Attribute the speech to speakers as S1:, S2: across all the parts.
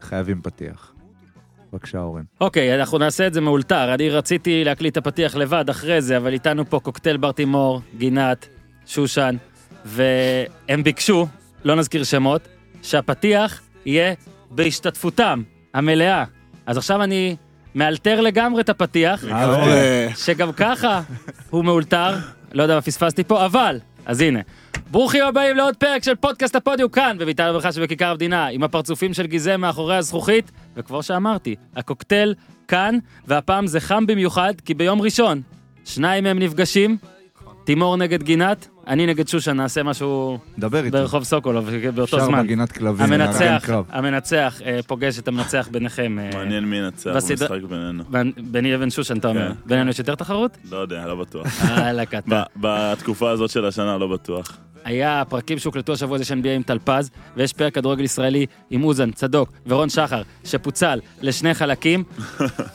S1: חייבים פתיח. בבקשה, אורן.
S2: אוקיי, אנחנו נעשה את זה מאולתר. אני רציתי להקליט את הפתיח לבד אחרי זה, אבל איתנו פה קוקטייל ברטימור, גינת, שושן, והם ביקשו, לא נזכיר שמות, שהפתיח יהיה בהשתתפותם המלאה. אז עכשיו אני מאלתר לגמרי את הפתיח,
S1: אה,
S2: שגם ככה הוא מאולתר, לא יודע מה פספסתי פה, אבל, אז הנה. ברוכים הבאים לעוד פרק של פודקאסט הפודיו כאן, בביתר הברכה שבכיכר המדינה, עם הפרצופים של גיזם מאחורי הזכוכית, וכמו שאמרתי, הקוקטייל כאן, והפעם זה חם במיוחד, כי ביום ראשון, שניים מהם נפגשים, תימור נגד גינת, אני נגד שושן, נעשה משהו
S1: דבר איתו.
S2: ברחוב סוקולוב באותו
S1: שר
S2: זמן.
S1: בגינת כלבים. נערים
S2: המנצח,
S1: קרב.
S2: המנצח אה, פוגש את המנצח ביניכם. אה,
S3: מעניין מי ינצח
S2: בסדרה-
S3: במשחק בינינו.
S2: בין- ביני לבין שושן, אתה אומר.
S3: כן.
S2: בינינו יש יותר תחרות?
S3: לא יודע, לא בטוח.
S2: יאללה, קטן.
S3: ב- בתקופה הזאת של השנה לא בטוח.
S2: היה פרקים שהוקלטו השבוע הזה של NBA עם טלפז, ויש פרק כדורגל ישראלי עם אוזן, צדוק ורון שחר, שפוצל לשני חלקים.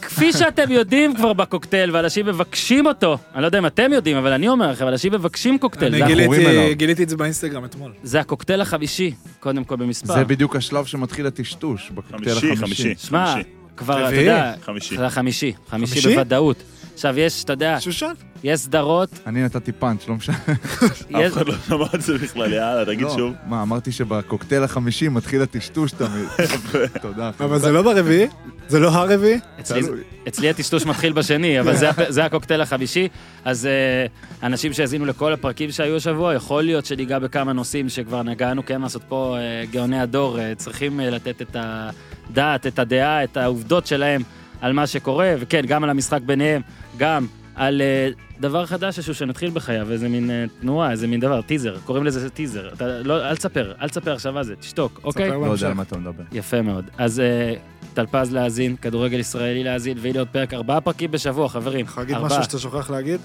S2: כפי שאתם יודעים כבר בקוקטייל, ואנשים מבקשים אותו, אני לא יודע אם אתם יודעים, אבל אני אומר לכם, אנשים מבקשים קוקטייל.
S4: אני
S2: זה,
S1: גיל-
S4: גיליתי-
S1: אליו.
S4: גיליתי את זה באינסטגרם אתמול.
S2: זה הקוקטייל החמישי, קודם כל במספר.
S1: זה בדיוק השלב שמתחיל הטשטוש, בקוקטייל
S3: חמישי,
S1: החמישי.
S3: חמישי.
S2: שמע,
S3: חמישי.
S2: כבר, אתה
S4: רביעי?
S2: יודע,
S3: חמישי.
S2: זה החמישי, חמישי
S4: חמישי?
S2: בוודאות. עכשיו יש, אתה יודע,
S4: שושן?
S2: יש סדרות,
S1: אני נתתי פאנץ', לא משנה.
S2: יש-
S3: אף אחד לא שמע את זה בכלל, יאללה, תגיד
S1: לא.
S3: שוב.
S1: מה, אמרתי שבקוקטייל החמישי מתחיל הטשטוש תמיד. תודה. אחי.
S4: אבל זה לא ברביעי? זה לא הרביעי?
S2: אצלי-
S1: תלוי.
S2: אצלי הטשטוש מתחיל בשני, אבל זה הפ- זה הקוקטייל החמישי. אז אה, אנשים שהאזינו לכל הפרקים שהיו השבוע, יכול להיות שניגע בכמה נושאים שכבר נגענו, כן, לעשות פה אה, גאוני הדור, אה, צריכים אה, לתת את הדעת, את הדעה, את העובדות שלהם על מה שקורה, וכן, גם על המשחק ביניהם, גם על אה, דבר חדש איזשהו שנתחיל בחייו, איזה מין אה, תנועה, איזה מין דבר, טיזר, קוראים לזה טיזר. אתה לא, אל תספר, אל תספר עכשיו מה זה, תשתוק, אוקיי?
S4: ספר
S1: לא יודע
S4: בהמשך.
S1: על מה אתה מדבר.
S2: יפה מאוד. אז אה, טלפז להאזין, כדורגל ישראלי להאזין, והנה עוד פרק, ארבעה פרקים בשבוע, חברים.
S4: יכול להגיד
S2: ארבעה.
S4: משהו שאתה שוכח להגיד?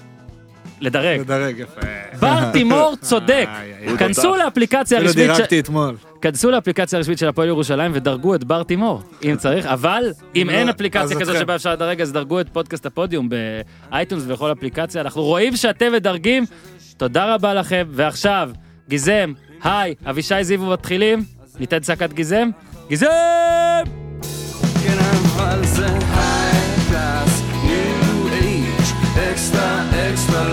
S2: לדרג.
S4: לדרג, יפה.
S2: בר תימור צודק.
S4: איי, איי, איי.
S2: כנסו לאפליקציה
S4: אפילו
S2: הרשמית של-
S4: דירגתי אתמול.
S2: כנסו לאפליקציה הרשמית של הפועל ירושלים ודרגו את בר תימור, אם צריך, אבל אם
S4: אה. לא,
S2: אין
S4: אז
S2: אפליקציה כזו
S4: אתכם.
S2: שבה אפשר לדרג, אז דרגו את פודקאסט הפודיום באייטונס ובכל אפליקציה. אנחנו רואים שאתם מדרגים, תודה רבה לכם, ועכשיו, גיזם, היי, אבישי זיו מתחילים, ניתן צעקת גיזם, גיזם!
S5: Thinking of us a high class, new age, extra, extra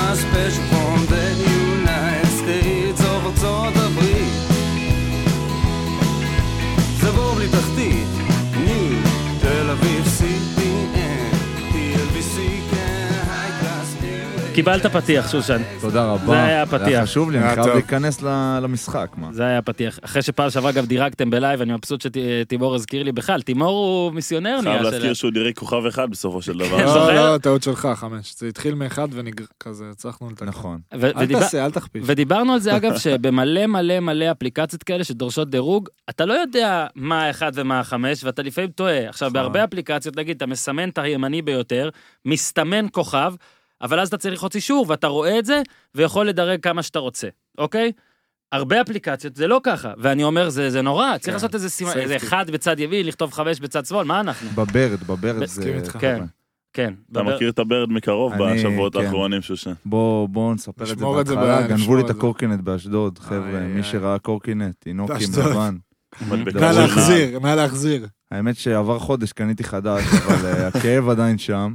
S5: my special from the United States of ארצות הברית. זה בור בלי תחתית, ניו, תל אביב, CPN, TLBC, כן, high class, new age.
S2: קיבלת פתיח, שושן.
S1: תודה רבה.
S2: זה היה הפתיח.
S1: היה חשוב לי, אני
S4: היה
S1: חייב
S4: טוב.
S1: להיכנס ל- למשחק, מה.
S2: זה היה הפתיח. אחרי שפעם שעברה גם דירקתם בלייב, אני מבסוט שתימור הזכיר לי בכלל. תימור הוא מיסיונר
S3: חייב
S2: נראה
S3: להזכיר
S2: שלה.
S3: שהוא דירק כוכב אחד בסופו של
S2: כן,
S3: דבר.
S4: לא,
S2: זוכר?
S4: לא, טעות שלך, חמש. זה התחיל מאחד וכזה, הצלחנו לתקן.
S1: נכון.
S2: ו-
S4: אל
S2: ודיבר-
S4: תעשה, אל תכפיש.
S2: ודיברנו על זה אגב שבמלא מלא מלא אפליקציות כאלה שדורשות דירוג, אתה לא יודע מה האחד ומה החמש ואתה לפעמים טועה.
S3: נכון.
S2: עכשיו בהרבה אפליקציות נגיד אתה מסמן את הימני ביותר, מסתמן כוכב, אבל אז אתה צריך ללחוץ אישור ואתה רואה את זה ויכול לדרג כמה שאתה רוצה, אוקיי? הרבה אפליקציות זה לא ככה, ואני אומר זה, זה נורא,
S3: כן.
S2: צריך לעשות איזה סימן,
S4: safety.
S2: איזה אחד בצד ימין, לכתוב חמש בצד שמאל, מה אנחנו?
S1: בברד, בברד זה...
S4: מסכים איתך.
S2: כן. כן.
S3: אתה
S2: דבר-
S3: מכיר את הברד מקרוב
S1: אני-
S3: בשבועות
S1: כן.
S3: האחרונים, שושן.
S1: בוא, בוא נספר את זה
S4: נשמור את זה
S1: בהתחלה,
S4: ב-
S1: גנבו
S4: נשמור
S1: לי
S4: את
S1: את
S4: זה.
S1: הקורקינט באשדוד, חבר'ה,
S4: איי,
S1: מי
S4: איי.
S1: שראה קורקינט, תינוקים
S4: באשדוד.
S1: לבן.
S3: מדבקה
S2: לא,
S4: נא
S3: של נעל.
S4: להחזיר, נא להחזיר.
S1: האמת שעבר חודש, קניתי חדש, אבל אה, הכאב עדיין שם.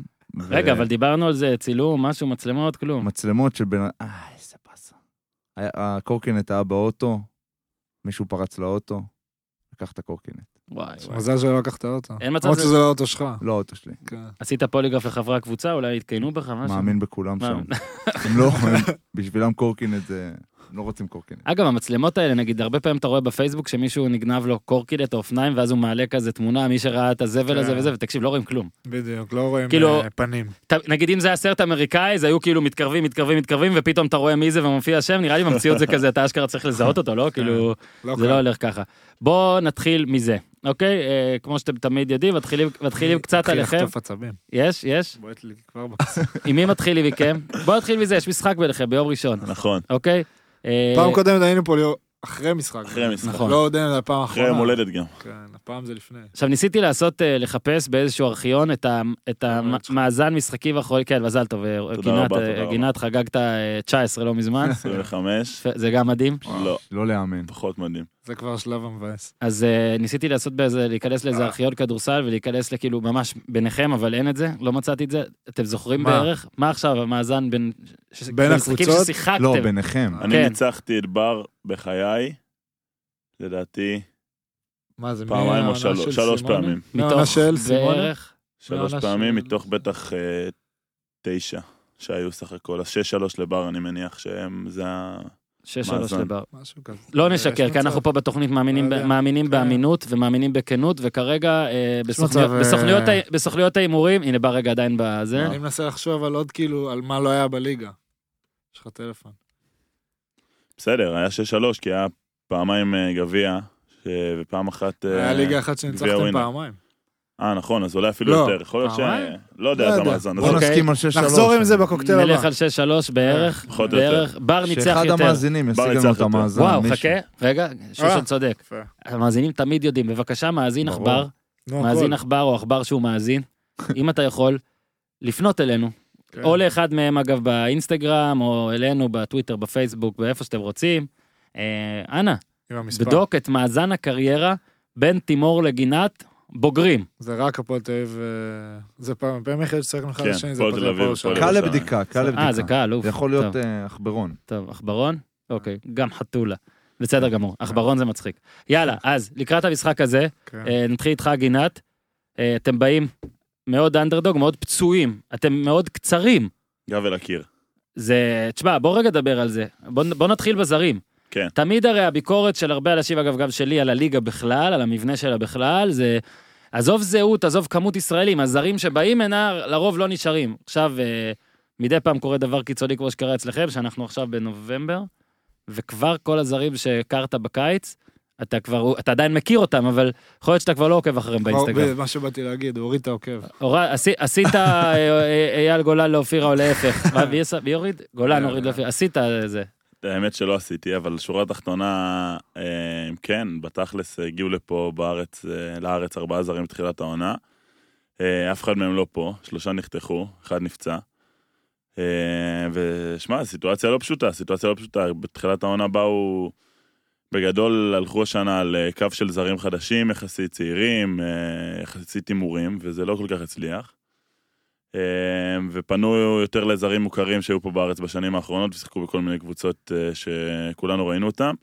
S1: ו-
S2: רגע, אבל דיברנו על זה, צילום, משהו, מצלמות, כלום.
S1: מצלמות של בן... אה, איזה באסה. היה- הקורקינט היה באוטו, מישהו פרץ לאוטו, לקח את הקורקינט.
S2: וואי, וואי.
S4: מזל שלא לקחת אותו.
S2: אין מצב
S4: למרות
S2: זה-
S4: שזה לא האוטו שלך.
S1: לא האוטו שלי.
S4: כן.
S2: עשית פוליגרף לחברי הקבוצה, אולי יתקיינו בך משהו.
S1: מאמין בכולם שם.
S2: מאמין.
S1: הם לא, הם- בשבילם קורקינט זה... הם לא רוצים קורקינט.
S2: אגב, המצלמות האלה, נגיד, הרבה פעמים אתה רואה בפייסבוק שמישהו נגנב לו קורקינט או אופניים, ואז הוא מעלה כזה תמונה, מי שראה את הזבל הזה
S4: כן.
S2: וזה, ותקשיב, לא רואים כלום.
S4: בדיוק, לא רואים
S2: כאילו-
S4: אה, פנים.
S2: אתה- נגיד, אם זה היה סרט אמריקאי, זה היו כאילו מתקרבים, מתקרבים, מתקרבים, ופתאום אתה רואה מי זה ומופיע השם, נראה לי במציאות זה כזה, אתה אשכרה צריך לזהות אותו, לא? כאילו, זה
S4: קל.
S2: לא הולך ככה. בואו נתחיל מזה, אוקיי? אה, כמו שאתם תמיד יודעים, מתחילים- מתחילים קצת
S4: התחיל
S2: עליכם.
S4: לחטוף עצבים.
S2: יש, יש.
S4: בועט לי כבר בכיס.
S2: עם מי מתחיל לי מכם? בואו נתחיל מזה, יש משחק ביניכם ביום ראשון,
S3: נכון,
S2: אוקיי? אה,
S4: פעם קודמת היינו פה ליאור- אחרי משחק.
S3: אחרי המשחק.
S2: נכון.
S4: לא יודע אם זה הפעם האחרונה.
S3: אחרי יום הולדת גם.
S4: כן, הפעם זה לפני.
S2: עכשיו ניסיתי לעשות, אה, לחפש באיזשהו ארכיון את ה- את המאזן משחקים האחרון, כן, מזל טוב, אה, גינת,
S3: רבה,
S2: אה,
S3: אה, תודה רבה.
S2: גינת חגגת אה, 19 לא מזמן,
S3: 25,
S2: זה גם מדהים.
S3: לא,
S1: לא להאמן.
S2: כן.
S3: פחות מדהים.
S4: זה כבר השלב המבאס.
S2: אז uh, ניסיתי לעשות באיזה, להיכנס
S3: אה.
S2: לאיזה ארכיון כדורסל ולהיכנס לכאילו ממש ביניכם, אבל אין את זה, לא מצאתי את זה. אתם זוכרים
S4: מה?
S2: בערך? מה עכשיו המאזן בין... ש-
S4: בין
S2: המשחקים
S4: הקבוצות?
S2: ששיחקתם.
S1: לא, ביניכם.
S3: אני
S2: כן.
S3: ניצחתי את בר בחיי, לדעתי,
S4: מה זה,
S3: פעמיים או
S4: מהעונה
S3: שלוש,
S4: של
S3: שלוש
S4: סימונה?
S3: פעמים.
S4: מהעונה
S2: מתוך
S4: של סימונה?
S2: בערך...
S3: שלוש
S4: של-
S3: פעמים מתוך בטח אה, תשע שהיו סך הכל. אז שש שלוש לבר, אני מניח שהם, זה ה...
S2: שש שלוש
S3: מאזן.
S2: לבר.
S4: משהו כזה.
S2: לא
S4: יש
S2: נשקר, כי אנחנו
S4: מצב.
S2: פה בתוכנית מאמינים,
S4: לא
S2: ב-
S4: יודע.
S2: מאמינים
S4: כן.
S2: באמינות ומאמינים בכנות, וכרגע אה, בסוכניות-
S4: מצב, אה,
S2: בסוכניות ה- בסוכניות ההימורים, הנה בר רגע עדיין בזה,
S4: אני מנסה לחשוב על עוד כאילו, על מה לא היה בליגה. יש לך טלפון.
S3: בסדר, היה שש שלוש, כי היה פעמיים אה, גביע, ש- ופעם אחת... אה,
S4: היה ליגה אחת שניצחתם
S3: ווינר.
S4: פעמיים.
S3: אה, נכון, אז אולי אפילו
S4: לא,
S3: יותר. יכול להיות ש...
S4: פעמיים?
S3: לא יודע
S4: לא
S3: את
S4: יודע.
S3: המאזן. אז
S1: בוא
S2: אוקיי.
S1: נסכים על 6-3.
S6: נחזור עם זה בקוקטייל
S2: נלך
S6: הבא.
S2: על שש שלוש בערך,
S3: אה, פחות או
S2: בערך, בר ניצח
S1: שאחד
S2: יותר.
S1: המאזינים ישיג
S3: בר
S1: לנו
S3: ניצח
S1: את
S3: יותר.
S1: המאזן.
S2: וואו,
S1: מישהו.
S2: חכה, רגע,
S3: אה.
S2: שושן צודק.
S4: יפה.
S2: המאזינים תמיד יודעים, בבקשה, מאזין
S1: ברור.
S2: עכבר,
S4: נו,
S2: מאזין
S4: לא הכל.
S2: עכבר או עכבר שהוא מאזין, אם אתה יכול, לפנות אלינו,
S4: כן.
S2: או לאחד מהם אגב באינסטגרם, או אלינו בטוויטר, בפייסבוק, באיפה שאתם רוצים. אה, אנא,
S4: עם המספר.
S2: בדוק את מאזן הקריירה בין תימור לגינת בוגרים.
S4: זה רק הפועל תל אביב, אה, זה פעם, פעם אחרת שצריכים אחד
S3: כן,
S4: לשני, זה
S3: הפועל
S4: הפועל
S3: תל אביב,
S4: ירושלים.
S3: הפועל
S1: קל
S3: ירושלים.
S1: לבדיקה, קל
S2: אה, זה
S1: לבדיקה.
S2: קל, אוף.
S1: זה יכול להיות
S2: טוב.
S1: אה, אה, עכברון.
S2: טוב, עכברון? אוקיי, גם חתולה. בסדר גמור, עכברון זה מצחיק. יאללה, אז לקראת המשחק הזה,
S4: כן.
S2: אה, נתחיל איתך גינת. אה, אתם באים מאוד אנדרדוג, מאוד פצועים, אתם מאוד קצרים.
S3: גב אל הקיר.
S2: זה, תשמע, בוא רגע נדבר על זה. בוא, בוא נתחיל בזרים.
S3: כן.
S2: תמיד הרי הביקורת של הרבה אנשים, אגב, גם שלי, על הליגה בכלל, על המבנה שלה בכלל, זה... עזוב זהות, עזוב כמות ישראלים, הזרים שבאים הנה, לרוב לא נשארים. עכשיו, אה, מדי פעם קורה דבר קיצוני כמו שקרה אצלכם, שאנחנו עכשיו בנובמבר, וכבר כל הזרים שהכרת בקיץ, אתה כבר, אתה עדיין מכיר אותם, אבל יכול להיות שאתה כבר לא עוקב אחריהם באינסטגרם.
S4: מה שבאתי להגיד, הוא הוריד את העוקב.
S2: אורה- עשי- עשית אה, אה, אייל גולן לאופירה או להפך. מה, מי עשה- מי הוריד? גולן הוריד לאופירה. עשית אה, זה.
S3: האמת שלא עשיתי, אבל שורה תחתונה, אה, כן, בתכלס אה, הגיעו לפה בארץ, אה, לארץ ארבעה זרים בתחילת העונה. אה, אף אחד מהם לא פה, שלושה נחתכו, אחד נפצע. אה, ושמע, סיטואציה לא פשוטה, סיטואציה לא פשוטה. בתחילת העונה באו, בגדול הלכו השנה על אה, קו של זרים חדשים, יחסית צעירים, אה, יחסית הימורים, וזה לא כל כך הצליח. אה, ופנו יותר לזרים מוכרים שהיו פה בארץ בשנים האחרונות ושיחקו בכל מיני קבוצות אה, שכולנו ראינו אותם.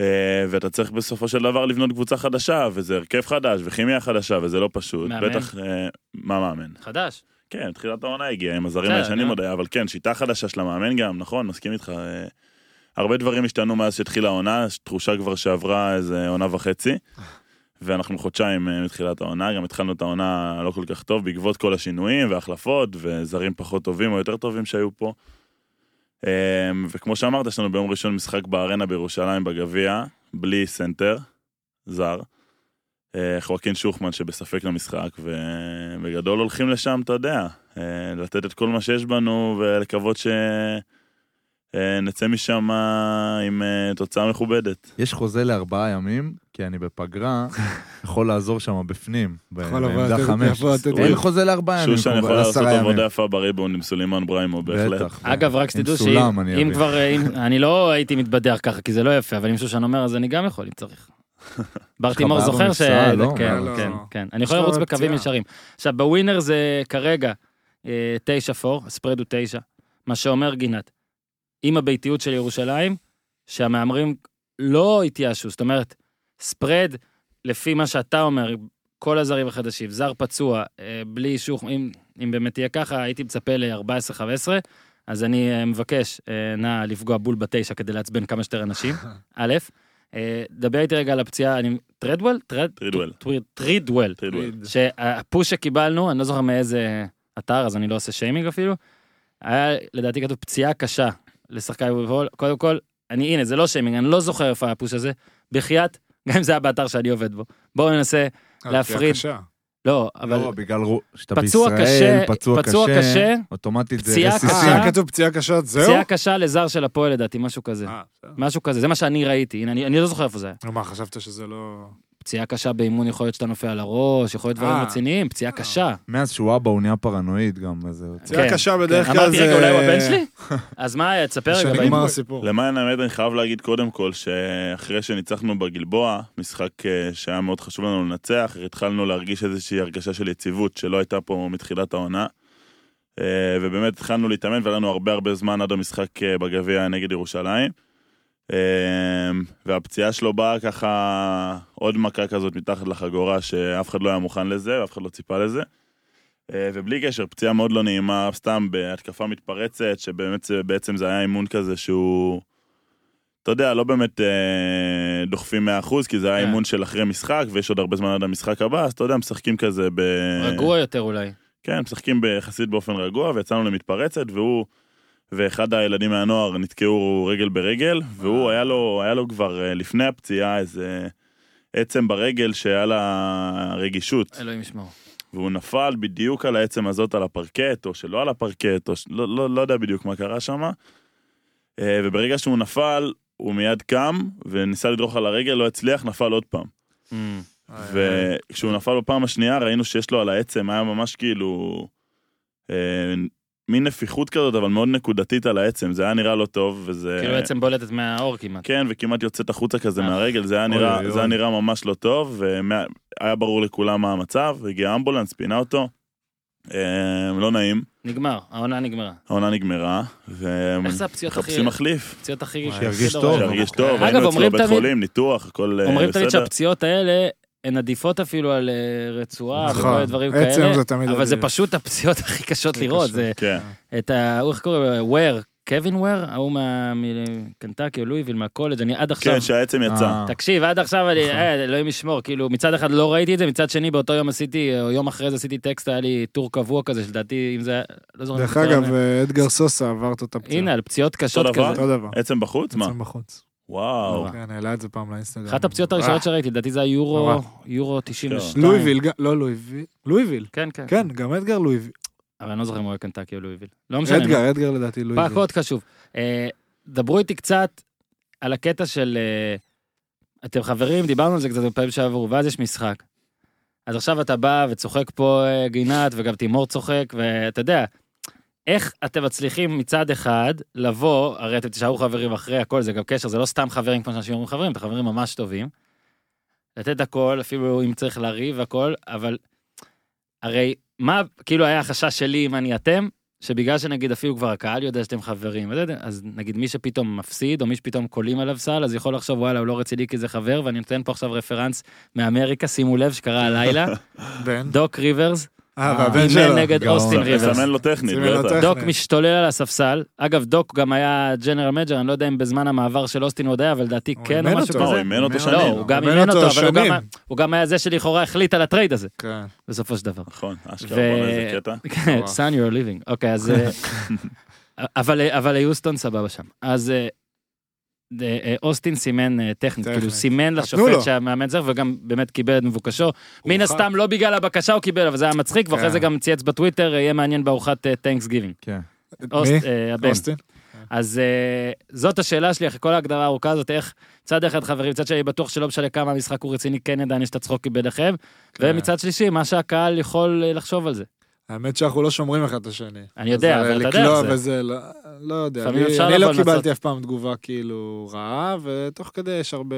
S3: אה, ואתה צריך בסופו של דבר לבנות קבוצה חדשה, וזה הרכב חדש, וכימיה חדשה, וזה לא פשוט.
S2: מאמן?
S3: בטח, אה, מה מאמן?
S2: חדש.
S3: כן, תחילת העונה הגיעה עם הזרים
S2: בסדר,
S3: הישנים
S2: נו.
S3: עוד היה, אבל כן, שיטה חדשה של המאמן גם, נכון, מסכים איתך. אה, הרבה דברים השתנו מאז שהתחילה העונה, יש תחושה כבר שעברה איזה עונה וחצי, ואנחנו חודשיים אה, מתחילת העונה, גם התחלנו את העונה לא כל כך טוב, בעקבות כל השינויים וההחלפות, וזרים פחות טובים או יותר טובים שהיו פה. אה, וכמו שאמרת, יש לנו ביום ראשון משחק בארנה בירושלים בגביע, בלי סנטר, זר. אה, חואקין שוחמן שבספק למשחק, ובגדול הולכים לשם, אתה יודע, אה, לתת את כל מה שיש בנו ולקוות שנצא משם עם אה, תוצאה מכובדת.
S1: יש חוזה לארבעה ימים, כי אני בפגרה, יכול לעזור שם בפנים, ב-
S4: יכול לבוא
S1: בעמדה
S4: לתת-
S1: חמש.
S4: יכול לתת-
S1: אין
S2: אה,
S1: חוזה לארבעה ימים,
S3: שושן
S1: כמו
S3: יכול לעשות
S1: אה, לעשרה ימים.
S3: עבודה יפה בריבון עם סולימאן בריימו בהחלט.
S1: בטח.
S2: אגב, רק
S1: עם
S2: שתדעו
S1: סולם אני
S2: שאם
S1: אביא.
S2: כבר, אה, אם- אני לא הייתי מתבדח ככה, כי זה לא יפה, אבל אם שושן אומר, אז אני גם יכול, אם צריך. בר
S1: יש לך
S2: תימור
S1: בעיה
S2: זוכר ש...
S1: במפסעה, לא?
S2: כן,
S4: מה, לא.
S2: כן, כן. אני
S4: יש
S2: יכול
S4: לך
S2: לרוץ
S4: פציעה.
S2: בקווים ישרים. עכשיו, בווינר זה כרגע אה, 9-4, הספרד הוא 9, מה שאומר גינת, עם הביתיות של ירושלים, שהמהמרים לא התייאשו, זאת אומרת, ספרד, לפי מה שאתה אומר, כל הזרים החדשים, זר פצוע, אה, בלי שוך, אם, אם באמת יהיה ככה, הייתי מצפה ל-14-15, אז אני אה, מבקש, אה, נא לפגוע בול בתשע כדי לעצבן כמה שיותר אנשים, א', אה, דבר איתי רגע על הפציעה, אני... טרדוול? טרד-
S3: טרידוול.
S2: טרי- טרידוול.
S3: טרידוול.
S4: אה,
S2: שהפוש שקיבלנו, אני לא זוכר מאיזה אתר, אז אני לא עושה שיימינג אפילו, היה לדעתי כתוב פציעה קשה לשחקן בפועל. קודם כל, אני, הנה, זה לא שיימינג, אני לא זוכר איפה היה הפוש הזה, בחייאת, גם אם זה היה באתר שאני עובד בו. בואו ננסה, להפריד.
S4: קשה.
S2: לא, אבל
S1: לא, בגלל רו- שאתה
S2: פצוע
S1: בישראל,
S2: קשה,
S1: פצוע
S2: פצוע קשה,
S1: קשה, אוטומטית זה
S2: פציעה
S1: רסיסים.
S2: קשה.
S4: אה, כתוב פציעה קשה, זהו?
S2: פציעה קשה לזר של הפועל לדעתי, משהו כזה.
S4: אה, בסדר.
S2: משהו כזה, זה מה שאני ראיתי, הנה, אני, אני לא זוכר איפה זה היה.
S4: נו, מה, חשבת שזה לא...
S2: פציעה קשה באימון, יכול להיות שאתה נופל על הראש, יכול להיות דברים
S4: אה.
S2: רציניים, פציעה קשה.
S1: מאז שהוא אבא הוא נהיה פרנואיד גם, אז... זה-
S2: כן,
S6: פציעה קשה בדרך
S2: כן.
S6: כלל
S2: אמרתי,
S6: זה...
S2: רגע, אולי הוא הבן שלי? אז מה, תספר רגע,
S4: שנגמר
S2: באימון.
S4: הסיפור.
S3: למען האמת, אני חייב להגיד קודם כל, שאחרי שניצחנו בגלבוע, משחק אה, שהיה מאוד חשוב לנו לנצח, התחלנו להרגיש איזושהי הרגשה של יציבות שלא הייתה פה מתחילת העונה. אה, ובאמת התחלנו להתאמן, והיה לנו הרבה הרבה זמן עד המשחק אה, בגביע נגד ירושלים. אה, והפציעה שלו באה ככה, עוד מכה כזאת מתחת לחגורה, שאף אחד לא היה מוכן לזה, ואף אחד לא ציפה לזה. אה, ובלי קשר, פציעה מאוד לא נעימה, סתם בהתקפה מתפרצת, שבאמת זה- בעצם זה היה אימון כזה שהוא... אתה יודע, לא באמת אה, דוחפים 100%, כי זה היה
S2: כן.
S3: אימון של אחרי משחק, ויש עוד הרבה זמן עד המשחק הבא, אז אתה יודע, משחקים כזה ב...
S2: רגוע יותר אולי.
S3: כן, משחקים יחסית באופן רגוע, ויצאנו למתפרצת, והוא ואחד הילדים מהנוער נתקעו רגל ברגל, והוא היה לו, היה לו כבר אה, לפני הפציעה איזה עצם ברגל שהיה לה רגישות,
S2: אלוהים ישמור.
S3: והוא נפל בדיוק על העצם הזאת על הפרקט, או שלא על הפרקט, או ש- לא, לא, לא יודע בדיוק מה קרה שם. וברגע שהוא נפל, הוא מיד קם, וניסה לדרוך על הרגל, לא הצליח, נפל עוד פעם. אה,
S4: אה,
S3: וכשהוא נפל בפעם השנייה ראינו שיש לו על העצם, היה ממש כאילו אה, מין נפיחות כזאת, אבל מאוד נקודתית על העצם, זה היה נראה לא טוב, וזה...
S2: כאילו בעצם בולטת מהאור כמעט.
S3: כן, וכמעט יוצאת החוצה כזה
S2: אה.
S3: מהרגל, זה היה
S1: אוי,
S3: נראה-
S1: אוי,
S3: זה היה
S1: אוי.
S3: נראה ממש לא טוב, והיה ברור לכולם מה המצב, הגיע אמבולנס, פינה אותו. אה, לא נעים,
S2: נגמר, העונה נגמרה.
S3: העונה נגמרה,
S2: איך זה הפציעות הכי...
S3: ומחפשים מחליף,
S2: הפציעות הכי...
S1: שירגיש
S2: הכי לא
S1: טוב.
S2: רעות.
S3: שירגיש טוב,
S2: אגב,
S3: היינו אצלו
S2: אומרים
S3: בבית
S2: תמיד-
S3: חולים, ניתוח, הכל אה, בסדר.
S2: אומרים תמיד שהפציעות האלה הן עדיפות אפילו על אה, רצועה
S4: נכון.
S2: וכל מיני דברים כאלה.
S4: עצם זה תמיד
S2: אבל זה
S4: עדיף.
S2: פשוט הפציעות הכי קשות
S4: הכי
S2: לראות.
S4: קשות.
S2: זה
S3: כן,
S2: את ה... הוא איך קוראים לו? וויר. קווין וויר? ההוא מה- מקנטקי או לואיביל מהקולג'. אני עד עכשיו...
S3: כן, שהעצם יצא.
S1: אה.
S2: תקשיב, עד עכשיו אני,
S4: נכון.
S2: אה, אלוהים ישמור, כאילו מצד אחד לא ראיתי את זה, מצד שני באותו יום עשיתי, או יום אחרי זה עשיתי טקסט, היה לי טור קבוע כזה, שלדעתי, אם זה היה, לא זוכר.
S4: דרך
S2: אם זה היה-
S4: אגב, אה, אדגר סוסה עבר את אותה פציעה.
S2: הנה, אה, על פציעות קשות
S3: אותו דבר?
S2: כזה.
S4: אותו דבר.
S3: עצם בחוץ? אה, מה? אה.
S4: עצם בחוץ.
S3: וואו.
S2: נורא.
S4: כן, העלה את זה פעם לאינסטגרם.
S2: אחת הפציעות הראשונות
S4: אה,
S2: שראיתי, לדעתי זה היה יורו,
S4: נורא.
S2: יורו 92.
S4: לואיביל, גם- לא לואיביל. לואיביל.
S2: כן, כן.
S4: כן, גם אדגר לואיביל.
S2: אבל אני לא זוכר אם הוא היה קנטקי או לואיביל. לא משנה.
S4: אדגר, אדגר לדעתי
S2: פאק
S4: לואיביל.
S2: עוד חשוב. אה, דברו איתי קצת על הקטע של... אה, אתם חברים, דיברנו על זה קצת בפעמים שעברו, ואז יש משחק. אז עכשיו אתה בא וצוחק פה אה, גינת, וגם תימור צוחק, ואתה יודע, איך אתם מצליחים מצד אחד לבוא, הרי אתם תישארו חברים אחרי הכל, זה גם קשר, זה לא סתם חברים כמו שאנשים אומרים חברים, אתם חברים ממש טובים. לתת הכל, אפילו אם צריך לריב הכל, אבל הרי מה, כאילו היה החשש שלי אם אני אתם, שבגלל שנגיד אפילו כבר הקהל יודע שאתם חברים, אז- אז נגיד מי שפתאום מפסיד, או מי שפתאום קולים עליו סל, אז יכול לחשוב, וואלה, הוא לא רציני כי זה חבר, ואני נותן פה עכשיו רפרנס מאמריקה, שימו לב, שקרה הלילה,
S4: בן.
S2: דוק ריברס,
S4: אה,
S1: בן
S4: והבן שלו.
S2: אימן נגד
S1: גאון.
S2: אוסטין
S3: צריך
S2: ריברס.
S3: לסמן לו טכנית,
S4: סימן לו
S3: בטח.
S4: טכנית.
S2: דוק
S4: טכנית.
S2: משתולל על הספסל, אגב, דוק גם היה ג'נרל מנג'ר, אני לא יודע אם בזמן המעבר של אוסטין הוא עוד היה, אבל לדעתי
S4: הוא
S2: כן, או
S4: אימן
S2: משהו
S4: אותו.
S3: לא,
S2: כזה.
S3: הוא אימן אותו
S4: לא,
S2: לא,
S3: שנים.
S2: הוא גם
S4: אימן
S2: אימן
S4: אותו
S2: אותו, אבל הוא גם
S4: שנים.
S2: היה- הוא גם היה זה שלכאורה החליט על הטרייד הזה,
S4: כן.
S2: בסופו של דבר.
S3: נכון, אשכרה,
S2: ו-
S3: בוא'נה, איזה קטע.
S2: כן, son you're living. אוקיי, אז... אה, אבל אה, אבל היוסטון סבבה שם. אז אה, אה, אה, אוסטין סימן אה, טכנית,
S4: טכנית.
S2: כאילו סימן
S4: לו.
S2: לשופט שהמאמן צריך, וגם באמת קיבל את מבוקשו. מן הסתם לא בגלל הבקשה הוא קיבל, אבל זה היה מצחיק, ואחרי
S4: כן.
S2: זה גם צייץ בטוויטר, אה, יהיה מעניין בארוחת טנקס גיבינג.
S1: כן.
S4: מי?
S2: הבן.
S4: אוסטין?
S2: אז אה, זאת השאלה שלי אחרי כל ההגדרה הארוכה הזאת, איך צד אחד חברים, צד שני בטוח שלא משנה כמה המשחק הוא רציני, כן עדיין יש את הצחוקים ביניכם,
S4: כן.
S2: ומצד שלישי, מה שהקהל יכול אה, לחשוב על זה.
S4: האמת שאנחנו לא שומרים אחד את השני.
S2: אני יודע,
S4: אז, אה,
S2: אבל אתה יודע איך
S4: לקלוע
S2: זה.
S4: וזה, לא- לא יודע.
S2: לפעמים
S4: אני-
S2: אפשר
S4: אני לא
S2: לבוא לנסות.
S4: קיבלתי אף פעם תגובה כאילו רעה, ותוך כדי יש הרבה...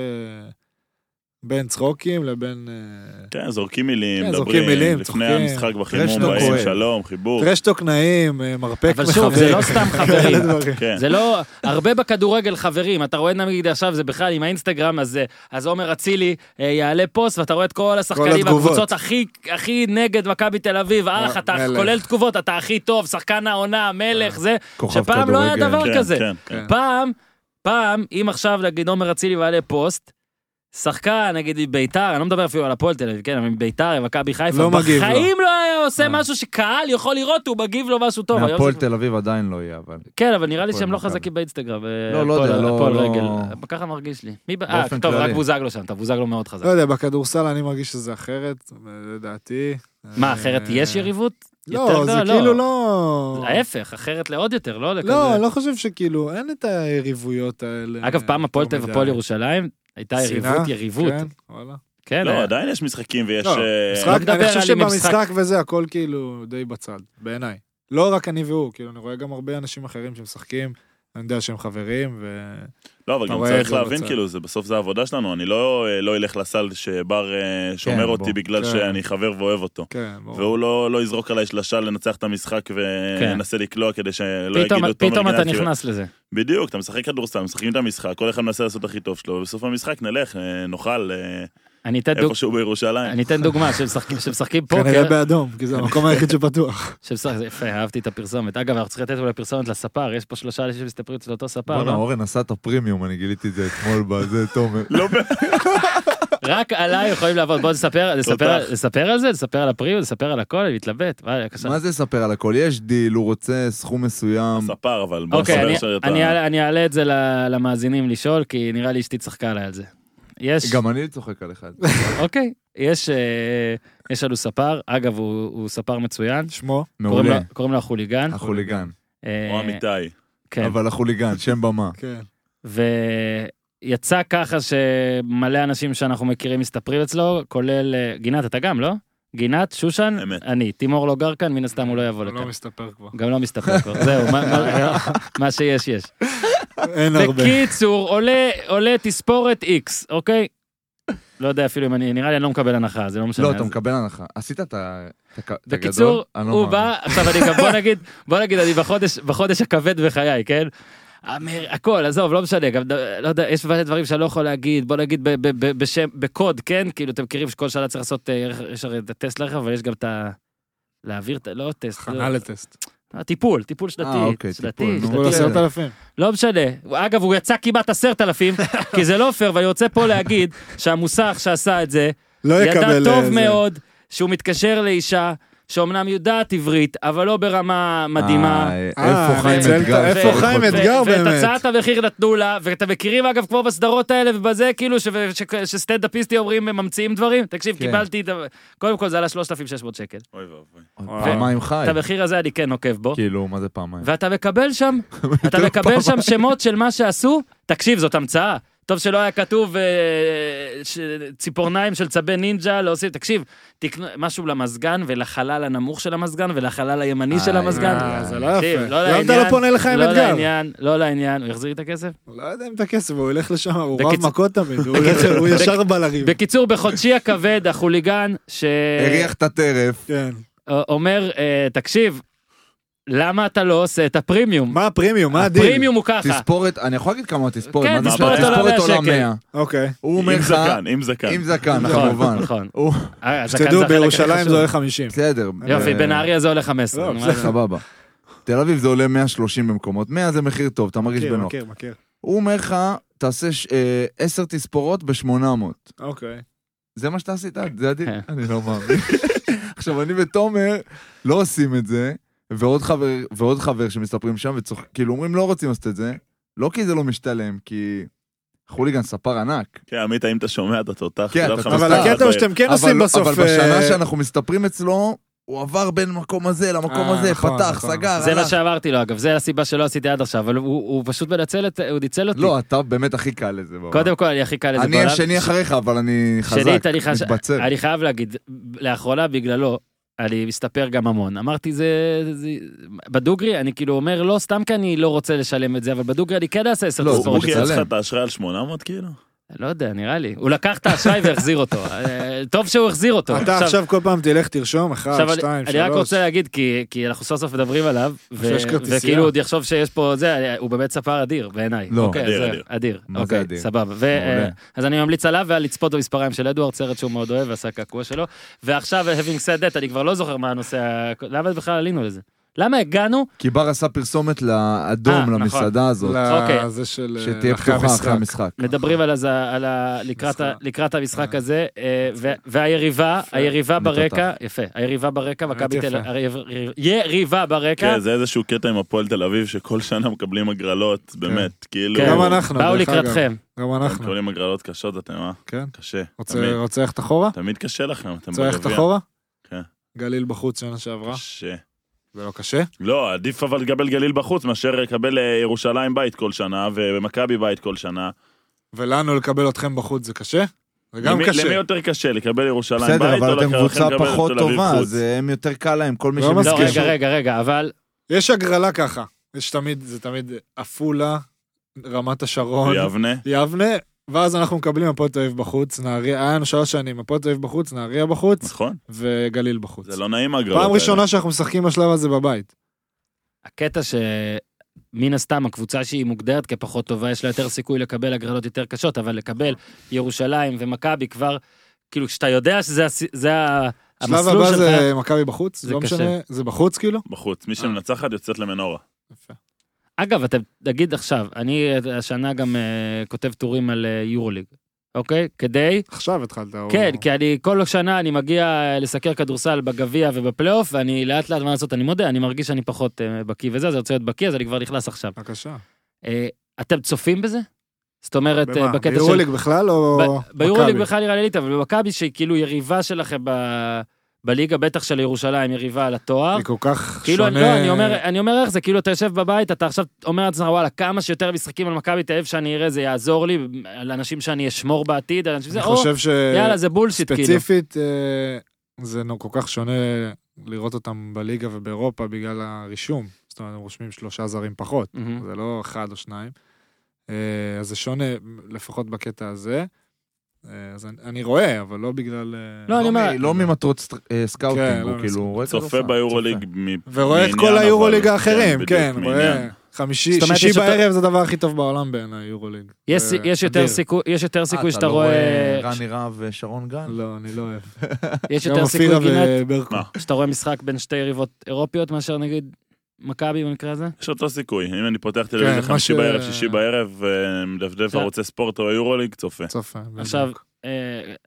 S4: בין צחוקים לבין... אה,
S3: כן, זורקים מילים,
S4: כן, זורקים
S3: מדברים,
S4: מילים,
S3: לפני
S4: צוחקים.
S3: המשחק בחימום,
S1: רשתו
S3: באים,
S1: כואב.
S3: שלום, חיבור.
S4: טרשטוק נעים, אה, מרפק
S2: אבל שוב, זה לא
S4: מחבק,
S2: סתם חברים.
S4: כאלה דברים.
S3: כן,
S2: זה לא, הרבה בכדורגל חברים, אתה רואה נגיד עכשיו, זה בכלל עם האינסטגרם, אז, אה, אז עומר אצילי אה, יעלה פוסט, ואתה רואה את כל השחקנים,
S4: התגובות. אה,
S2: הקבוצות הכי, הכי נגד מכבי תל אביב, אח, אתה
S4: מלך. אה,
S2: כולל תגובות, אתה הכי טוב, שחקן העונה, מלך, זה,
S1: כוכב
S2: שפעם לא היה
S1: כדורגל.
S2: דבר
S3: כן,
S2: כזה.
S3: כן.
S4: כן.
S2: פעם, פעם, אם עכשיו נגיד עומר אצילי מעלה פוסט, שחקן, נגיד מביתר, אני לא מדבר אפילו על הפועל תל אביב, כן, אבל מביתר, מכבי חיפה,
S4: לא מגיב לו.
S2: בחיים לא היה עושה
S4: אה.
S2: משהו שקהל יכול לראות, הוא מגיב לו משהו טוב. היום
S1: מהפועל
S2: זה-
S1: תל אביב עדיין לא יהיה, אבל...
S2: כן, אבל נראה לי
S1: הפועל
S2: שהם לא
S1: מכבי.
S2: חזקים באינסטגרם. אה,
S1: לא, לא יודע,
S2: הפועל-
S1: לא-
S2: הפועל
S1: לא-
S2: רגל. ככה מרגיש לי. מי ב- אה,
S1: באופן
S2: טוב, רק
S1: כללי.
S2: בוזגלו שם, אתה בוזגלו מאוד חזק.
S4: לא יודע, בכדורסל אני מרגיש שזה אחרת, לדעתי.
S2: מה, אחרת
S4: אה,
S2: יש יריבות? יותר
S4: לא, זה
S2: גדולה?
S4: כאילו לא...
S2: ההפך, אחרת לעוד יותר, לא לכזה.
S4: לא, אני לא חושב שכאילו, אין את היריבויות האלה.
S2: אגב, פעם הפועל תל
S4: יותר
S2: אביב
S4: אה, מדי.
S2: הפועל ירושלים, הייתה
S4: שנאה?
S2: יריבות, יריבות.
S4: כן, וואלה.
S2: כן,
S3: לא,
S2: אה,
S3: עדיין יש משחקים ויש...
S4: לא,
S3: אה,
S4: משחק,
S2: מדבר
S4: אני חושב
S2: על אם יש
S4: שבמשחק וזה הכל כאילו די בצד, בעיניי. לא רק אני והוא, כאילו אני רואה גם הרבה אנשים אחרים שמשחקים, אני יודע שהם חברים, ו...
S3: לא, אבל
S4: אתה
S3: גם
S4: רואה את
S3: צריך
S4: זה
S3: להבין,
S4: בצד.
S3: כאילו, זה בסוף זה העבודה שלנו, אני לא אה, לא אלך לסל שבר אה, שומר
S1: בוא.
S3: אותי בגלל
S4: כן.
S3: שאני חבר ואוהב אותו.
S4: כן, ברור.
S3: והוא לא לא יזרוק עליי שלשה לנצח את המשחק
S2: כן.
S3: וינסה לקלוע כדי שלא
S2: פתאום-
S3: לא יגידו
S2: פתאום אתה
S3: מגנט, כאילו,
S2: נכנס לזה.
S3: בדיוק, אתה משחק כדורסל, משחקים את המשחק, כל אחד מנסה לעשות הכי טוב שלו, ובסוף המשחק נלך, אה, נאכל אה,
S2: אני אתן דוג-
S3: איפשהו בירושלים.
S2: אני אתן דוגמה, שמשחקים- שמשחקים פוקר,
S4: כנראה באדום, כי זה המקום היחיד שפתוח.
S2: שמשחק- זה יפה, אהבתי את הפרסומת. אגב, אנחנו צריכים לתת אולי פרסומת לספר, יש פה שלושה אנשים שמסתפרים אצל אותו ספר,
S1: בואנה,
S2: לא?
S1: אורן עשה את הפרימיום, אני גיליתי את זה אתמול בזה, תומר.
S3: לא, ב-
S2: רק עליי יכולים לעבוד, בוא נספר, נספר,
S3: תותח.
S2: נספר על זה, נספר על הפריו, נספר על הכל, אני מתלבט. מה, בבקשה.
S1: מה זה ספר על הכל? יש דיל, הוא רוצה סכום מסוים.
S3: ספר, אבל בוא
S2: אוקיי, אני-
S3: נספר שאתה...
S2: אני אעלה- אני אעלה את זה ל- למאזינים לשאול, כי נראה לי אשתי צחקה עליי על זה. יש,
S1: גם אני צוחק עליך.
S2: אוקיי, יש, אה, יש לנו ספר, אגב, הוא הוא ספר מצוין,
S4: שמו?
S2: קוראים
S1: מעולה.
S2: לו- קוראים לו החוליגן.
S1: החוליגן.
S2: אה,
S3: או אמיתי.
S2: נכון. כן.
S1: אבל החוליגן, שם במה.
S4: כן.
S2: ויצא ככה שמלא אנשים שאנחנו מכירים מסתפרים אצלו, כולל אה, גינת, אתה גם, לא? גינת, שושן,
S3: אמת.
S2: אני. תימור לא גר כאן, מן הסתם הוא לא יבוא
S4: הוא
S2: לכאן.
S4: לא מסתפר כבר.
S2: גם לא מסתפר כבר, זהו, מה- מה- מה שיש יש.
S4: אין
S1: לא
S4: הרבה.
S2: בקיצור, עולה- עולה תספורת X, אוקיי? לא יודע אפילו אם אני, נראה לי אני לא מקבל הנחה, זה לא משנה.
S1: לא, אתה
S2: אז-
S1: מקבל הנחה. עשית את ה- את הק- את הגדול?
S2: בקיצור,
S1: אני לא
S2: הוא
S1: מאמין.
S2: בא, עכשיו אני גם, בוא נגיד, בוא נגיד, אני בחודש, בחודש הכבד בחיי, כן? אמר, הכל, עזוב, לא משנה, גם, ד- לא יודע, יש מלא דברים שאני לא יכול להגיד, בוא נגיד ב- ב- ב- בשם, בקוד, כן? כאילו, אתם מכירים שכל שנה צריך לעשות, אה, יש הרי את הטסט לרכב, אבל יש גם את ה... להעביר את ה... לא טסט,
S4: הכנה
S2: לא,
S4: לטסט.
S2: טיפול, טיפול
S1: אה,
S2: שנתי,
S1: אוקיי, טיפול,
S2: שנתי,
S1: נו.
S4: טיפול
S1: בסדר.
S2: שנתי,
S4: עשרת אלפים.
S2: לא משנה. אגב, הוא יצא כמעט עשרת אלפים, כי זה לא פייר, ואני רוצה פה להגיד שהמוסך שעשה את זה,
S4: לא יקבל...
S2: ידע טוב
S4: אה, זה.
S2: מאוד שהוא מתקשר לאישה שאומנם יודעת עברית, אבל לא ברמה מדהימה.
S1: אה,
S4: אה,
S1: איפה חיים
S4: ניצלת-
S1: אתגר?
S4: איפה חיים
S1: ו-
S4: אתגר
S2: ו- ואת
S4: באמת?
S2: הצעת המחיר נתנו לה, ואתם מכירים אגב כמו בסדרות האלה ובזה, כאילו ש- ש- שסטנדאפיסטים אומרים, הם ממציאים דברים? תקשיב,
S1: כן.
S2: קיבלתי את ה... קודם כל זה עלה 3,600 שקל.
S3: אוי ואבוי.
S1: פעמיים חי.
S2: את המחיר הזה אני כן נוקב בו.
S1: כאילו, מה זה פעמיים?
S2: ואתה מקבל שם, אתה מקבל שם שמות של מה שעשו, תקשיב, זאת המצאה. טוב שלא היה כתוב אה, ש- ציפורניים של צבי נינג'ה, לא עושים, תקשיב, תקנו משהו למזגן ולחלל הנמוך של המזגן ולחלל הימני של
S1: אה,
S2: המזגן.
S4: אה, זה לא
S2: תקשיב,
S4: יפה.
S2: לא
S4: למה אתה
S2: לעניין,
S4: לא פונה לחיים
S2: לא
S4: אתגר?
S2: לעניין, לא לעניין, הוא יחזיר לי את הכסף?
S4: לא יודע אם את הכסף, הוא ילך לשם, הוא
S2: בקיצ-
S4: רב מכות תמיד, הוא הולך- הוא ישר בא לריב.
S2: בקיצור, בחודשי הכבד, החוליגן,
S1: הריח את הטרף.
S4: כן.
S2: שאומר, אה, תקשיב, למה אתה לא עושה את הפרימיום?
S4: מה הפרימיום? מה הדיל?
S2: הפרימיום הוא ככה.
S1: תספורת, אני יכול להגיד כמה תספורת.
S2: אה. כן,
S1: מה זה
S3: תספורת עולה
S1: עולה
S2: מהשקל.
S1: 100.
S4: אוקיי.
S1: הוא אומר
S3: עם
S1: לך,
S3: זקן, כן. עם זקן.
S1: עם זקן,
S2: נכון,
S1: כמובן.
S2: נכון.
S1: הוא-
S2: אה, הזקן
S4: שתדעו,
S2: זה החלק הכי
S4: בירושלים זה
S2: חשוב.
S4: עולה 50.
S1: בסדר.
S2: יופי,
S1: אה,
S2: בנהריה זה עולה 15.
S4: לא,
S2: נו, מה
S4: בסדר.
S2: זה?
S1: סבבה. תל אביב זה עולה 130 במקומות, 100 זה מחיר טוב, אתה מרגיש
S4: מכיר,
S1: בנוח.
S4: מכיר, מכיר.
S1: הוא אומר לך, תעשה ש- אה, 10 תספורות ב-800.
S4: אוקיי.
S1: זה מה שאתה עשית, זה הדין.
S2: כן.
S1: אני לא מאמין. עכשיו, אני ותומר לא עושים את זה, ועוד חבר, ועוד חבר שמסתפרים שם, וצוחק, כאילו אומרים לא רוצים לעשות את זה, לא כי זה לא משתלם, כי חוליגן ספר ענק.
S3: כן, עמית, אם אתה שומע, אתה תותח. לא
S1: כן, אתה
S3: תדע לך,
S1: תותח.
S4: אבל
S3: מסתכל
S4: הקטע הוא
S3: על
S4: שאתם כן
S1: אבל- לא,
S4: עושים בסוף...
S1: אבל בשנה
S4: אה,
S1: שאנחנו מסתפרים אצלו, הוא עבר בין מקום הזה למקום
S4: אה,
S1: הזה,
S4: נכון,
S1: פתח,
S4: נכון.
S1: סגר,
S2: זה לא מה
S1: הלך.
S2: שאמרתי לו, אגב, זה הסיבה שלא עשיתי עד עכשיו, אבל הוא הוא פשוט מנצל את, הוא ניצל אותי.
S1: לא, אתה באמת הכי קל לזה. בעולם.
S2: קודם כל, לא- אני הכי קל לזה
S1: אני השני אחריך, אבל אני חזק,
S2: שנית, אני חש-
S1: מתבצר.
S2: אה, אני חייב להגיד, לאחרונה בגללו, אני מסתפר גם המון. אמרתי, זה... זה- בדוגרי, אני כאילו אומר, לא, סתם כי אני לא רוצה לשלם את זה, אבל בדוגרי אני כן אעשה עשר
S1: לא,
S3: הוא
S2: תספורות.
S1: בוגרי-
S3: גייס לך
S1: מצלם.
S3: את האשראי על 800, כאילו?
S2: לא יודע, נראה לי. הוא לקח את האשראי והחזיר אותו. אה, טוב שהוא החזיר אותו.
S4: אתה עכשיו כל פעם תלך, תרשום, אחד,
S2: עכשיו
S4: שתיים,
S2: אני, אני רק
S4: שלוש.
S2: רוצה להגיד, כי, כי אנחנו סוף סוף מדברים עליו, ו-
S4: שיש כרטיסייה.
S2: וכאילו עוד יחשוב שיש פה זה, הוא באמת ספר אדיר בעיניי.
S1: לא.
S2: אוקיי,
S3: אדיר,
S2: אז זה-
S3: אדיר.
S2: אדיר.
S1: מה זה
S2: אוקיי,
S1: אדיר?
S2: סבבה. ו-
S1: מעולה.
S2: אה, אז אני ממליץ עליו ועל לצפות במספריים של אדוארד, סרט שהוא מאוד אוהב, ועשה קעקוע שלו. ועכשיו, אה, having said that, אני כבר לא זוכר מה הנושא, ה- למה בכלל עלינו לזה? למה הגענו?
S1: כי בר עשה פרסומת
S2: אה,
S1: לאדום,
S2: נכון.
S1: למסעדה הזאת,
S2: אוקיי.
S4: לזה של... אה,
S1: שתהיה פתוחה
S4: אחרי
S1: אחרי
S4: המשחק.
S1: המשחק.
S2: מדברים על, הז... על ה... לקראת, ה...
S4: משחק.
S2: לקראת המשחק הזה, אה, ו... והיריבה, היריבה
S1: מתותח.
S2: ברקע, יפה, היריבה ברקע,
S4: באמת
S2: מכבי תל
S4: יפה.
S2: אביב, יריבה ברקע,
S3: כן, זה איזשהו קטע עם הפועל תל אביב, שכל שנה מקבלים הגרלות, באמת, כאילו...
S2: כן.
S4: גם אנחנו,
S2: באו
S4: דרך אגב.
S2: לקראתכם.
S4: גם
S3: אנחנו.
S2: אוקיי.
S4: אנחנו,
S3: מקבלים הגרלות קשות, אתם מה?
S4: כן.
S3: קשה.
S4: רוצה
S3: תמיד-
S4: רוצה ללכת אחורה?
S3: תמיד קשה לכם, אתם
S4: רוצה ללכת אחורה?
S3: כן.
S4: גליל בחוץ שנה שעברה,
S3: קשה.
S4: זה לא קשה?
S3: לא, עדיף אבל לקבל גליל בחוץ מאשר לקבל אה, ירושלים בית כל שנה, ומכבי בית כל שנה.
S4: ולנו לקבל אתכם בחוץ זה קשה? זה גם
S3: למי- למי
S4: קשה.
S3: יותר קשה, לקבל ירושלים בית,
S1: בסדר,
S3: או
S1: אבל אתם
S3: לכם
S1: קבוצה
S3: לקבל את
S1: פחות
S3: תל אביב
S1: טובה,
S3: חוץ?
S1: אז אה, הם יותר קל להם, כל מי
S4: לא
S2: לא,
S4: מסכים.
S1: שמסכים.
S2: רגע, רגע, רגע, אבל...
S4: יש הגרלה ככה. יש תמיד, זה תמיד עפולה, רמת השרון,
S3: יבנה.
S4: יבנה, ואז אנחנו מקבלים הפועל תל אביב בחוץ, נהריה, היה לנו שלוש שנים, הפועל תל אביב בחוץ, נהריה בחוץ,
S3: נכון,
S4: וגליל בחוץ.
S3: זה לא נעים הגרלות
S4: פעם
S3: האלה.
S4: ראשונה שאנחנו משחקים בשלב הזה בבית.
S2: הקטע שמן הסתם הקבוצה שהיא מוגדרת כפחות טובה, יש לה יותר סיכוי לקבל הגרלות יותר קשות, אבל לקבל ירושלים ומכבי כבר, כאילו, כשאתה יודע שזה הס- זה ה-
S4: שלב
S2: המסלול
S4: הבא
S2: שלך...
S4: זה מכבי בחוץ,
S2: זה
S4: לא
S2: קשה.
S4: משנה, זה בחוץ כאילו.
S3: בחוץ, מי
S4: אה.
S3: שמנצחת יוצאת למנורה.
S2: אגב, אתה תגיד עכשיו, אני אה, השנה גם אה, כותב טורים על אה, יורוליג, אוקיי? כדי...
S4: עכשיו התחלת. או-
S2: כן, כי אני כל שנה אני מגיע אה, לסקר כדורסל בגביע ובפלייאוף, ואני לאט לאט, מה לעשות, אני מודה, אני מרגיש שאני פחות אה, בקיא וזה, אז אני רוצה להיות בקיא, אז אני כבר נכנס עכשיו.
S4: בבקשה.
S2: אה, אתם צופים בזה? זאת אומרת, אה,
S4: במה?
S2: בקטע של...
S4: ביורוליג בכלל או...
S2: ב- ביורוליג
S4: מכבי?
S2: בכלל נראה לי ליטא, אבל במכבי שהיא כאילו יריבה שלכם ב- בליגה, בטח של ירושלים, יריבה על התואר.
S4: אני כל כך
S2: כאילו, אני,
S4: שונה.
S2: לא, אני, אומר, אני אומר איך זה, כאילו אתה יושב בבית, אתה עכשיו אומר לעצמך, וואלה, כמה שיותר משחקים על מכבי תל אביב שאני אראה, זה יעזור לי, על אנשים שאני אשמור בעתיד, על אנשים שזה,
S4: אני
S2: או,
S4: חושב ש...
S2: יאללה, זה בולשיט, כאילו.
S4: ספציפית, אה, זה נו- כל כך שונה לראות אותם בליגה ובאירופה בגלל הרישום. זאת אומרת, הם רושמים שלושה זרים פחות,
S2: מהמם.
S4: זה לא אחד או שניים. אה, אז זה שונה, לפחות בקטע הזה. אה, אז אני- אני רואה, אבל לא בגלל... אה,
S2: לא, אני אומר,
S1: לא ממטרות סט- אה,
S4: כן,
S1: סקאוטינג,
S4: לא,
S1: הוא כאילו רואה
S3: צופה
S1: כדורסל,
S3: ביורוליג
S1: צופה.
S3: מ-
S4: ורואה את
S3: מעניין,
S4: כל
S3: אבל-
S4: היורוליג
S3: כן,
S4: האחרים,
S3: בדיוק,
S4: כן, רואה.
S3: מעניין.
S4: חמישי,
S2: זאת אומרת, יש
S4: שישי
S2: יותר-
S4: בערב זה הדבר הכי טוב בעולם בעיניי, יורוליג.
S2: יש-
S4: זה
S2: יש יותר
S4: אדיר.
S2: סיכוי- יש יותר סיכוי
S1: אה,
S2: שאתה רואה,
S1: רני רהב ושרון גן?
S4: לא, אני לא אוהב.
S2: יש
S4: גם
S2: יותר סיכוי,
S4: אופירה
S2: גינת,
S4: וברקו.
S3: מה?
S2: שאתה רואה משחק בין שתי יריבות אירופיות, מאשר נגיד מכבי במקרה הזה?
S3: יש אותו סיכוי, אם אני פותח
S4: כן, מה
S3: טלוויזיה חמישי
S4: ש- כן.
S3: בערב, שישי בערב, אה, מדפדף
S2: עכשיו-
S3: ערוצי ספורט או יורוליג, צופה.
S4: צופה.
S2: עכשיו,
S4: בדיוק.
S2: אה,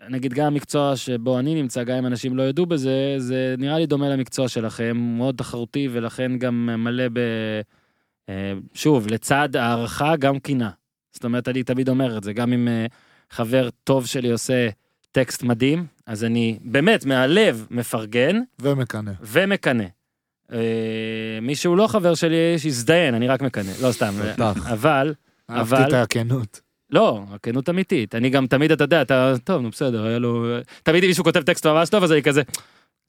S2: נגיד גם המקצוע שבו אני נמצא, גם אם אנשים לא ידעו בזה, זה נראה לי דומה למקצוע שלכם, הוא מאוד תחרותי ולכן גם מלא ב... אה, שוב, לצד הערכה גם קינה. זאת אומרת, אני תמיד אומר את זה, גם אם אה, חבר טוב שלי עושה טקסט מדהים, אז אני באמת מהלב מפרגן
S4: ומקנא.
S2: ומקנא. אה, מי שהוא לא חבר שלי, שיזדיין, אני רק מקנא, לא סתם.
S1: בטח.
S2: אבל... אבל-
S4: אהבתי את הכנות.
S2: לא, הכנות אמיתית. אני גם תמיד, אתה יודע, אתה, טוב, נו בסדר, היה לו... תמיד אם מישהו כותב טקסט ממש טוב, אז אני כזה,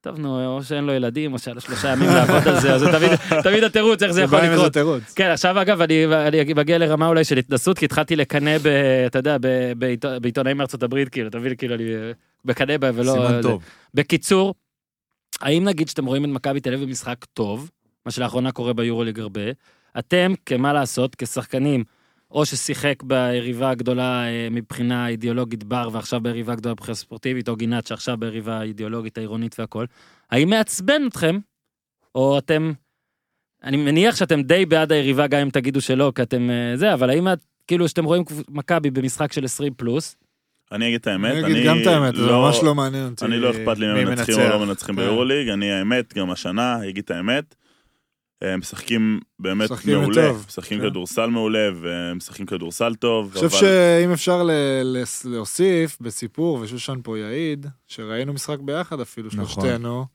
S2: טוב, נו, או שאין לו ילדים, או שהיה לו שלושה ימים לעבוד על זה, אז זה תמיד, תמיד התירוץ, איך זה יכול
S4: בא עם איזה
S2: לקרות.
S4: תירוץ.
S2: כן, עכשיו אגב, אני, אני מגיע לרמה אולי של התנסות, כי התחלתי לקנא, ב, אתה יודע, ב, בעית, בעיתונאים מארצות הברית, כאילו, אתה מבין, כאילו, אני אה, מקנא בהם ולא... לא, אה,
S1: סימן
S2: זה.
S1: טוב.
S2: בקיצור, האם נגיד שאתם רואים את מכבי תל אביב במשחק טוב, מה שלאחרונה קורה ביורוליג הרבה, אתם, כמה לעשות, כשחקנים, או ששיחק ביריבה הגדולה אה, מבחינה אידיאולוגית בר, ועכשיו ביריבה הגדולה מבחינה ספורטיבית, או גינת שעכשיו ביריבה האידיאולוגית העירונית והכל, האם מעצבן אתכם, או אתם... אני מניח שאתם די בעד היריבה, גם אם תגידו שלא, כי אתם אה, זה, אבל האם את, כאילו, שאתם רואים קבוצ- מכבי במשחק של 20 פלוס,
S3: אני אגיד את האמת,
S4: אני
S3: אני...
S4: אגיד גם את האמת, זה
S3: לא-
S4: ממש לא מעניין אותי.
S3: אני לא אכפת לי אם
S4: מי
S3: הם מנצחים
S4: מנצח.
S3: או לא מנצחים
S4: כן.
S3: ביורוליג, אני האמת, גם השנה, אני אגיד את האמת, אה, משחקים באמת
S4: משחקים
S3: מעולה,
S4: טוב,
S3: משחקים
S4: כן.
S3: כדורסל מעולה, ומשחקים כדורסל טוב,
S4: אני חושב
S3: אבל
S4: שאם אפשר ל- לס- להוסיף בסיפור, ושושן פה יעיד, שראינו משחק ביחד אפילו,
S1: נכון.
S4: שלושתנו,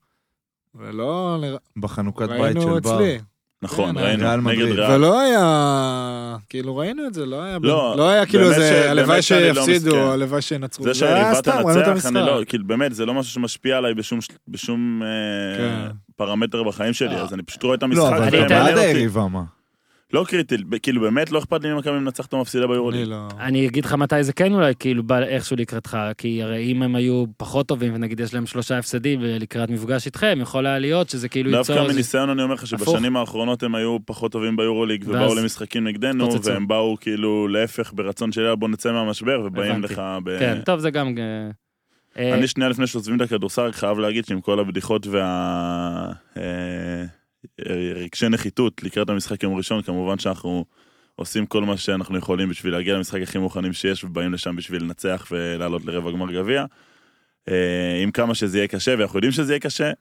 S4: ולא נרא-
S1: בחנוכת בית
S4: ראינו
S1: של בר.
S4: אצלי,
S3: נכון,
S4: כן,
S3: ראינו,
S1: ריאל
S3: נגד
S1: מדריד.
S3: ריאל.
S4: ולא היה, כאילו ראינו את זה, לא היה,
S3: לא,
S4: לא היה כאילו
S3: באמת
S4: איזה,
S3: ש-
S4: הלוואי
S3: באמת שאני לא
S4: שיפסידו,
S3: מסכן.
S4: הלוואי שינצחו,
S3: זה
S4: היה
S3: שהיריבה
S4: אה, סתם, ראינו את
S3: תנצח, אני
S4: המשחק.
S3: לא, כאילו באמת, זה לא משהו שמשפיע עליי בשום, של- בשום אה,
S4: כן.
S3: פרמטר בחיים שלי,
S2: אה.
S3: אז אני פשוט רואה את
S1: לא,
S3: המשחק,
S1: אבל
S2: אני
S3: זה
S1: אתה
S3: לא
S2: אתן-
S1: בעד
S3: מעניין
S4: אוקיי.
S3: אותי.
S1: היריבה, מה?
S3: לא קריטי, ב- כאילו באמת לא אכפת לי אם מכבי מנצחת או מפסידה
S4: אני
S3: ביורוליג.
S4: לא,
S2: אני אגיד לך מתי זה כן אולי כאילו בא איכשהו לקראתך, כי הרי אם הם היו פחות טובים ונגיד יש להם שלושה הפסדים לקראת מפגש איתכם, יכול היה להיות שזה כאילו ייצור...
S3: דווקא
S2: איזה-
S3: מניסיון אני אומר לך שבשנים האחרונות הם היו פחות טובים ביורוליג ובאו
S2: ואז
S3: למשחקים נגדנו
S2: התפוצצו.
S3: והם באו כאילו להפך ברצון של יאללה בוא נצא מהמשבר ובאים
S2: הבנתי.
S3: לך ב...
S2: כן, טוב זה גם... אה, אה,
S3: אני שנייה לפני שעוזבים את הכדורסל רק חייב להגיד שעם כל הבדיחות וה... אה, רגשי נחיתות לקראת המשחק יום ראשון כמובן שאנחנו עושים כל מה שאנחנו יכולים בשביל להגיע למשחק הכי מוכנים שיש ובאים לשם בשביל לנצח ולעלות לרבע גמר גביע. אה, עם כמה שזה יהיה קשה ואנחנו יודעים שזה יהיה קשה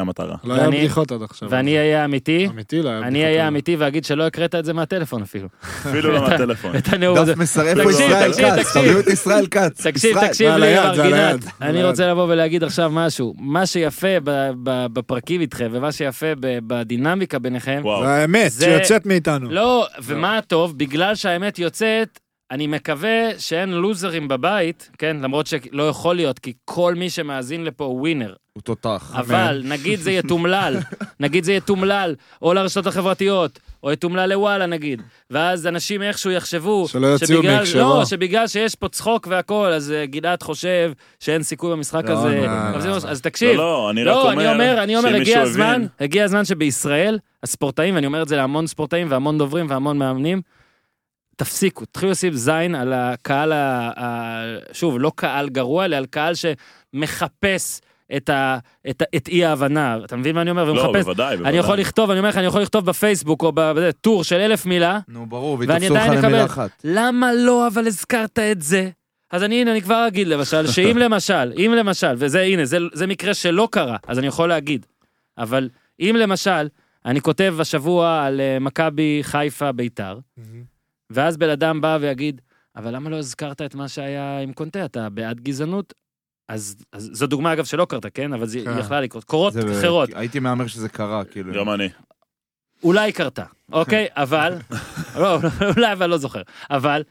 S3: המטרה.
S4: לא היה
S2: ואני-
S4: בדיחות עד עכשיו,
S2: ואני אהיה אמיתי,
S4: אמיתי לא היה בדיחות,
S2: אני אהיה
S4: עד-
S2: אמיתי ואגיד שלא הקראת את זה מהטלפון אפילו.
S3: אפילו לא מהטלפון.
S2: את הנאום הזה.
S1: דף מסר, איפה
S2: תקשיב,
S1: ישראל
S2: תקשיב,
S1: כץ?
S2: תקשיב.
S1: תביאו את ישראל כץ.
S2: תקשיב,
S1: ישראל.
S2: תקשיב
S4: זה על
S2: לי,
S4: היד,
S2: מר
S4: זה על
S2: גינת.
S4: היד, זה על
S2: אני
S4: היד.
S2: רוצה לבוא ולהגיד עכשיו משהו. מה שיפה ב- ב- בפרקים איתכם, ומה שיפה ב- בדינמיקה ביניכם,
S3: וואו.
S4: זה האמת
S2: זה-
S4: שיוצאת מאיתנו,
S2: לא, ומה הטוב? בגלל שהאמת יוצאת, אני מקווה שאין לוזרים בבית, כן? למרות שלא יכול להיות, כי כל מי שמאזין לפה הוא ווינר.
S1: לא, הוא תותח.
S2: אבל נגיד זה יתומלל, נגיד זה יתומלל, או לרשתות החברתיות, או יתומלל לוואלה נגיד, ואז אנשים איכשהו יחשבו,
S4: שלא יוציאו
S2: שבגלל-
S4: מהקשרו.
S2: לא, שבגלל שיש פה צחוק והכל, אז אה, גלעד חושב שאין סיכוי במשחק
S1: לא,
S2: הזה,
S1: לא, לא,
S2: אז
S1: לא.
S2: אז
S3: לא,
S2: תקשיב,
S3: לא, אני רק
S2: לא,
S3: אומר,
S2: אני אומר, אני אומר,
S3: שאם
S2: הגיע
S3: מישהו
S2: הזמן,
S3: הבין-
S2: הגיע הזמן שבישראל, הספורטאים, ואני אומר את זה להמון ספורטאים והמון דוברים והמון מאמנים, תפסיקו, תתחילו לשים זין על הקהל, ה... ה... שוב, לא קהל גרוע, אלא על קהל שמחפש את, ה... את, ה... את אי ההבנה, אתה מבין מה אני אומר?
S3: לא,
S2: ומחפש,
S3: בוודאי,
S2: אני
S3: בוודאי.
S2: יכול לכתוב, אני אומר לך, אני יכול לכתוב בפייסבוק או בזה, טור של אלף מילה,
S1: נו, ברור,
S2: ואני
S1: ויתפסו
S2: עדיין
S1: אותך
S2: אקבל.
S1: למילה אחת.
S2: למה לא אבל הזכרת את זה? אז אני, הנה, אני כבר אגיד למשל, שאם למשל, אם למשל, וזה, הנה, זה, זה מקרה שלא קרה, אז אני יכול להגיד. אבל אם למשל, אני כותב השבוע על אה, מכבי חיפה ביתר, ואז בן אדם בא ויגיד, אבל למה לא הזכרת את מה שהיה עם קונטה? אתה בעד גזענות? אז, אז זו דוגמה, אגב, שלא קרתה, כן? אבל זה, היא
S4: כן.
S2: יכלה לקרות. קורות
S1: זה ב-
S2: אחרות.
S1: הייתי מהמר שזה קרה, כאילו.
S3: גם אני.
S2: אולי קרתה, אוקיי? אבל, לא, אולי אבל לא זוכר. אבל,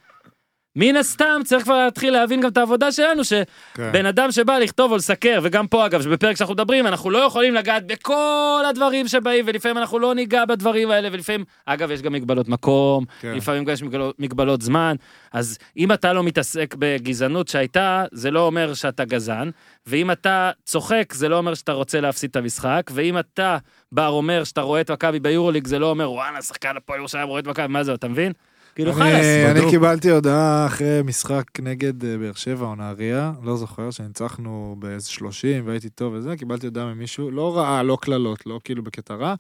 S2: מן הסתם צריך כבר להתחיל להבין גם את העבודה שלנו, שבן
S4: כן.
S2: אדם שבא לכתוב או לסקר, וגם פה אגב, שבפרק שאנחנו מדברים, אנחנו לא יכולים לגעת בכל הדברים שבאים, ולפעמים אנחנו לא ניגע בדברים האלה, ולפעמים, אגב, יש גם מגבלות מקום,
S4: כן.
S2: לפעמים גם יש מגבלות, מגבלות זמן, אז אם אתה לא מתעסק בגזענות שהייתה, זה לא אומר שאתה גזען, ואם אתה צוחק, זה לא אומר שאתה רוצה להפסיד את המשחק, ואם אתה בר אומר שאתה רואה את מכבי ביורוליג, זה לא אומר, וואלה, שחקן הפועל ירושלים רואה את מכבי, מה זה, אתה מבין? כאילו,
S4: אני-
S2: חלאס.
S4: אני קיבלתי הודעה אחרי משחק נגד אה, באר שבע או נהריה, לא זוכר, שניצחנו באיזה 30 והייתי טוב וזה, קיבלתי הודעה ממישהו, לא רעה, לא קללות, לא כאילו בקטע רע,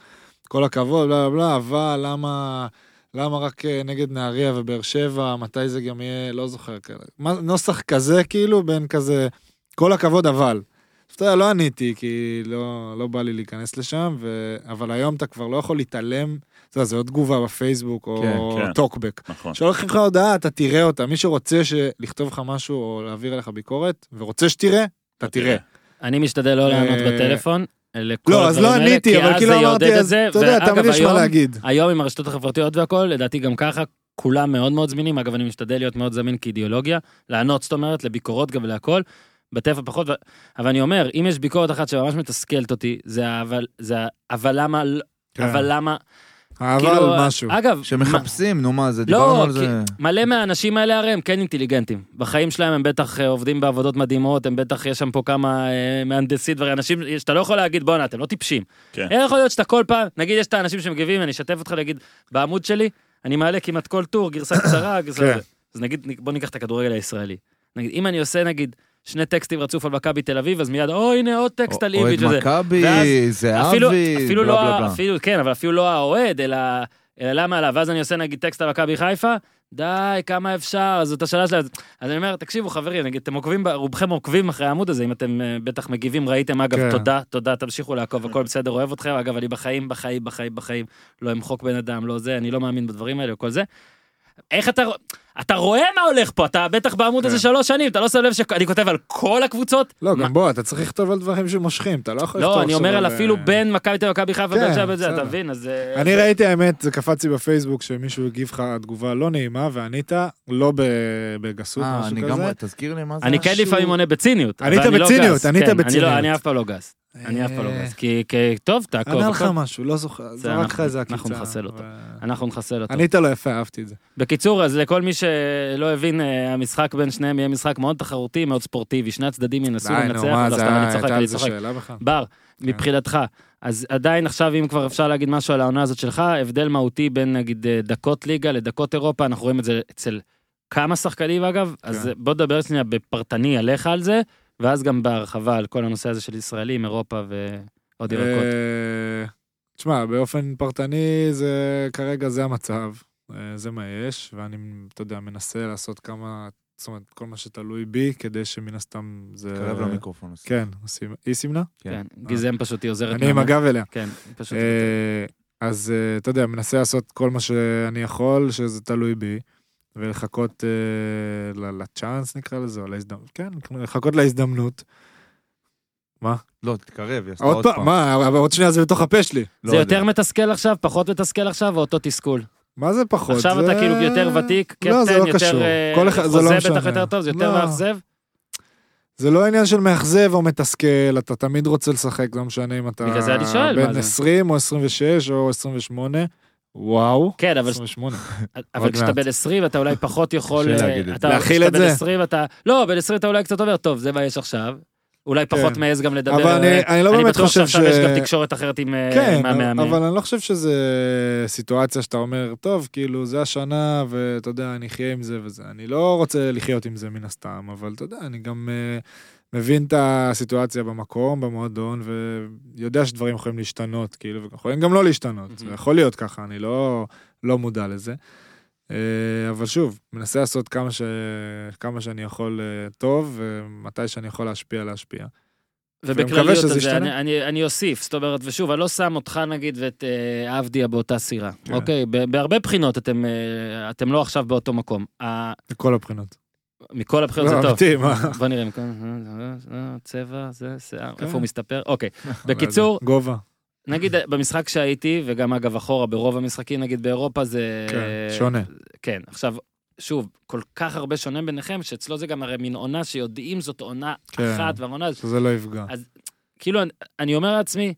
S4: כל הכבוד, בלה בלה בלה, אבל למה... למה רק אה, נגד נהריה ובאר שבע, מתי זה גם יהיה, לא זוכר כאלה. מה- נוסח כזה כאילו, בין כזה, כל הכבוד אבל. אז אתה יודע, לא עניתי, כי לא, לא בא לי להיכנס לשם, ו... אבל היום אתה כבר לא יכול להתעלם, אתה יודע, זה עוד תגובה בפייסבוק או
S1: כן,
S3: כן.
S4: טוקבק.
S3: נכון.
S4: שולחים לך הודעה, אתה תראה אותה. מי שרוצה ש- לכתוב לך משהו או להעביר אליך ביקורת, ורוצה שתראה, אתה תראה.
S2: אני משתדל לא לענות
S4: אה,
S2: בטלפון. לכל
S4: לא, אז
S2: הדברים
S4: לא
S2: האלה,
S4: עניתי,
S2: כי
S4: אבל
S2: אז
S4: כאילו
S2: זה
S4: אמרתי,
S2: יעודד את
S4: אז
S2: זה,
S4: אתה יודע,
S2: ואגב,
S4: תמיד יש מה
S2: היום-
S4: להגיד.
S2: היום עם הרשתות החברתיות והכל, לדעתי גם ככה, כולם מאוד מאוד זמינים. אגב, אני משתדל להיות מאוד זמין כאידיאולוגיה, לענות, זאת אומרת, לביקורות גם ולהכל. בטבע פחות, ו- אבל אני אומר, אם יש ביקורת אחת שממש מתסכלת אותי, זה ה- אבל, זה ה- אבל למה, לא- אבל למה,
S4: כן.
S2: כאילו,
S4: אבל משהו.
S2: אגב, מה-
S1: שמחפשים, נו מה זה, דיברנו
S2: לא,
S1: על
S2: כי
S1: זה.
S2: מלא מהאנשים האלה הרי הם כן אינטליגנטים. בחיים שלהם הם בטח אה, עובדים בעבודות מדהימות, הם בטח, יש שם פה כמה אה, מהנדסים, דברים, אנשים שאתה לא יכול להגיד, בואנה, אתם לא טיפשים.
S3: כן.
S2: איך יכול להיות שאתה כל פעם, נגיד יש את האנשים שמגיבים, אני אשתף אותך, נגיד, בעמוד שלי, אני מעלה כמעט כל טור, גרסה קצרה, גרסה...
S4: כן.
S2: זה. אז נגיד, בוא ניקח את הכדורגל הישראלי. נגיד, אם אני עושה, נגיד, שני טקסטים רצוף על מכבי תל אביב, אז מיד, או, הנה עוד טקסט על
S1: אוהד
S2: איביץ' וזה.
S1: מכבי,
S2: ואז
S1: זהבי,
S2: אפילו,
S1: בלה
S2: אפילו לא,
S1: בלה
S2: ה-
S1: בלה.
S2: אפילו, כן, אבל אפילו לא האוהד, אלא, אלא למה עליו, ואז אני עושה נגיד טקסט על מכבי חיפה, די, כמה אפשר, זאת השאלה שלה. אז אני אומר, תקשיבו חברים, נגיד, אתם עוקבים, ב- רובכם עוקבים אחרי העמוד הזה, אם אתם אה, בטח מגיבים, ראיתם, אגב,
S4: כן.
S2: תודה, תודה, תמשיכו לעקוב, הכל בסדר, אוהב אתכם, אגב, אני בחיים, בחיים, בחיים, בחיים, לא אמחוק בן אדם, לא זה, אני לא מאמין בדברים האלה, כל זה. איך אתה, אתה רואה מה הולך פה, אתה בטח בעמוד הזה
S4: כן.
S2: שלוש שנים, אתה לא שם לב שאני כותב על כל הקבוצות?
S4: לא,
S2: מה-
S4: גם בוא, אתה צריך לכתוב על דברים שמושכים, אתה לא יכול לכתוב
S2: לא, אני אומר על
S4: אה,
S2: אפילו בין מכבי תל אביב ומכבי חיפה,
S4: כן,
S2: באר שבע, זה, אתה
S4: בסדר.
S2: מבין? אז... אה,
S4: אני
S2: זה-
S4: ראיתי, האמת, זה קפץ לי בפייסבוק, שמישהו הגיב לך תגובה לא נעימה, וענית, לא ב- בגסות,
S1: אה,
S4: משהו
S1: אני
S4: כזה.
S1: גם, תזכיר לי מה זה.
S2: אני כן
S4: משהו-
S2: לפעמים עונה בציניות.
S4: ענית
S2: אבל אני לא
S4: בציניות,
S2: גס,
S4: ענית
S2: כן, אני לא-
S4: בציניות.
S2: אני אף פעם לא גס. אני אף פעם לא
S4: אה,
S2: גס. כי, כי- טוב, תעקוב.
S4: ענה לך
S2: הכל-
S4: משהו, לא זוכר,
S2: זה
S4: זרק
S2: אנחנו-
S4: לך איזה עקיצה.
S2: אנחנו נחסל אותו.
S4: ו-
S2: אנחנו נחסל אותו.
S4: ענית לו יפה, אהבתי את זה.
S2: בקיצור, אז לכל מי שלא הבין, אה, המשחק בין שניהם יהיה משחק מאוד תחרותי, מאוד ספורטיבי. שני הצדדים ינסו
S4: די,
S2: לנצח.
S4: נו, מה,
S2: לא,
S4: זה
S2: סתם, אני
S4: היה-
S2: צוחק,
S4: הייתה
S2: אני
S4: על זה
S2: צוחק.
S4: שאלה בכלל?
S2: בר,
S4: כן.
S2: מבחינתך, אז עדיין עכשיו, אם כבר אפשר להגיד משהו על העונה הזאת שלך, הבדל מהותי בין נגיד אה, דקות ליגה לדקות אירופה, אנחנו רואים את זה אצל כמה שחקנים אגב, אז
S4: כן.
S2: בוא נדבר שנייה בפרטני עליך על זה, ואז גם בהרחבה על כל הנושא הזה של ישראלים, אירופה ועוד ירקות.
S4: אה, תשמע, באופן פרטני, זה כרגע זה המצב, אה, זה מה יש, ואני, אתה יודע, מנסה לעשות כמה, זאת אומרת, כל מה שתלוי בי, כדי שמן הסתם זה...
S1: קרב למיקרופון. עושה.
S4: כן, עושים- היא סימנה?
S2: כן,
S1: כן.
S2: גיזם פשוט היא עוזרת.
S4: אני עם
S2: לנו.
S4: הגב אליה.
S2: כן, היא פשוט.
S4: אה, אז אה, אתה יודע, מנסה לעשות כל מה שאני יכול, שזה תלוי בי, ולחכות אה, ל- לצ'אנס נקרא לזה, או להזדמנות, כן, לחכות להזדמנות.
S1: לא, תתקרב, היא עשתה
S4: עוד פעם, מה, אבל עוד שנייה זה בתוך הפה שלי.
S1: לא
S2: זה
S1: יודע.
S2: יותר מתסכל עכשיו, פחות מתסכל עכשיו, או אותו תסכול?
S4: מה זה פחות?
S2: עכשיו
S4: זה-
S2: אתה כאילו יותר ותיק,
S4: לא, זה
S2: קפטן,
S4: לא
S2: יותר
S4: קשור.
S2: אה,
S4: כל אחד- זה לא
S2: חוזה בטח
S4: משנה.
S2: יותר טוב, זה יותר
S4: לא.
S2: מאכזב.
S4: זה לא עניין של מאכזב או מתסכל, אתה תמיד רוצה לשחק, לא משנה אם אתה...
S2: בגלל זה אני שואל, מה
S4: בין
S2: זה?
S4: 20 או 26 או 28, וואו.
S2: כן, אבל
S4: 28.
S2: אבל
S4: עוד
S2: כשאתה
S4: מעט.
S2: בן 20 אתה אולי פחות יכול...
S1: קשה
S2: אה,
S1: להגיד את
S2: אתה-
S4: זה. להכיל
S2: כשאתה
S4: את
S2: בן
S4: זה.
S2: 20 אתה... לא, בן 20 אתה אולי קצת אומר, טוב, זה מה יש עכשיו. אולי פחות
S4: כן.
S2: מעז גם לדבר.
S4: אבל אני-
S2: אה,
S4: אני לא באמת
S2: אני
S4: חושב
S2: בטוח שעכשיו יש
S4: ש-
S2: גם תקשורת אחרת עם אה,
S4: כן,
S2: עם המאמן.
S4: אבל אני לא חושב שזה סיטואציה שאתה אומר, טוב, כאילו, זה השנה, ואתה יודע, אני אחיה עם זה וזה. אני לא רוצה לחיות עם זה מן הסתם, אבל אתה יודע, אני גם אה, מבין את הסיטואציה במקום, במועדון, ויודע שדברים יכולים להשתנות, כאילו, ויכולים גם לא להשתנות. זה
S2: Mhm.
S4: יכול להיות ככה, אני לא, לא מודע לזה. אה, אבל שוב, מנסה לעשות כמה, ש... כמה שאני יכול אה, טוב, ומתי שאני יכול להשפיע, להשפיע.
S2: ובכלליות
S4: שזה
S2: על זה,
S4: ישתנה.
S2: אני, אני, אני אוסיף, זאת אומרת, ושוב, אני לא שם אותך נגיד ואת אה, עבדיה באותה סירה,
S4: כן.
S2: אוקיי? ב- בהרבה בחינות אתם, אה, אתם לא עכשיו באותו מקום. אה,
S4: מכל הבחינות.
S2: מכל הבחינות זה
S4: לא,
S2: טוב.
S4: אמיתי, מה?
S2: בוא נראה, מכל- אה, צבע, זה, שיער,
S4: כן.
S2: איפה הוא מסתפר, אוקיי. בקיצור,
S4: גובה.
S2: נגיד אה, במשחק שהייתי, וגם אגב אחורה, ברוב המשחקים נגיד באירופה זה...
S4: כן, שונה.
S2: כן, עכשיו, שוב, כל כך הרבה שונה ביניכם, שאצלו זה גם הרי מין עונה שיודעים זאת עונה
S4: כן.
S2: אחת, והעונה
S4: שזה לא יפגע.
S2: כאילו, אני- אני אומר לעצמי,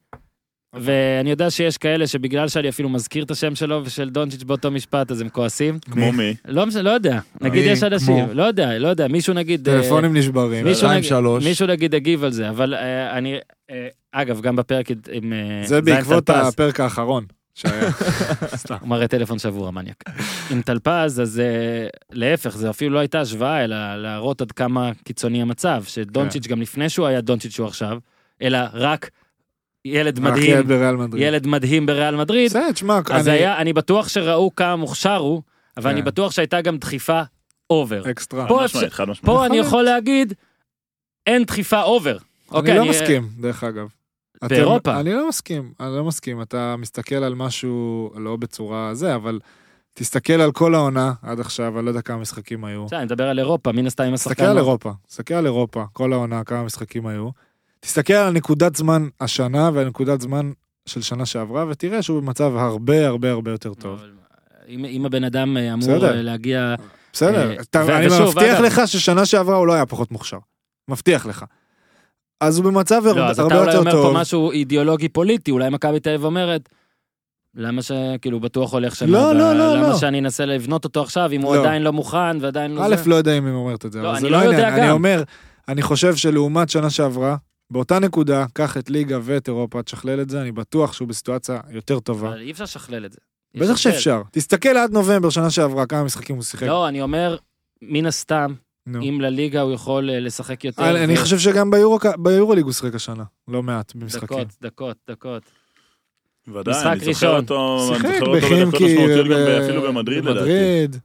S2: ואני יודע שיש כאלה שבגלל שאני אפילו מזכיר את השם שלו ושל דונצ'יץ' באותו משפט, אז הם כועסים.
S3: כמו מי?
S2: לא משנה, לא יודע. נגיד
S4: מי?
S2: יש אנשים,
S4: כמו?
S2: לא יודע, לא יודע, מישהו נגיד... אה,
S4: טלפונים נשברים.
S2: מישהו
S1: שתיים,
S2: נגיד-
S1: שלוש.
S2: מישהו נגיד הגיב על זה, אבל אה, אני... אה, אגב, גם בפרק עם... אה,
S4: זה
S2: זין
S4: בעקבות
S2: טלפז,
S4: הפרק האחרון שהיה. סתם.
S2: הוא מראה טלפון שבור, המניאק. עם טלפז, אז אה, להפך, זה אפילו לא הייתה השוואה, אלא להראות עד כמה קיצוני המצב,
S4: כן.
S2: שדונצ'יץ' גם לפני שהוא היה דונצ'יץ' הוא עכשיו, אלא רק ילד
S4: הכי
S2: מדהים,
S4: ילד בריאל מדריד.
S2: ילד מדהים בריאל מדריד,
S4: בסדר, תשמע,
S2: אז
S4: אני
S2: היה, אני בטוח שראו כמה מוכשר הוא, אבל אני
S4: כן. אה,
S2: בטוח שהייתה גם דחיפה אובר.
S4: אקסטרה.
S2: פה
S3: חד
S2: אפשר-
S3: משמעית, חד משמעית.
S2: פה אני יכול להגיד, אין דחיפה אובר. אוקיי,
S4: אני לא מסכים, דרך אגב. אתם-
S2: באירופה.
S4: אני לא מסכים, אני לא מסכים. אתה מסתכל על משהו, לא בצורה זה, אבל תסתכל על כל העונה עד עכשיו, אני לא יודע כמה משחקים היו.
S2: בסדר, אני מדבר על אירופה, מן הסתם עם השחקן.
S4: תסתכל על
S2: לא-
S4: אירופה, תסתכל על אירופה, כל העונה, כמה משחקים היו. תסתכל על נקודת זמן השנה ועל נקודת זמן של שנה שעברה, ותראה שהוא במצב הרבה הרבה הרבה יותר טוב.
S2: אבל אם אם הבן אדם אה, אמור
S4: בסדר.
S2: אה, להגיע...
S4: בסדר,
S2: אה,
S4: אתה-
S2: ו-
S4: אני
S2: ושוב,
S4: מבטיח
S2: אגב-
S4: לך ששנה שעברה הוא לא היה פחות מוכשר. מבטיח לך. אז הוא במצב
S2: לא,
S4: הרבה
S2: אז
S4: הרבה
S2: אתה אולי
S4: יותר
S2: אומר פה
S4: טוב.
S2: משהו אידיאולוגי פוליטי, אולי מכבי תל אביב אומרת, למה ש... כאילו, בטוח הולך שנה
S4: לא,
S2: הבאה,
S4: לא, לא,
S2: למה
S4: לא.
S2: שאני אנסה לבנות אותו עכשיו, אם הוא
S4: לא.
S2: עדיין לא מוכן ועדיין לא...
S4: א',
S2: זה?
S4: לא יודע אם היא אומרת את זה,
S2: לא,
S4: אבל זה
S2: אני
S4: לא
S2: לא יודע
S4: העניין. אני
S2: גם.
S4: אומר, אני חושב שלעומת שנה שעברה, באותה נקודה, קח את ליגה ואת אירופה, תשכלל את זה, אני בטוח שהוא בסיטואציה יותר טובה.
S2: אבל אי אפשר לשכלל את זה. יש
S4: לא. בטח
S2: הבדל.
S4: שאפשר. תסתכל עד נובמבר שנה שעברה, כמה משחקים הוא שיחק.
S2: לא, אני אומר, מן הסתם,
S4: נו.
S2: אם לליגה הוא יכול אה, לשחק יותר...
S4: לא. אני אני
S2: ו-
S4: חושב שגם ביורו- ביורוליג הוא שיחק השנה, לא מעט במשחקים.
S2: דקות, דקות, דקות. משחק
S3: ודאי, אני זוכר
S2: ראשון.
S3: אותו, אני
S4: שיחק
S3: זוכר אותו בדקות
S4: בחימקי,
S3: משמעותיות גם
S4: ב-
S3: אפילו במדריד לדעתי.
S4: במדריד.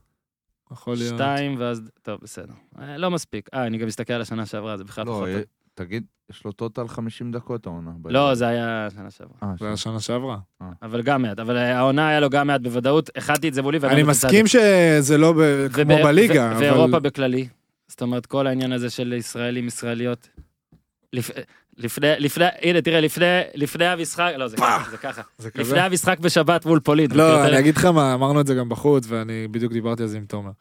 S4: יכול להיות.
S2: שתיים, ואז... טוב, בסדר. אה, לא מספיק. אה, אני גם מסתכל על השנה שעברה, זה בכלל
S1: לא,
S2: פחות...
S1: אה, תגיד, יש לו טוטל 50 דקות העונה.
S4: אה.
S2: לא, זה היה שנה שעברה.
S1: אה,
S4: זה היה שנה שעברה.
S2: אבל גם מעט. אבל אה, העונה היה לו גם מעט בוודאות, החלטתי את זה מולי. ואני
S4: אני
S2: לא מצטער.
S4: מסכים שזה לא ב- כמו
S2: ובאיר-
S4: בליגה,
S2: ו- ואירופה
S4: אבל...
S2: בכללי. זאת אומרת, כל העניין הזה של ישראלים, ישראליות. לפ- לפני, לפני, הנה, תראה, לפני, לפני המשחק, לא, זה ככה, זה ככה.
S4: זה כזה.
S2: לפני המשחק בשבת מול פולין. זה
S4: לא,
S2: יותר-
S4: אני אגיד לך מה, אמרנו את זה גם בחוץ, ואני בדיוק דיברתי על זה עם תומר.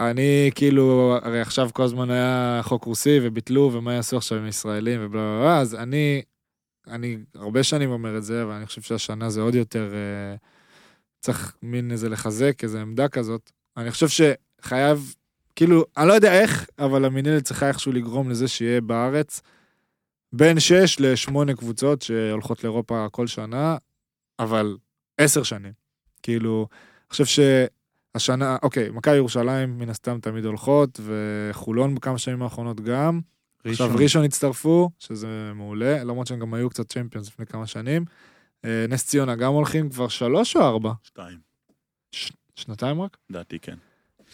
S4: אני כאילו, הרי עכשיו כל הזמן היה חוק רוסי וביטלו, ומה יעשו עכשיו עם ישראלים ובלה בלה בלה, אז אני, אני הרבה שנים אומר את זה, אבל אני חושב שהשנה זה עוד יותר, אה, צריך מין איזה לחזק, איזה עמדה כזאת. אני חושב שחייב, כאילו, אני לא יודע איך, אבל המינהלת צריכה איכשהו לגרום לזה שיהיה בארץ בין 6 ל-8 קבוצות שהולכות לאירופה כל שנה, אבל עשר שנים. כאילו, אני חושב שהשנה, אוקיי, מכבי ירושלים מן הסתם תמיד הולכות, וחולון בכמה שנים האחרונות גם. עכשיו ראשון הצטרפו, שזה מעולה, למרות שהם גם היו קצת צ'מפיונס לפני כמה שנים. אה, נס ציונה גם הולכים כבר שלוש או ארבע?
S3: שתיים,
S4: שנתיים רק?
S3: לדעתי כן.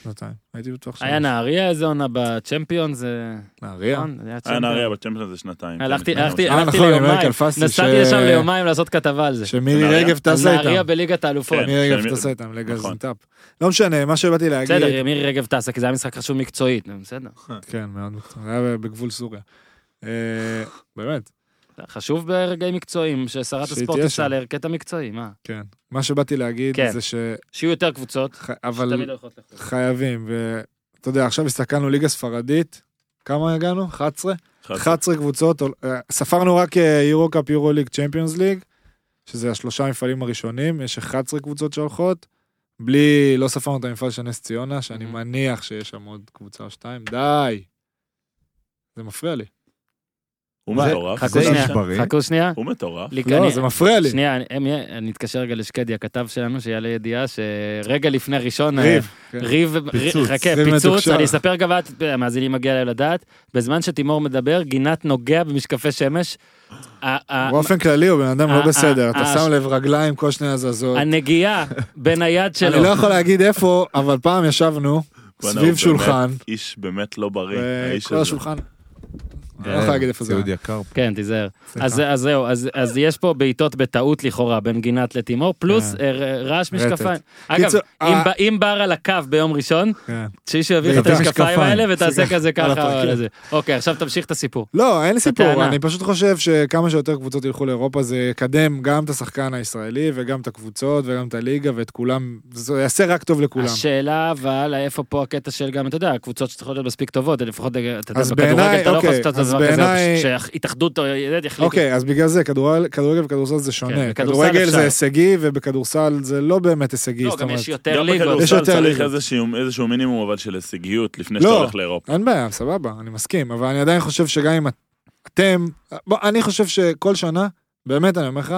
S4: שנתיים. הייתי בטוח שלוש.
S2: היה נהריה איזה עונה בצ'מפיון, זה...
S4: נהריה.
S2: נכון? זה היה
S3: היה
S2: צ'מפיון.
S3: נהריה בצ'מפיונס זה שנתיים.
S2: הלכתי,
S3: כן,
S2: הלכתי,
S3: לפני
S4: אה,
S2: הלכתי
S4: נכון, עם
S2: ליומיים,
S4: מייקל פסי,
S2: נסעתי
S4: ש-
S2: לשם ליומיים לעשות כתבה על זה.
S4: שמירי
S3: נהריה?
S4: רגב
S2: על
S4: טשה
S2: נהריה
S4: איתם.
S2: בליגת האלופות.
S3: כן.
S4: מירי רגב
S3: שאני-
S4: טסה איתם,
S3: נכון.
S4: לגזנטאפ. לא משנה, מה שבאתי להגיד...
S2: בסדר, מירי רגב טסה, כי זה היה משחק חשוב מקצועית, נו, בסדר.
S4: כן, מאוד מקצועי. זה היה בגבול סוריה. אה, באמת.
S2: חשוב ברגעים מקצועיים, ששרת
S4: שהיא
S2: הספורט
S4: תהיה
S2: תיסע
S4: שם.
S2: לקטע מקצועי, מה?
S4: כן. מה שבאתי להגיד
S2: כן.
S4: זה ש...
S2: שיהיו יותר קבוצות,
S4: ח- אבל
S2: שתמיד הולכות לחו"ל.
S4: חייבים, ואתה יודע, עכשיו הסתכלנו ליגה ספרדית, כמה הגענו? 11?
S2: לא
S4: 11 קבוצות, אה, ספרנו רק אה, יורו קאפ, יורו ליג, צ'מפיונס ליג, שזה השלושה המפעלים הראשונים, יש 11 קבוצות שהולכות, בלי, לא ספרנו את המפעל של נס ציונה, שאני
S2: Mhm.
S4: מניח שיש שם עוד קבוצה או שתיים, די. זה מפריע לי.
S3: הוא
S2: זה-
S3: מטורף.
S2: חכו
S1: זה
S2: שנייה,
S1: נשברים.
S2: חכו שנייה.
S3: הוא מטורף.
S2: ליק,
S4: לא,
S2: אני-
S4: זה מפריע לי.
S2: שנייה, אני- הם- אני אתקשר רגע לשקדי, הכתב שלנו, שיעלה ידיעה שרגע לפני ראשון... אה,
S4: ריב. כן.
S2: ריב,
S1: פיצוץ.
S2: פיצוץ, חכה,
S4: ריב
S2: פיצוץ,
S4: מתוקשר.
S2: אני אספר גם את, המאזינים מגיע להם לדעת, בזמן שתימור מדבר, גינת נוגע במשקפי שמש. ה- ה-
S4: באופן כללי הוא בן אדם
S2: אה,
S4: לא בסדר,
S2: אה,
S4: אתה
S2: אה,
S4: שם לב רגליים כל שנייה זזות.
S2: הנגיעה בין היד
S4: לא- אני
S2: שלו,
S4: לא יכול להגיד איפה, אבל פעם ישבנו
S3: בואנה, הוא
S4: סביב
S3: באמת
S4: שולחן,
S3: איש באמת לא בריא, האיש
S4: וכל
S3: הזה.
S4: אה, השולחן, אני לא
S3: כן,
S4: יכול להגיד איפה זה
S1: אה, ציוד
S4: היה.
S1: יקר.
S2: כן, תיזהר.
S4: סליחה.
S2: אז אז זהו, אז- אז יש פה בעיטות בטעות לכאורה בין גינת לתימור, פלוס
S4: כן.
S2: אה, ר- רעש משקפיים. אגב,
S4: קיצור,
S2: אם
S4: אה.
S2: ב- אם בר על הקו ביום ראשון,
S4: כן.
S2: שמישהו יביא לך את
S1: בעיטה
S2: המשקפיים
S1: משקפיים.
S2: האלה ותעשה כזה
S4: על
S2: ככה.
S4: הפרקט.
S2: על זה. אוקיי, עכשיו תמשיך את הסיפור.
S4: לא, אין לי סיפור,
S2: הטענה.
S4: אני פשוט חושב שכמה שיותר קבוצות ילכו לאירופה זה יקדם גם את השחקן הישראלי וגם את הקבוצות וגם את הליגה ואת כולם, זה יעשה רק טוב לכולם.
S2: השאלה אבל איפה פה הקטע של גם אתה יודע הקבוצות שצריכות להיות מספיק טובות לפחות אתה יודע
S4: אז
S2: בכדורגל
S4: בעיניי,
S2: אתה לא יכול
S4: אוקיי,
S2: לעשות את הדבר
S4: אז
S2: כזה
S4: בעיניי-
S2: שהתאחדות יחליטו.
S4: אוקיי, אז בגלל זה כדורגל כדורגל וכדורסל זה
S2: כן,
S4: שונה.
S2: בכדורסל
S4: כדורגל
S2: אפשר.
S4: זה הישגי ובכדורסל זה לא באמת הישגי.
S2: לא
S4: זאת
S2: גם
S4: אומרת.
S2: יש יותר
S3: גם
S2: ליגות.
S4: יש יותר
S3: בכדורסל צריך
S4: ליגות.
S3: איזשהו- איזשהו מינימום אבל של הישגיות לפני
S4: לא.
S3: שאתה הולך לאירופה.
S4: אין בעיה, סבבה, אני מסכים, אבל אני עדיין חושב שגם אם את- אתם, בוא, אני חושב שכל שנה, באמת אני אומר לך,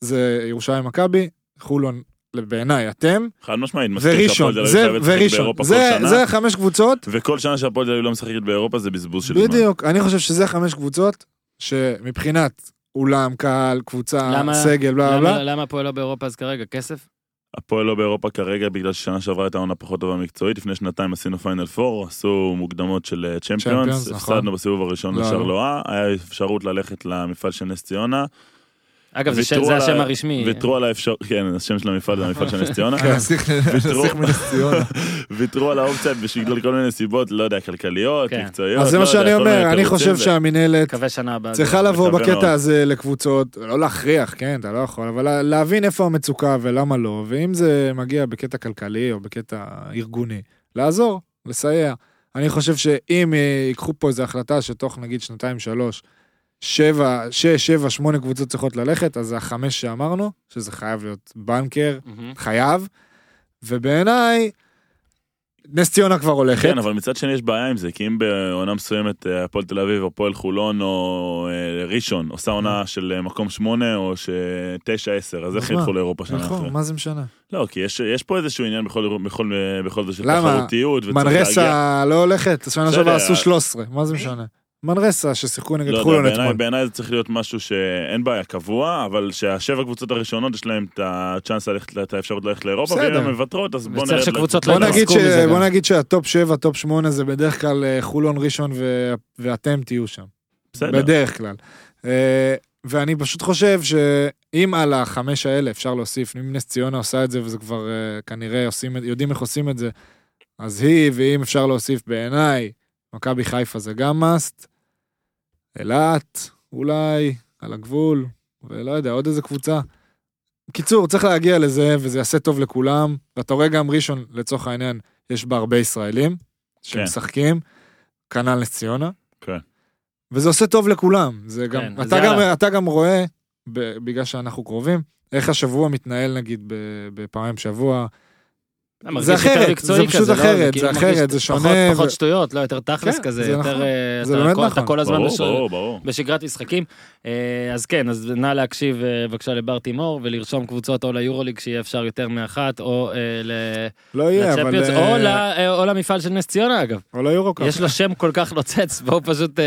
S4: זה ירושלים מכבי, חולון, בעיניי אתם,
S3: חד משמעית, מסכים
S4: וראשון,
S3: שהפועל תל אביב
S4: זה
S3: חייבת לשחק
S4: וראשון,
S3: באירופה
S4: זה,
S3: כל שנה,
S4: זה חמש קבוצות
S3: וכל שנה שהפועל תל אביב לא משחקת באירופה זה בזבוז של זמן.
S4: בדיוק, אני חושב שזה חמש קבוצות, שמבחינת אולם, קהל, קבוצה,
S2: למה-
S4: סגל, בלה
S2: למה-
S4: בלה,
S2: למה הפועל לא באירופה אז כרגע כסף?
S3: הפועל לא באירופה כרגע בגלל ששנה שעברה הייתה עונה פחות טובה מקצועית, לפני שנתיים עשינו פיינל פור, עשו מוקדמות של אה, צ'מפיונס,
S4: צ'מפיונס, נכון.
S3: הפסדנו בסיבוב הראשון
S4: לא, לא.
S3: לשרלואה, היה אפשרות ללכת למפעל של נס ציונה,
S2: אגב זה שם-
S3: ויתרו
S2: זה
S3: על ה-
S2: השם הרשמי.
S3: ויתרו על האפשרות, כן, השם של המפעל זה המפעל של נס ציונה,
S4: כן.
S1: הנסיך הנסיך מנס ציונה.
S3: ויתרו על האופציה בגלל כל מיני סיבות, לא יודע, כלכליות,
S2: כן.
S3: מקצועיות,
S4: אז זה
S3: לא
S4: מה
S3: יודע,
S4: שאני
S3: כל מיני
S4: אומר, אני
S3: תירוצים,
S4: חושב
S3: זה-
S4: שהמינהלת
S2: מקווה שנה הבאה. לא-
S4: צריכה לבוא
S3: מקווה מאוד.
S4: בקטע הזה לקבוצות, לא להכריח, כן, אתה לא יכול, אבל לה- להבין איפה המצוקה ולמה לא, ואם זה מגיע בקטע כלכלי או בקטע ארגוני, לעזור, לסייע. אני חושב שאם אה, ייקחו פה איזו החלטה שתוך נגיד שנתיים, שלוש, שבע, שש, שבע, שמונה קבוצות צריכות ללכת, אז זה החמש שאמרנו, שזה חייב להיות בנקר,
S2: מהמם.
S4: חייב, ובעיניי, נס ציונה כבר הולכת.
S3: כן, אבל מצד שני יש בעיה עם זה, כי אם בעונה מסוימת אה, הפועל תל אביב, הפועל חולון או אה, ראשון עושה עונה של אה, מקום שמונה או ש- תשע עשר, אז איך
S4: אז
S3: ילכו
S4: מה?
S3: לאירופה שנה אחרת?
S4: נכון. נכון, מה זה משנה?
S3: לא, כי יש יש פה איזשהו עניין בכל- בכל בכל זה של
S4: למה?
S3: תחרותיות. וצריך להגיע-
S4: מנרסה לא הולכת, שנה
S3: בסדר,
S4: שעברה עשו
S3: אה,
S4: 13, מה זה משנה? מנרסה ששיחקו
S3: לא
S4: נגד
S3: יודע,
S4: חולון
S3: בעיניי-
S4: אתמול.
S3: בעיניי זה צריך להיות משהו שאין בעיה קבוע, אבל שהשבע קבוצות הראשונות יש להם את הצ'אנס, ללכת- את האפשרות ללכת לאירופה, ואם
S4: בסדר.
S3: הן מוותרות אז בוא
S2: וצריך
S3: נרד.
S2: שקבוצות
S4: בוא
S2: לא
S4: נגיד,
S2: התעסקו מזה
S4: ש...
S2: גם.
S4: בוא נגיד שהטופ 7, טופ 8 זה בדרך כלל אה, חולון ראשון ו... ואתם תהיו שם,
S3: בסדר.
S4: בדרך כלל. אה, ואני פשוט חושב שאם על החמש האלה אפשר להוסיף, אם נס ציונה עושה את זה וזה כבר אה, כנראה עושים, את- יודעים איך עושים את זה, אז היא, ואם אפשר להוסיף בעיניי, מכבי חיפה זה גם must, אילת, אולי, על הגבול, ולא יודע, עוד איזה קבוצה. קיצור, צריך להגיע לזה, וזה יעשה טוב לכולם, ואתה רואה גם ראשון, לצורך העניין, יש בה הרבה ישראלים שמשחקים, כנ"ל נס ציונה.
S3: כן.
S4: וזה עושה טוב לכולם, זה גם,
S2: כן, אז
S4: אתה, גם
S2: יאללה.
S4: אתה גם רואה, ב- בגלל שאנחנו קרובים, איך השבוע מתנהל נגיד ב- בפעמיים שבוע,
S2: מרגיש
S4: זה
S2: יותר
S4: אחרת,
S2: מקצועי
S4: זה פחות
S2: כזה, לא? כאילו
S4: אחרת, זה
S2: מרגיש
S4: אחרת, זה
S2: פחות-
S4: שונה
S2: פחות
S4: ו-
S2: שטויות, לא יותר תכלס
S4: כן,
S2: כזה,
S4: זה
S2: יותר...
S4: נכון.
S2: אה,
S4: זה
S2: אתה
S4: באמת
S2: כל- אתה
S4: נכון.
S2: כל הזמן
S3: ברור,
S2: בש-
S3: ברור, ברור.
S2: בשגרת משחקים. אה, אז כן, אז נא להקשיב אה, בבקשה לבר תימור ולרשום קבוצות או ליורוליג שיהיה אפשר יותר מאחת, או אה, ל-
S4: לא יהיה, אבל...
S2: לצ'מפיונס,
S4: אה,
S2: או ל- אה, או למפעל של נס ציונה אגב.
S4: או ליורוקאפ.
S2: יש לו שם כל כך נוצץ, והוא פשוט... אה,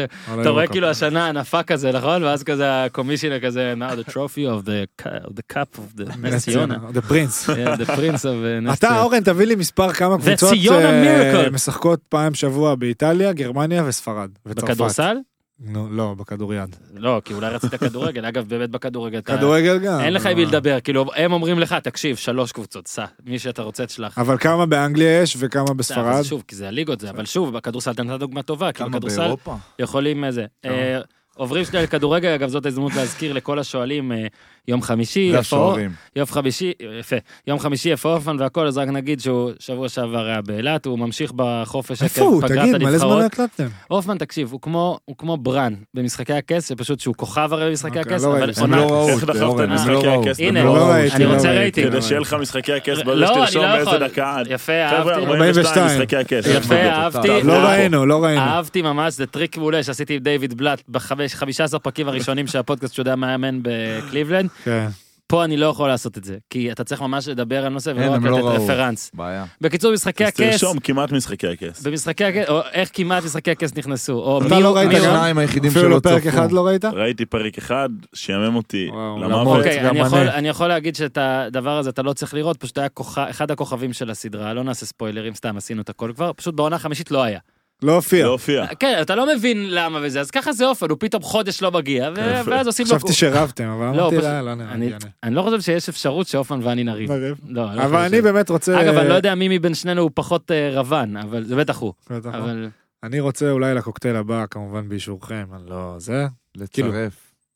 S4: או
S2: אתה רואה
S4: ליורוקאפ.
S2: כאילו השנה ענפה כזה, נכון? ואז כזה הקומישינה כזה, now the trophy of the cu- of the cup of the נס ציונה.
S4: דה פרינס.
S2: Yeah, the prince of אה, נס
S4: אתה
S2: ציונה.
S4: אורן תביא לי מספר כמה קבוצות
S2: וציונה
S4: אה,
S2: מירקל.
S4: משחקות פעם בשבוע באיטליה, גרמניה וספרד. וצרפת.
S2: בכדורסל?
S4: נו, לא, בכדוריד.
S2: לא, כי אולי רצית כדורגל, אגב, באמת בכדורגל. אתה-
S4: כדורגל גם.
S2: אין לך עם
S4: אבל-
S2: מי לדבר, כאילו, הם אומרים לך, תקשיב, שלוש קבוצות, סע, מי שאתה רוצה תשלח.
S4: אבל כמה באנגליה יש וכמה
S2: בסדר, אבל
S4: בספרד?
S2: זה שוב, כי זה הליגות זה, אבל שוב, בכדורסל אתה נתת דוגמה טובה, כאילו, כי
S1: כמה
S2: בכדורסל
S1: באירופה?
S2: יכולים איזה. אה, עוברים שנייה לכדורגל, אגב, זאת ההזדמנות להזכיר לכל השואלים, אה, יום חמישי, איפה-
S1: והשוערים.
S2: יום חמישי, יפה, יום חמישי איפה אופן והכל, אז רק נגיד שהוא שבוע שעבר היה באילת, הוא ממשיך בחופש
S4: איפה הוא? תגיד, מלא זמן לא הקלטתם.
S2: הופמן, תקשיב, הוא כמו, הוא כמו ברן במשחקי הכס, שפשוט שהוא כוכב הרי במשחקי
S4: אוקיי,
S2: הכס,
S4: לא
S2: אבל
S4: ראיתי.
S1: הם
S2: עונה...
S1: לא ראו
S3: איך
S1: את
S3: דחפת
S1: זה, אורן,
S3: את
S1: הם
S3: משחקי
S1: לא ראו.
S3: הכס?
S1: הם
S2: הנה,
S1: לא ראו,
S4: ראיתי,
S1: הם
S2: אני
S1: לא
S2: רוצה
S1: ראו.
S2: רייטינג.
S3: כדי שיהיה לך משחקי הכס
S2: לא,
S3: ברגע
S2: אני לא
S3: שתרשום באיזה
S2: יכול.
S3: דקה. עד.
S2: יפה,
S3: חבר'ה,
S2: אהבתי.
S3: 42
S4: 42.
S3: משחקי הכס.
S2: יפה, אהבתי.
S1: טוב,
S4: לא
S2: אה,
S4: ראינו, לא ראינו.
S2: אהבתי ממש, זה טריק מעולה שעשיתי עם דיוויד בלאט ב-15 פרקים הראשונים של הפודקאסט שהוא יודע מאמן בקליבלנד.
S4: כן.
S2: פה אני לא יכול לעשות את זה, כי אתה צריך ממש לדבר על נושא
S1: אין,
S2: ולא רק
S1: הם לא
S2: לתת
S1: ראו.
S2: רפרנס.
S1: בעיה.
S2: בקיצור, משחקי
S3: אז
S2: הכס,
S3: תרשום כמעט משחקי הכס.
S2: במשחקי הכס, או איך כמעט משחקי הכס נכנסו, או
S4: אתה
S2: מי-
S4: לא ראית
S2: מי-
S1: אתה
S4: גם?
S1: שניים היחידים
S4: אפילו
S1: שלא
S4: לא פרק אחד
S1: צפו.
S4: לא ראית?
S3: ראיתי פרק אחד, שיאמם אותי
S4: וואו,
S3: למוות.
S4: למרות.
S2: אוקיי,
S4: גם
S2: אני יכול-
S4: אני.
S2: אני יכול להגיד שאת הדבר הזה אתה לא צריך לראות, פשוט היה כוכב- אחד הכוכבים של הסדרה, לא נעשה ספוילרים, סתם עשינו את הכל כבר, פשוט בעונה החמישית לא היה.
S4: לא הופיע.
S3: לא הופיע.
S2: כן, אתה לא מבין למה וזה, אז ככה זה אופן, הוא פתאום חודש לא מגיע, ו-
S3: יפה.
S2: ואז עושים לו...
S4: כן. חשבתי שרבתם, אבל
S2: לא,
S4: אמרתי,
S2: פשוט-
S4: לא, לא נראה.
S2: אני-
S4: יאללה.
S2: אני לא חושב שיש אפשרות שהופמן ואני נריב.
S4: נריב.
S2: לא, לא
S4: אבל
S2: חושב.
S4: אני באמת אה, רוצה...
S2: אגב, אני לא יודע מי מבין שנינו הוא פחות אה, רבן, אבל זה בטח הוא.
S4: בטח לא.
S2: אבל
S4: אני רוצה אולי לקוקטייל הבא, כמובן באישורכם, אני לא זה, כאילו,
S1: לצרף.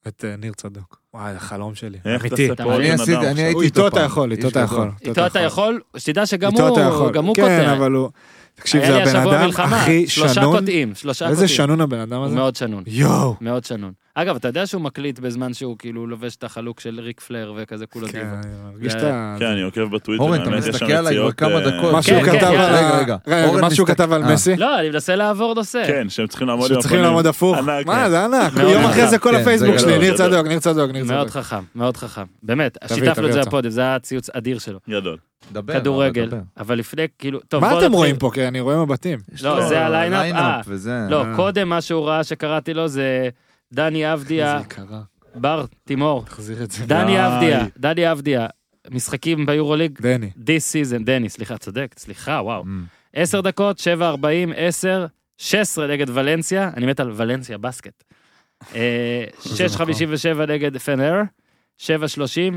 S4: את אה, ניר צדוק. וואי, החלום שלי.
S3: איך
S4: אמיתי.
S3: תעשה פה
S2: אני
S3: עוד
S1: אני
S3: בן
S1: עשיתי,
S3: אדם?
S1: אני הייתי
S4: הוא
S1: איתו
S4: איתו
S1: פעם.
S4: אתה יכול, איתו
S1: איש
S4: אתה
S1: גדול.
S4: יכול.
S2: איתו אתה יכול, שתדע שגם
S4: איתו אתה
S2: הוא
S4: יכול.
S2: גם הוא
S4: כן,
S2: קוטע.
S4: אבל הוא... תקשיב,
S2: היה
S4: זה
S2: לי
S4: הבן
S2: השבוע
S4: אדם
S2: מלחמה,
S4: הכי
S2: שלושה
S4: שנון.
S2: קוטעים, שלושה
S4: איזה
S2: קוטעים.
S4: שנון הבן אדם
S2: הוא
S4: הזה?
S2: מאוד שנון.
S4: יואו.
S2: מאוד שנון. אגב, אתה יודע שהוא מקליט בזמן שהוא כאילו לובש את החלוק של ריק פלר וכזה כולו
S4: כן,
S2: דיבה.
S4: אני מרגיש את
S2: זה-
S4: ה...
S3: כן, אני עוקב בטוויטר.
S1: אורן, אתה
S3: האמת, יש שם
S1: מסתכל עליי כבר
S3: יציאות,
S1: כמה
S3: אה,
S1: דקות.
S4: מה שהוא
S2: כן, כן,
S4: כתב על...
S1: רגע,
S4: ה-
S1: רגע.
S4: רגע,
S1: אורן
S4: מה שהוא
S1: מסתכל-
S4: כתב על
S1: אה.
S4: מסי?
S2: לא, אני מנסה לעבור נושא.
S3: כן, שהם צריכים לעמוד עם
S4: שצריכים
S3: הפנים.
S4: לעמוד הפוך.
S3: ענק, כן.
S4: מה, זה ענק.
S2: מאוד
S4: יום אחרי
S2: חכם.
S4: זה כל
S1: כן,
S4: הפייסבוק
S1: זה
S4: שלי,
S3: גדול,
S4: ניר
S3: גדול.
S4: צדוק, ניר צדוק, ניר
S2: מאוד
S4: צדוק.
S2: חכם, מאוד חכם. באמת,
S4: תביא,
S2: שיתפנו את
S4: תביא
S2: זה
S4: אותו.
S2: בפודם, זה היה ציוץ אדיר שלו.
S3: גדול.
S1: דבר,
S2: כדורגל,
S1: דבר.
S2: אבל לפני, כאילו, טוב,
S4: מה
S2: בוא
S4: אתם
S2: נתחיל.
S4: רואים פה? כי אני רואה מבטים.
S1: יש
S2: לא,
S1: לו
S2: זה הליינאפ,
S1: ליינאפ וזה...
S2: לא,
S4: אה.
S2: קודם מה שהוא ראה שקראתי לו זה דני אבדיה,
S4: איזה יקרה.
S2: בר תימור.
S4: תחזיר את זה.
S2: דני
S3: די.
S2: אבדיה, דני אבדיה, משחקים ביורוליג,
S4: דני.
S2: this season, דני, סליחה, צודק, סליחה, וואו.
S1: אמ,
S2: 10 דקות, 7, 40, 10, 16 נגד ולנסיה, אני מת על ולנסיה בסקט. אה, 6.57 נגד פנר, 7.30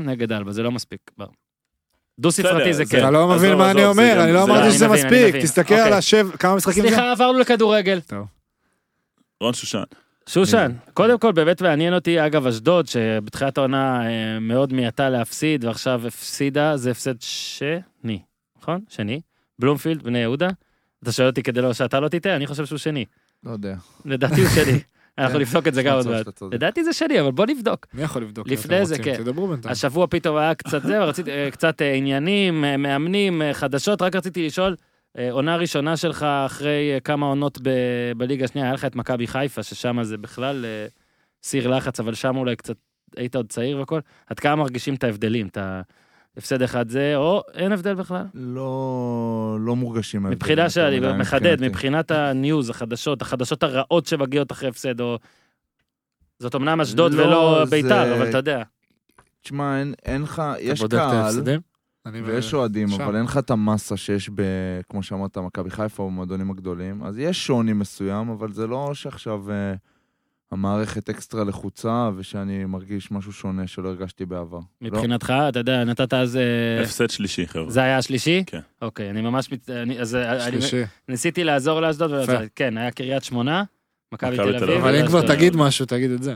S2: נגד אלבה, זה לא מספיק. בר. דו ספרתי
S3: בסדר,
S2: זה
S3: זה-
S2: כן.
S4: אתה לא מבין
S3: עזוב,
S4: מה אני
S3: עזוב, זה
S4: אומר,
S3: גם-
S4: אני לא
S3: זה-
S4: אמרתי
S3: אני
S4: שזה
S2: מבין, אני
S4: מספיק.
S2: מבין.
S4: תסתכל
S2: אוקיי.
S4: על השב... כמה משחקים זה?
S2: סליחה, עברנו לכדורגל.
S3: רון שושן.
S2: שושן, קודם כל באמת מעניין אותי, אגב, אשדוד, שבתחילת העונה אה, מאוד מיעטה להפסיד, ועכשיו הפסידה, זה הפסד שני, נכון? שני. בלומפילד, בני יהודה. אתה שואל אותי כדי לא שאתה לא תטעה, אני חושב שהוא שני.
S1: לא יודע.
S2: לדעתי הוא שני. אנחנו
S1: כן.
S2: נבדוק את זה גם עוד
S1: מצב
S2: מעט.
S1: שאתה צודק.
S2: לדעתי זה שני, אבל בוא נבדוק.
S4: מי יכול לבדוק?
S2: לפני
S4: אתם
S2: זה,
S4: רוצים?
S2: כן.
S4: תדברו בינתיים.
S2: השבוע פתאום היה קצת זה, ורציתי אה, קצת אה, עניינים, אה, מאמנים, אה, חדשות, רק רציתי לשאול, אה, עונה ראשונה שלך אחרי אה, כמה עונות ב- בליגה השנייה, היה לך את מכבי חיפה, ששם זה בכלל אה, סיר לחץ, אבל שם אולי קצת היית עוד צעיר והכל, עד כמה מרגישים את ההבדלים, את ההפסד אחד זה, או אין הבדל בכלל.
S1: לא, לא מורגשים. ההבדלים
S2: מבחינה
S1: יותר
S2: שאני
S1: מדי,
S2: מחדד,
S1: מבחינתי.
S2: מבחינת הניוז, החדשות, החדשות הרעות שמגיעות אחרי הפסד, או... זאת אמנם אשדוד
S1: לא,
S2: ולא
S1: זה-
S2: ביתר, אבל אתה יודע.
S1: תשמע, אין- אין לך,
S4: אתה
S1: יש
S4: בודק את
S1: קהל
S4: ההפסדים? אני
S1: ויש אוהדים,
S4: שם.
S1: אבל אין לך את המסה שיש ב... כמו שאמרת, מכבי חיפה או במועדונים הגדולים. אז יש שוני מסוים, אבל זה לא שעכשיו אה, המערכת אקסטרה לחוצה ושאני מרגיש משהו שונה שלא הרגשתי בעבר. לא,
S2: מבחינתך, אתה יודע, נתת אז... אה,
S3: הפסד שלישי, חבר'ה.
S2: זה היה השלישי?
S3: כן.
S2: אוקיי, אני ממש... מת- אני- אז אה, אני
S4: שלישי.
S2: ניסיתי לעזור לאשדוד, ולא
S4: יפה.
S2: יצא. כן, היה קריית שמונה, מכבי
S3: מכבי
S2: תל
S3: תל
S2: אביב.
S3: אביב.
S4: אבל אם
S2: ואשדוד.
S4: כבר תגיד משהו, תגיד את זה.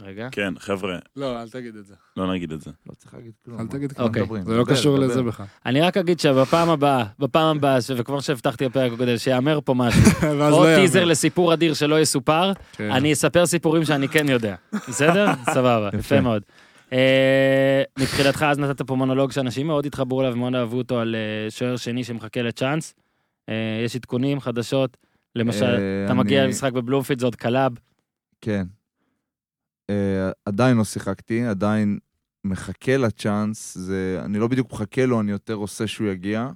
S2: רגע.
S3: כן, חבר'ה,
S4: לא, אל תגיד את זה.
S3: לא נגיד את זה.
S1: לא, לא צריך להגיד כלום.
S4: אל תגיד
S1: לא
S4: כלום.
S2: אוקיי.
S1: מדברים.
S4: זה לא
S1: דבר,
S4: קשור
S1: דבר.
S4: לזה בכלל.
S2: אני רק אגיד שבפעם הבאה, בפעם הבאה, ש- וכמו שהבטחתי בפרק הקודם, שיאמר פה משהו,
S4: ואז
S2: או
S4: לא יאמן.
S2: טיזר לסיפור אדיר שלא יסופר,
S4: כן.
S2: אני אספר סיפורים שאני כן יודע. בסדר? סבבה, יפה
S1: יפה.
S2: מאוד. אה, מבחינתך, אז נתת פה מונולוג שאנשים מאוד התחברו אליו ומאוד אהבו אותו על אה, שוער שני שמחכה לצ'אנס. אה, יש עדכונים, חדשות. למשל,
S1: אה,
S2: אתה
S1: אני-
S2: מגיע למשחק בבלומפילד, זה עוד קלאב.
S1: כן. אה, עדיין לא שיחקתי, עדיין מחכה לצ'אנס, זה, אני לא בדיוק מחכה לו, אני יותר עושה שהוא יגיע.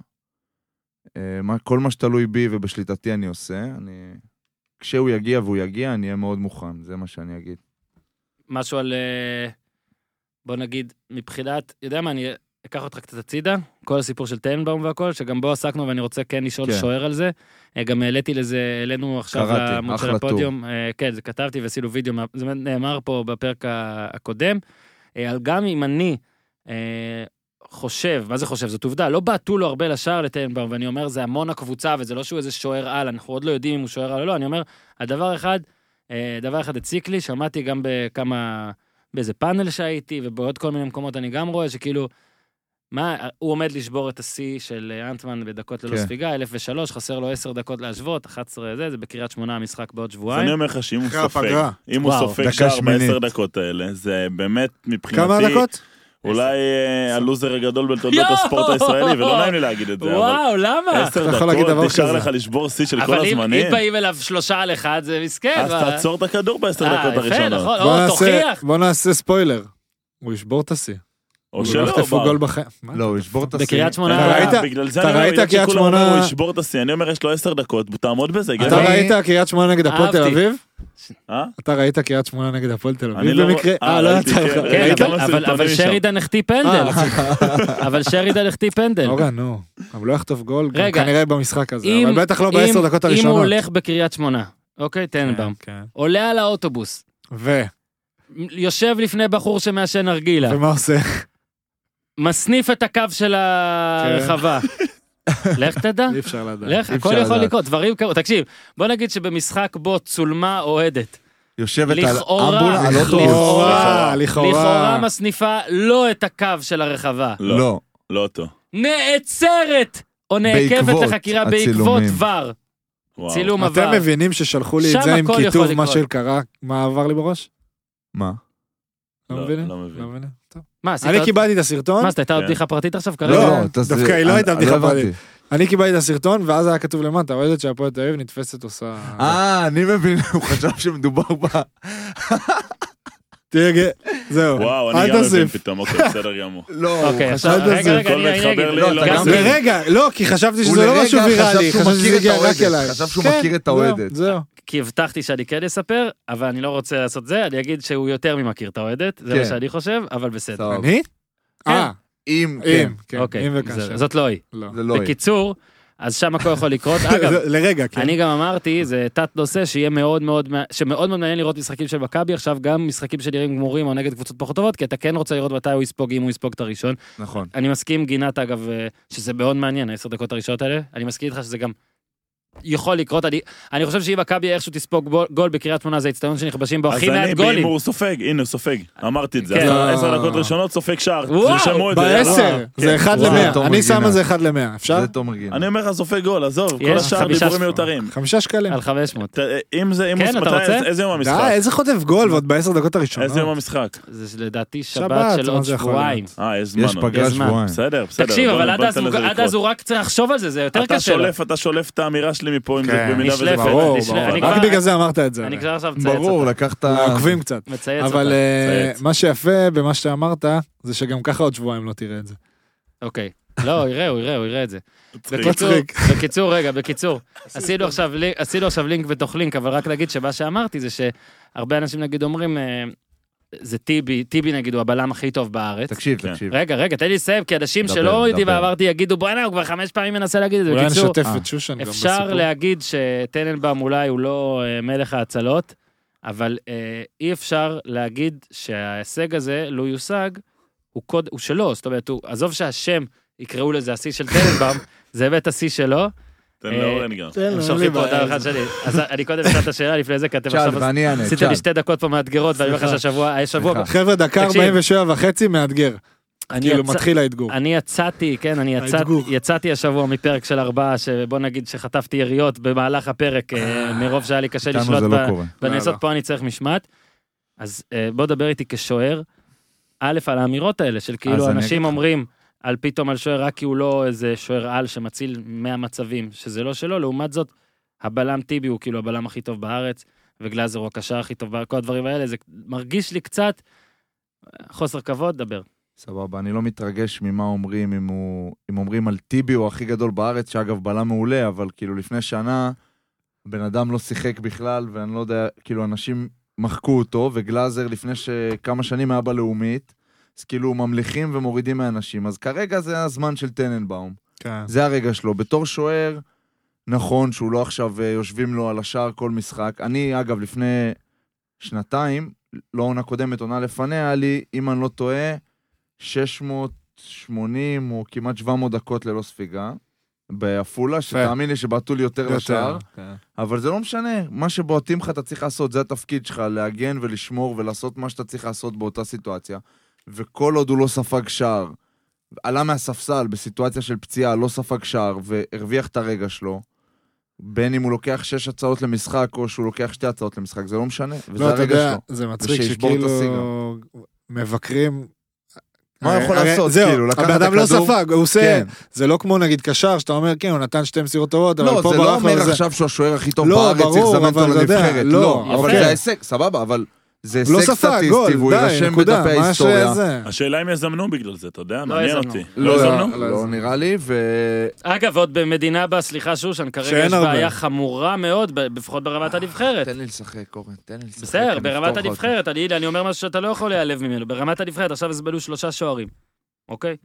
S1: אה, מה, כל מה שתלוי בי ובשליטתי אני עושה, אני... כשהוא יגיע והוא יגיע, אני אהיה מאוד מוכן, זה מה שאני אגיד.
S2: משהו על... אה, בוא נגיד, מבחינת, יודע מה, אני אקח אותך קצת הצידה, כל הסיפור של טנבאום והכל, שגם בו עסקנו ואני רוצה כן לשאול
S1: כן.
S2: שוער על זה. אה, גם העליתי לזה, העלינו עכשיו
S1: קראתי,
S2: לעמוד של
S1: אחלה
S2: הפודיום. אה, כן, זה כתבתי ועשינו וידאו, מה- זה נאמר פה בפרק ה- הקודם. אה, על גם אם אני אה, חושב, מה זה חושב? זאת עובדה, לא בעטו לו הרבה לשער לטנבאום, ואני אומר, זה המון הקבוצה, וזה לא שהוא איזה שוער על, אנחנו עוד לא יודעים אם הוא שוער על או לא, אני אומר, הדבר אחד, אה, דבר אחד הציק לי, שמעתי גם בכמה, באיזה פאנל שהייתי ובעוד כל מיני מקומות אני גם רואה שכאילו, מה, הוא עומד לשבור את השיא של אה, אנטמן בדקות ללא
S1: כן.
S2: ספיגה, 1003, חסר לו 10 דקות להשוות, 11 זה, זה בקריית שמונה המשחק בעוד
S3: אז אני
S2: שבועיים.
S3: אומר לך שאם הוא
S4: אחרי
S3: סופג,
S4: הפגרה.
S3: אם הוא
S2: וואו,
S3: סופג
S1: דקה
S3: שער
S1: שמינית.
S3: בעשר דקות האלה, זה באמת מבחינתי...
S4: כמה דקות?
S3: אולי אה, הלוזר הגדול בתולדות
S2: יואו!
S3: הספורט הישראלי, ולא נעים לי להגיד את זה, אבל
S2: וואו, למה?
S3: עשר
S4: אתה יכול להגיד דבר
S3: דקות, נשאר
S4: כזה.
S3: לך לשבור שיא של
S2: אבל
S3: כל
S2: אם
S3: הזמנים,
S2: אם באים אליו שלושה על אחד, זה מסכן.
S3: אז
S2: אבל-
S3: תעצור את הכדור בעשר
S2: אה,
S3: דקות
S2: יפה,
S3: הראשונות.
S2: נכון, או, תוכיח.
S4: בוא נעשה ספוילר. הוא ישבור את השיא.
S3: או שלא,
S4: יחטפו
S3: בר.
S4: גול בחיים. מה?
S1: לא, הוא ישבור את השיא.
S2: בקריית שמונה...
S4: אתה ראית?
S3: אה, בגלל זה
S4: אתה
S3: אני אומר,
S4: ראית
S3: בגלל
S4: קריית
S3: שכולם אומרים,
S4: שמונה-
S3: הוא ישבור את השיא, אני אומר, יש לו עשר דקות, תעמוד בזה,
S4: אתה לא-
S1: אני-
S3: גבר.
S4: ראית קריית שמונה נגד הפועל תל
S2: אהבתי.
S4: אביב?
S3: אה?
S4: אתה ראית קריית שמונה נגד הפועל תל
S3: אני
S4: אביב
S3: לא-
S4: במקרה?
S3: אה,
S4: אה, לא אה,
S3: ראיתי,
S4: יצא לך.
S3: כן.
S2: כן,
S4: ראית?
S2: אבל-
S3: כמה
S2: אבל- אבל
S3: סרטונים
S2: שרידן החטיא פנדל. אבל שרידן החטיא פנדל.
S4: אורן, נו. אבל לא יחטוף גול, גם
S2: כן. רגע.
S4: כנראה במשחק הזה.
S2: אם-
S4: אבל בטח לא
S2: אם-
S4: בעשר דקות
S2: אם הוא
S4: הראשונות.
S2: הולך בקריית שמונה, אוקיי, טנבאום,
S4: כן,
S2: עולה על האוטובוס,
S4: כן. ו...
S2: יושב לפני בחור שמעשן נרגילה,
S4: ומה עושה?
S2: מסניף את הקו של הרחבה. לך תדע.
S4: כן. אי אפשר לדעת.
S2: לך,
S1: אי אפשר לא.
S2: הכל יכול
S1: לדעת.
S2: לקרות, דברים כאלה. תקשיב, בוא נגיד שבמשחק בו צולמה אוהדת,
S1: יושבת על לא
S2: לכאורה,
S1: אמבולה, על אוטובוס.
S4: לכאורה,
S2: לכאורה
S4: לכאורה.
S2: מסניפה לא את הקו של הרחבה,
S3: לא,
S1: לא.
S3: לא אותו.
S2: נעצרת או נעכבת
S1: בעקבות
S2: לחקירה בעקבות
S1: הצילומים.
S2: ור.
S3: וואו.
S2: צילום עבר.
S4: אתם מבינים ששלחו לי את
S2: שם
S4: זה עם
S2: הכל יכול
S4: כיתוב מה
S2: לקרות.
S4: שקרה? מה עבר לי בראש?
S1: מה?
S4: לא
S3: לא,
S4: מבינים?
S3: לא מבין.
S4: לא מבינים? טוב.
S2: מה, עשית
S4: אני
S2: עוד-
S4: קיבלתי את הסרטון,
S2: מה, זאת הייתה עוד
S3: כן.
S2: בדיחה פרטית עכשיו כרגע?
S1: לא, אתה-
S4: דווקא היא לא
S1: אני-
S4: הייתה
S1: אני
S4: בדיחה
S1: הבנתי.
S4: פרטית. אני קיבלתי את הסרטון, ואז היה כתוב למטה, אוהדת שהפועל תל אביב נתפסת עושה...
S1: אה, אני מבין, הוא חשב שמדובר ב...
S4: תהיה גא... זהו,
S3: וואו, אני
S4: אל
S3: גם מבין
S4: תוסיף.
S3: פתאום, אוקיי, בסדר גמור.
S1: לא, הוא
S2: אוקיי,
S1: חשב...
S2: עכשיו,
S4: חשד
S2: רגע,
S4: לזה.
S2: רגע,
S3: הכל
S2: אני אני
S3: מתחבר
S2: אגיד.
S3: לי,
S1: לא,
S3: לא
S1: אתה
S3: גם
S1: גם-
S2: כן.
S4: לרגע, לא, כי חשבתי
S1: הוא
S4: שזה לא
S1: לרגע
S4: משהו
S1: חשב
S4: ויראלי,
S1: שהוא
S4: חשבתי שזה
S1: מכיר את
S4: הגיע רק
S1: האוהדת,
S4: אליי.
S1: חשב שהוא
S4: כן,
S1: מכיר את
S4: זהו,
S1: האוהדת.
S4: זהו.
S2: כי הבטחתי שאני כן אספר, אבל אני לא רוצה לעשות זה, אני אגיד שהוא יותר ממכיר את האוהדת, זה
S1: כן.
S2: מה שאני חושב, אבל בסדר.
S1: טוב.
S4: אני? אה,
S1: אם, כן.
S4: אם, כן,
S2: אוקיי,
S4: אם
S2: זה-
S4: וכאשר.
S2: זאת לא היא.
S4: לא.
S1: זה לא היא.
S2: בקיצור, אז שם הכל יכול לקרות. אגב,
S4: זה- לרגע, כן.
S2: אני גם אמרתי, זה תת נושא שיהיה מאוד מאוד, מע- שמאוד מאוד מעניין לראות משחקים של מכבי עכשיו, גם משחקים שנראים גמורים או נגד קבוצות פחות טובות, כי אתה כן רוצה לראות מתי הוא יספוג, אם הוא יספוג את הראשון.
S1: נכון.
S2: אני מסכים עם גינת אגב, אה, שזה מאוד מעניין, העשר דקות הראשונות האלה, אני מסכים איתך שזה גם יכול לקרות, אני, אני חושב שאם מכבי איכשהו תספוג בול- גול בקריית שמונה זה הצטדיון שנכבשים בו
S3: אז
S2: הכי
S3: אני
S2: מעט גולים.
S3: בהימור סופג, הנה הוא סופג, אמרתי את זה,
S2: כן.
S3: עשר- עשר
S4: אה.
S3: דקות ראשונות סופג שער,
S2: וואו,
S3: תרשמו את זה. אה, כן.
S4: בעשר,
S2: לא,
S4: זה
S2: כן,
S4: אחד
S1: וואו,
S4: למאה.
S1: תומר
S4: אני שם
S1: גינה.
S4: על זה אחד למאה, אפשר?
S1: זה תומר גיל.
S3: אני אומר לך סופג גול, עזוב, כל
S2: יש
S3: השאר
S2: חמישה
S3: דיבורים
S2: ספ-
S3: מיותרים.
S4: חמישה שקלים.
S2: על 500.
S3: ת- אה, אם זה, אם
S2: כן,
S3: הוא-
S2: אתה
S3: מתי-
S2: רוצה?
S3: איזה- איזה יום
S4: די,
S3: המשחק?
S4: איזה חוטף גול ועוד בעשר דקות אה? הראשונות.
S3: איזה יום המשחק?
S2: זה לדעתי
S4: שבת,
S2: שבת של
S4: מה
S2: עוד
S4: זה יכול להיות?
S2: שבועיים.
S3: אה, יש זמן.
S1: יש
S3: עוד.
S1: פגרה
S2: יש זמן.
S1: שבועיים.
S3: בסדר, בסדר.
S2: תקשיב,
S3: בוא-
S2: אבל
S3: בוא
S2: עד אז
S3: ניתן
S2: הוא-
S3: לזה
S2: עד אז
S3: לקרות.
S2: הוא רק צריך לחשוב על זה, זה יותר
S3: אתה
S2: קשה לו.
S3: שולף, אתה שולף את האמירה שלי מפה, אם
S4: כן.
S3: זה- במידה וזה...
S2: נשלפת,
S4: ברור,
S2: נשלפת.
S4: ברור.
S2: אני
S4: רק
S2: כבר-
S4: בגלל זה אמרת את זה.
S2: אני כבר עכשיו מצייץ
S1: ברור,
S2: אותה.
S1: לקחת...
S4: עוקבים קצת.
S2: מצייץ אותה.
S4: אבל אה,
S3: מצייץ.
S4: מה שיפה במה שאמרת, זה שגם ככה עוד שבועיים לא תראה את זה.
S2: אוקיי. לא, הוא יראה, הוא יראה, הוא יראה את זה.
S3: מצחיק.
S2: בקיצור,
S4: מצחיק.
S2: בקיצור, רגע, בקיצור, עשינו עכשיו לינק- עשינו עכשיו לינק בתוך לינק, אבל רק להגיד שמה שאמרתי זה שהרבה אנשים נגיד אומרים, אה, זה טיבי, טיבי נגיד הוא הבלם הכי טוב בארץ.
S1: תקשיב,
S3: כן.
S1: תקשיב.
S2: רגע, רגע, תן לי לסיים, כי אנשים
S1: דבר,
S2: שלא יודעים
S1: דבר.
S2: ואמרתי יגידו, בואנה, הוא כבר חמש פעמים מנסה להגיד את זה.
S4: אולי
S2: בקיצור,
S4: נשתף
S1: אה.
S4: את שושן גם בסיפור.
S2: אפשר להגיד שטננבאום אולי הוא לא אה, מלך ההצלות, אבל אה, אי אפשר להגיד שההישג הזה לא יושג, הוא, קוד, הוא שלו, זאת אומרת, הוא, עזוב שהשם יקראו לזה השיא של טננבאום, זה באמת השיא שלו.
S3: תן לאורן גם.
S4: תן לו,
S2: הם
S4: כן, לא, אין
S2: שולחים
S4: לי
S2: פה
S4: בעיה.
S2: הודעה אחת שלי. אז אני קודם אשאל את השאלה לפני זה, כי אתם
S1: תשאל,
S2: עכשיו
S1: ואני אענה,
S2: עשיתם
S1: תשאל.
S2: לי שתי דקות פה מאתגרות, ואני אומר לך
S4: סליחה.
S2: שהשבוע, השבוע,
S1: סליחה.
S4: חבר'ה, דקה
S2: תקשיב.
S4: 47 וחצי, מאתגר.
S2: אני
S4: כאילו,
S2: יצא-
S4: מתחיל האתגור.
S2: אני יצאתי, כן, אני יצא-
S4: האתגור.
S2: יצאתי השבוע מפרק של ארבעה, שבוא נגיד שחטפתי יריות במהלך הפרק, אה, מרוב שהיה לי קשה
S1: איתנו
S2: לשלוט
S1: זה
S2: ב-
S1: לא קורה.
S4: לא,
S2: בנעשות,
S4: לא.
S2: פה אני צריך משמעת. אז אה, בוא דבר איתי כשוער, א', על האמירות האלה של
S1: אז
S2: כאילו
S1: אני אגיד
S2: אנשים
S1: לך.
S2: אומרים על פתאום על שוער רק כי הוא לא איזה שוער על שמציל 100 מצבים, שזה לא שלו, לעומת זאת, הבלם טיבי הוא כאילו הבלם הכי טוב בארץ, וגלאזר הוא הקשר הכי טוב, בארץ, כל הדברים האלה, זה מרגיש לי קצת אה, חוסר כבוד, דבר.
S1: סבבה, אני לא מתרגש ממה אומרים, אם, הוא, אם אומרים על טיבי הוא הכי גדול בארץ, שאגב, בלם מעולה, אבל כאילו לפני שנה, בן אדם לא שיחק בכלל, ואני לא יודע, כאילו אנשים מחקו אותו, וגלאזר לפני ש- כמה שנים היה בלאומית, אז כאילו ממליכים ומורידים מאנשים. אז כרגע זה הזמן של טננבאום,
S4: כן.
S1: זה הרגע שלו. בתור שוער, נכון שהוא לא עכשיו אה, יושבים לו על השער כל משחק. אני, אגב, לפני שנתיים, לא עונה קודמת, עונה לפניה, היה לי, אם אני לא טועה, 680 או כמעט 700 דקות ללא ספיגה, בעפולה, שתאמין לי שבעטו לי יותר לשער,
S4: כן.
S1: אבל זה לא משנה. מה שבועטים לך אתה צריך לעשות, זה התפקיד שלך, להגן ולשמור ולעשות מה שאתה צריך לעשות באותה סיטואציה. וכל עוד הוא לא ספג שער, עלה מהספסל בסיטואציה של פציעה, לא ספג שער והרוויח את הרגע שלו, בין אם הוא לוקח שש הצעות למשחק או שהוא לוקח שתי הצעות למשחק, זה לא משנה, וזה
S4: לא, אתה
S1: הרגע
S4: יודע,
S1: שלו.
S4: זה מצחיק
S1: ושישבור את
S4: שכאילו מבקרים...
S1: מה הוא יכול
S4: הרי-
S1: לעשות?
S4: זהו,
S1: כאילו, לקח את
S4: הבן אדם לא
S1: הכדור?
S4: ספג, הוא עושה...
S1: כן.
S4: זה לא כמו נגיד קשר, שאתה אומר, כן, הוא נתן שתי מסירות טובות, אבל
S1: לא,
S4: פה
S1: זה לא
S4: ברח לו
S1: אומר
S4: זה.
S1: עכשיו שהוא השוער הכי טוב
S4: לא,
S1: בארץ, צריך
S4: ברור,
S1: לזמן
S4: אבל
S1: אותו
S4: אתה יודע,
S1: לנבחרת.
S4: לא,
S1: לא, אבל
S2: אוקיי.
S1: זה הישג, סבבה, אבל זה
S4: לא
S1: הישג
S4: ספג, גול,
S1: סטטיסטי, והוא
S4: די,
S1: יירשם
S4: נקודה,
S1: בדפי
S4: מה
S1: ההיסטוריה.
S4: שזה.
S3: השאלה אם יזמנו בגלל זה, אתה יודע,
S2: לא
S3: מעניין
S2: יזמנו.
S3: אותי.
S1: לא,
S3: לא יזמנו?
S1: לא נראה לי, ו...
S2: אגב, עוד במדינה בה, סליחה שושן, כרגע
S4: שאין
S2: יש
S4: הרבה.
S2: בעיה חמורה מאוד, ב- לפחות
S1: אה,
S2: ברמת הנבחרת.
S1: תן לי לשחק, אורן, תן לי לשחק.
S2: בסדר,
S1: אני
S2: ברמת
S1: אפתור לך אותי.
S2: הנבחרת, אני, אני אומר משהו שאתה לא יכול להיעלב ממנו, ברמת הנבחרת, עכשיו הסבלו שלושה שוערים, אוקיי?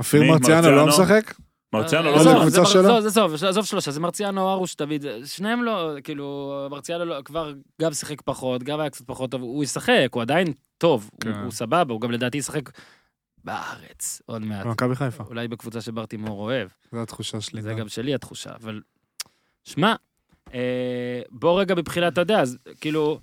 S4: אפילו
S3: מי,
S4: מרציאנו לא
S3: מרציאנו?
S4: משחק?
S3: מרציאנו
S2: אה,
S3: לא
S4: זה
S2: עזוב,
S3: זמין.
S4: לקבוצה
S2: מר-
S4: שלו?
S2: לא, זה סוף, עזוב שלושה, זה מרציאנו, ארוש, תמיד, שניהם לא, כאילו, מרציאנו לא, כבר גם שיחק פחות, גם היה קצת פחות טוב, הוא ישחק, הוא עדיין טוב, הוא-
S4: כן.
S2: הוא סבבה, הוא גם לדעתי ישחק בארץ עוד מעט.
S4: מכבי
S3: אה.
S4: חיפה,
S2: אולי בקבוצה שברטימור אוהב.
S4: זו התחושה שלי.
S2: זה גם שלי התחושה, אבל... שמע, אה, בוא רגע מבחינת, אתה יודע, אז כאילו,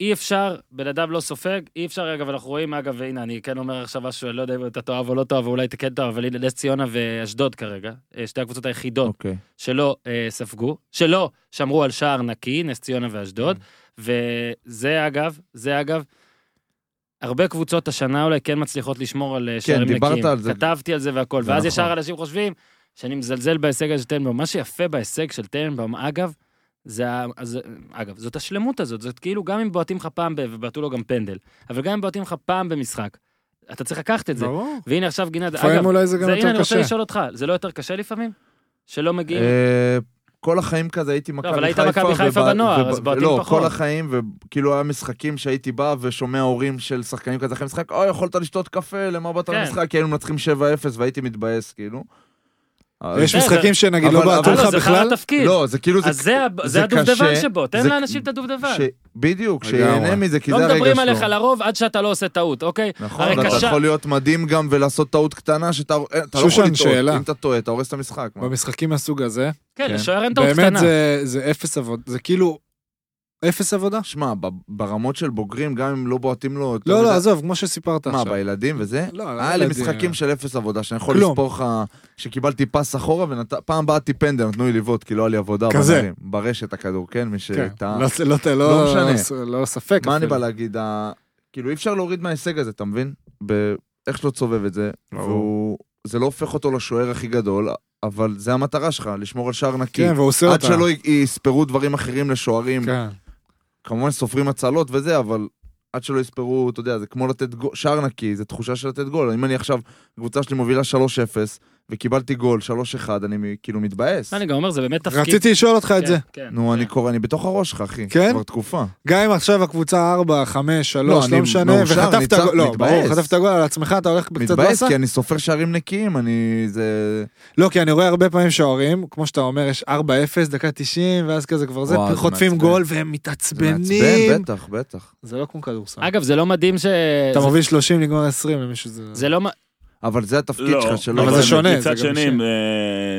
S2: אי אפשר, בן אדם לא סופג, אי אפשר, אגב, אנחנו רואים, אגב, הנה, אני כן אומר עכשיו משהו, אני לא יודע אם אתה תאהב או לא תאהב, או אולי אתה כן תאהב, אבל הנה, נס ציונה ואשדוד כרגע, אה, שתי הקבוצות היחידות
S1: אוקיי.
S2: שלא אה, ספגו, שלא שמרו על שער נקי, נס ציונה ואשדוד,
S1: Mm.
S2: וזה אגב, זה אגב, הרבה קבוצות השנה אולי כן מצליחות לשמור על אה, שערים נקיים.
S1: דיברת על זה.
S2: כתבתי על זה והכל,
S1: זה
S2: ואז
S1: נכון.
S2: ישר אנשים חושבים שאני מזלזל בהישג הזה של טנבאום. מה שיפה בהישג של טנבאום, אגב, זה, ה- אז, אגב, זאת השלמות הזאת, זאת כאילו גם אם בועטים לך פעם, ב- ובעטו לו גם פנדל, אבל גם אם בועטים לך פעם במשחק, אתה צריך לקחת את זה.
S4: ברור.
S2: והנה עכשיו גינת,
S4: לפעמים
S2: אגב,
S4: אולי זה גם
S2: זה, הנה, אני
S4: יותר
S2: רוצה
S4: קשה.
S2: לשאול אותך, זה לא יותר קשה לפעמים? שלא מגיעים?
S1: אה, כל החיים כזה הייתי מכבי חיפה.
S2: לא, אבל היית מכבי חיפה
S1: ובא-
S2: בנוער,
S1: ובא-
S2: אז בועטים
S1: לא,
S2: פחות.
S1: כל החיים, וכאילו היה משחקים שהייתי בא ושומע הורים של שחקנים כזה אחרי משחק, אוי, יכולת לשתות קפה, למה באת
S2: כן.
S1: למשחק? כי היינו מנצחים 7-0 והייתי מתבאס, כאילו.
S4: יש
S2: אה,
S4: משחקים שנגיד
S1: אבל-
S4: לא בעטו
S1: אבל-
S2: הלו,
S4: לך
S2: זה
S4: בכלל?
S2: חרא תפקיד.
S1: לא, זה כאילו, זה
S2: אז זה, הב- זה
S1: זה
S2: הדובדבן
S1: קשה,
S2: שבו, תן
S1: זה-
S2: לאנשים את הדובדבן.
S1: ש- בדיוק,
S4: לגמרי.
S1: שיהנה מזה, כי
S2: לא
S1: זה הרגע שלו.
S2: מדברים עליך לרוב עד שאתה לא עושה טעות, אוקיי?
S1: נכון,
S2: הרי
S1: ואתה
S2: קשר-
S1: יכול להיות מדהים גם ולעשות טעות קטנה, שאתה אה, אתה לא
S4: שושן,
S1: יכול לטעות.
S4: שאלה.
S1: אם אתה טועה, אתה הורס את המשחק. מה?
S4: במשחקים מהסוג הזה,
S2: כן,
S1: כן.
S2: לשוער אין טעות
S4: באמת
S2: קטנה.
S4: זה- זה אפס עבודה, זה כאילו אפס עבודה.
S1: שמע, ב- ברמות של בוגרים, גם אם לא בועטים לו... יותר
S4: לא,
S1: מדי-
S4: לא, עזוב, כמו שסיפרת
S1: מה,
S4: עכשיו.
S1: בילדים וזה?
S4: לא, לא
S1: היה לי
S4: ילדים.
S1: משחקים של אפס עבודה, שאני יכול
S4: כלום.
S1: לספור לך שקיבלתי פס אחורה, ופעם בעטתי פנדל, נתנו לי לבעוט, כי לא היה לי עבודה.
S4: כזה.
S1: בנערים. ברשת הכדור, כן, מי
S4: כן,
S1: שטעה.
S4: לא- לא-
S1: לא
S4: לא
S1: משנה.
S4: ס- לא ספק.
S1: מה אני
S4: אפילו.
S1: בא להגיד? ה- כאילו, אי אפשר להוריד מההישג הזה, אתה מבין? ב- איך שלא תסובב את זה.
S4: ברור.
S1: והוא- זה לא הופך אותו לשוער הכי גדול, אבל זה המטרה שלך, לשמור על שער נקי.
S4: כן, והוא עושה
S1: עד
S4: אותה.
S1: שלא י- יספרו דברים אחרים לשוערים,
S4: כן.
S1: כמובן סופרים הצלות וזה, אבל עד שלא יספרו, אתה יודע, זה כמו לתת גו- שער נקי, זה תחושה של לתת גול. אם אני עכשיו, הקבוצה שלי מובילה 3-0, וקיבלתי גול 3-1, אני מ- כאילו מתבאס.
S2: אני גם אומר, זה באמת תפקיד. כן.
S4: רציתי לשאול אותך את זה.
S1: נו, אני קורא, אני בתוך הראש שלך, אחי.
S4: כן?
S1: כבר תקופה.
S4: גם אם עכשיו הקבוצה 4, 5, 3,
S1: אני
S4: לא משנה,
S1: מאושר,
S4: וחטפת
S1: ניצח-
S4: גול, לא,
S1: מתבאס.
S4: ברור, חטפת גול על עצמך, אתה הולך בקצת
S1: מתבאס,
S4: באסה?
S1: כי אני סופר שערים נקיים, אני... זה...
S4: לא, כי אני רואה הרבה פעמים שוערים, כמו שאתה אומר, יש 4-0, דקה 90, ואז כזה כבר זה,
S1: וואו, זה
S4: חוטפים
S1: מעצבן.
S4: גול והם
S1: זה מעצבן,
S4: מתעצבנים.
S1: בטח, בטח.
S4: זה לא כמו כדורסל.
S2: אגב, זה לא מדהים ש...
S4: אתה
S2: זה-
S4: מוביל 30, נגמר 20, למישהו זה...
S2: זה לא... מ-
S1: אבל זה התפקיד
S3: לא,
S1: שלך, שלא...
S4: אבל זה
S1: באמת.
S4: שונה, זה גם
S3: מצד שני,
S4: שם.
S3: אה,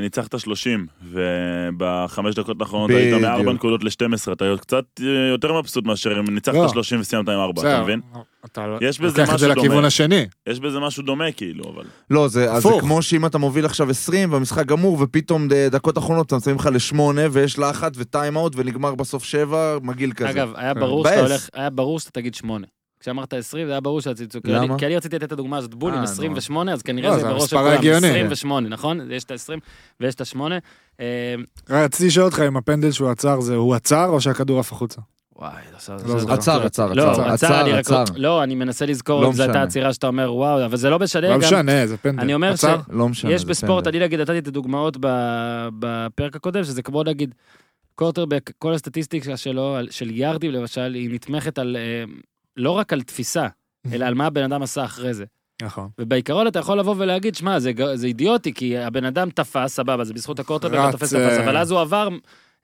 S3: ניצחת 30, ובחמש דקות האחרונות היית מארבע
S1: בדיוק.
S3: נקודות ל-12, אתה קצת אה, יותר מבסוט מאשר אם
S4: לא.
S3: ניצחת 30 וסיימת עם ארבע,
S4: בסדר,
S3: אתה מבין?
S4: אתה לא-
S3: יש בזה
S4: לוקח את זה
S3: משהו דומה.
S4: לכיוון השני.
S3: יש בזה משהו דומה כאילו, אבל...
S1: לא, זה, אז זה
S4: הפוך.
S1: כמו שאם אתה מוביל עכשיו 20 והמשחק גמור, ופתאום ד- דקות אחרונות אתה שמים לך לשמונה, ויש לחץ וטיים אאוט, ונגמר בסוף שבע, מגעיל כזה.
S2: אגב, היה
S4: כן.
S2: ברור שאתה
S1: מבאס.
S2: הולך... היה ברור שאתה תגיד שמונה. כשאמרת 20, זה היה ברור שאתה צודק.
S1: למה?
S2: כי אני רציתי לתת את הדוגמה הזאת,
S1: אה,
S2: בולים
S1: נו.
S2: 28, אז
S4: לא,
S2: כנראה זה
S4: זה
S2: בראש של
S4: המספר
S2: כולם.
S4: ההגיוני.
S2: 28, נכון? יש את ה-20 ויש את אה, ה-8.
S4: רציתי לשאול אותך אם הפנדל שהוא עצר, זה הוא עצר או שהכדור עף החוצה?
S2: וואי, עכשיו...
S4: לא, זה-
S1: עצר, עצר,
S2: לא,
S1: עצר,
S2: עצר, אני
S1: עצר,
S2: רק... לא-
S1: עצר.
S2: לא, אני מנסה לזכור
S1: לא
S2: אם זו הייתה
S1: משנה.
S2: עצירה שאתה אומר, וואו, אבל זה לא משנה.
S4: לא
S2: גם-
S4: משנה, זה פנדל.
S2: אני אומר ש-
S4: עצר?
S1: לא משנה.
S2: יש
S1: זה
S2: בספורט,
S1: פנדל.
S2: אני נגיד נתתי את הדוגמאות ב- בפרק הקודם, שזה כמו נגיד קורטרבק, כל הסטטיסטיקה שלו, על- של יארדים למשל, היא נתמכת על, אה, לא רק על תפיסה, אלא על מה הבן אדם עשה אחרי זה.
S4: נכון.
S2: ובעיקרון אתה יכול לבוא ולהגיד, שמע, זה, ג- זה אידיוטי, כי הבן אדם תפס, סבבה, זה בזכות הקורטרבק, הוא
S4: רץ,
S2: תופס,
S4: אה.
S2: תפס, אבל אז הוא עבר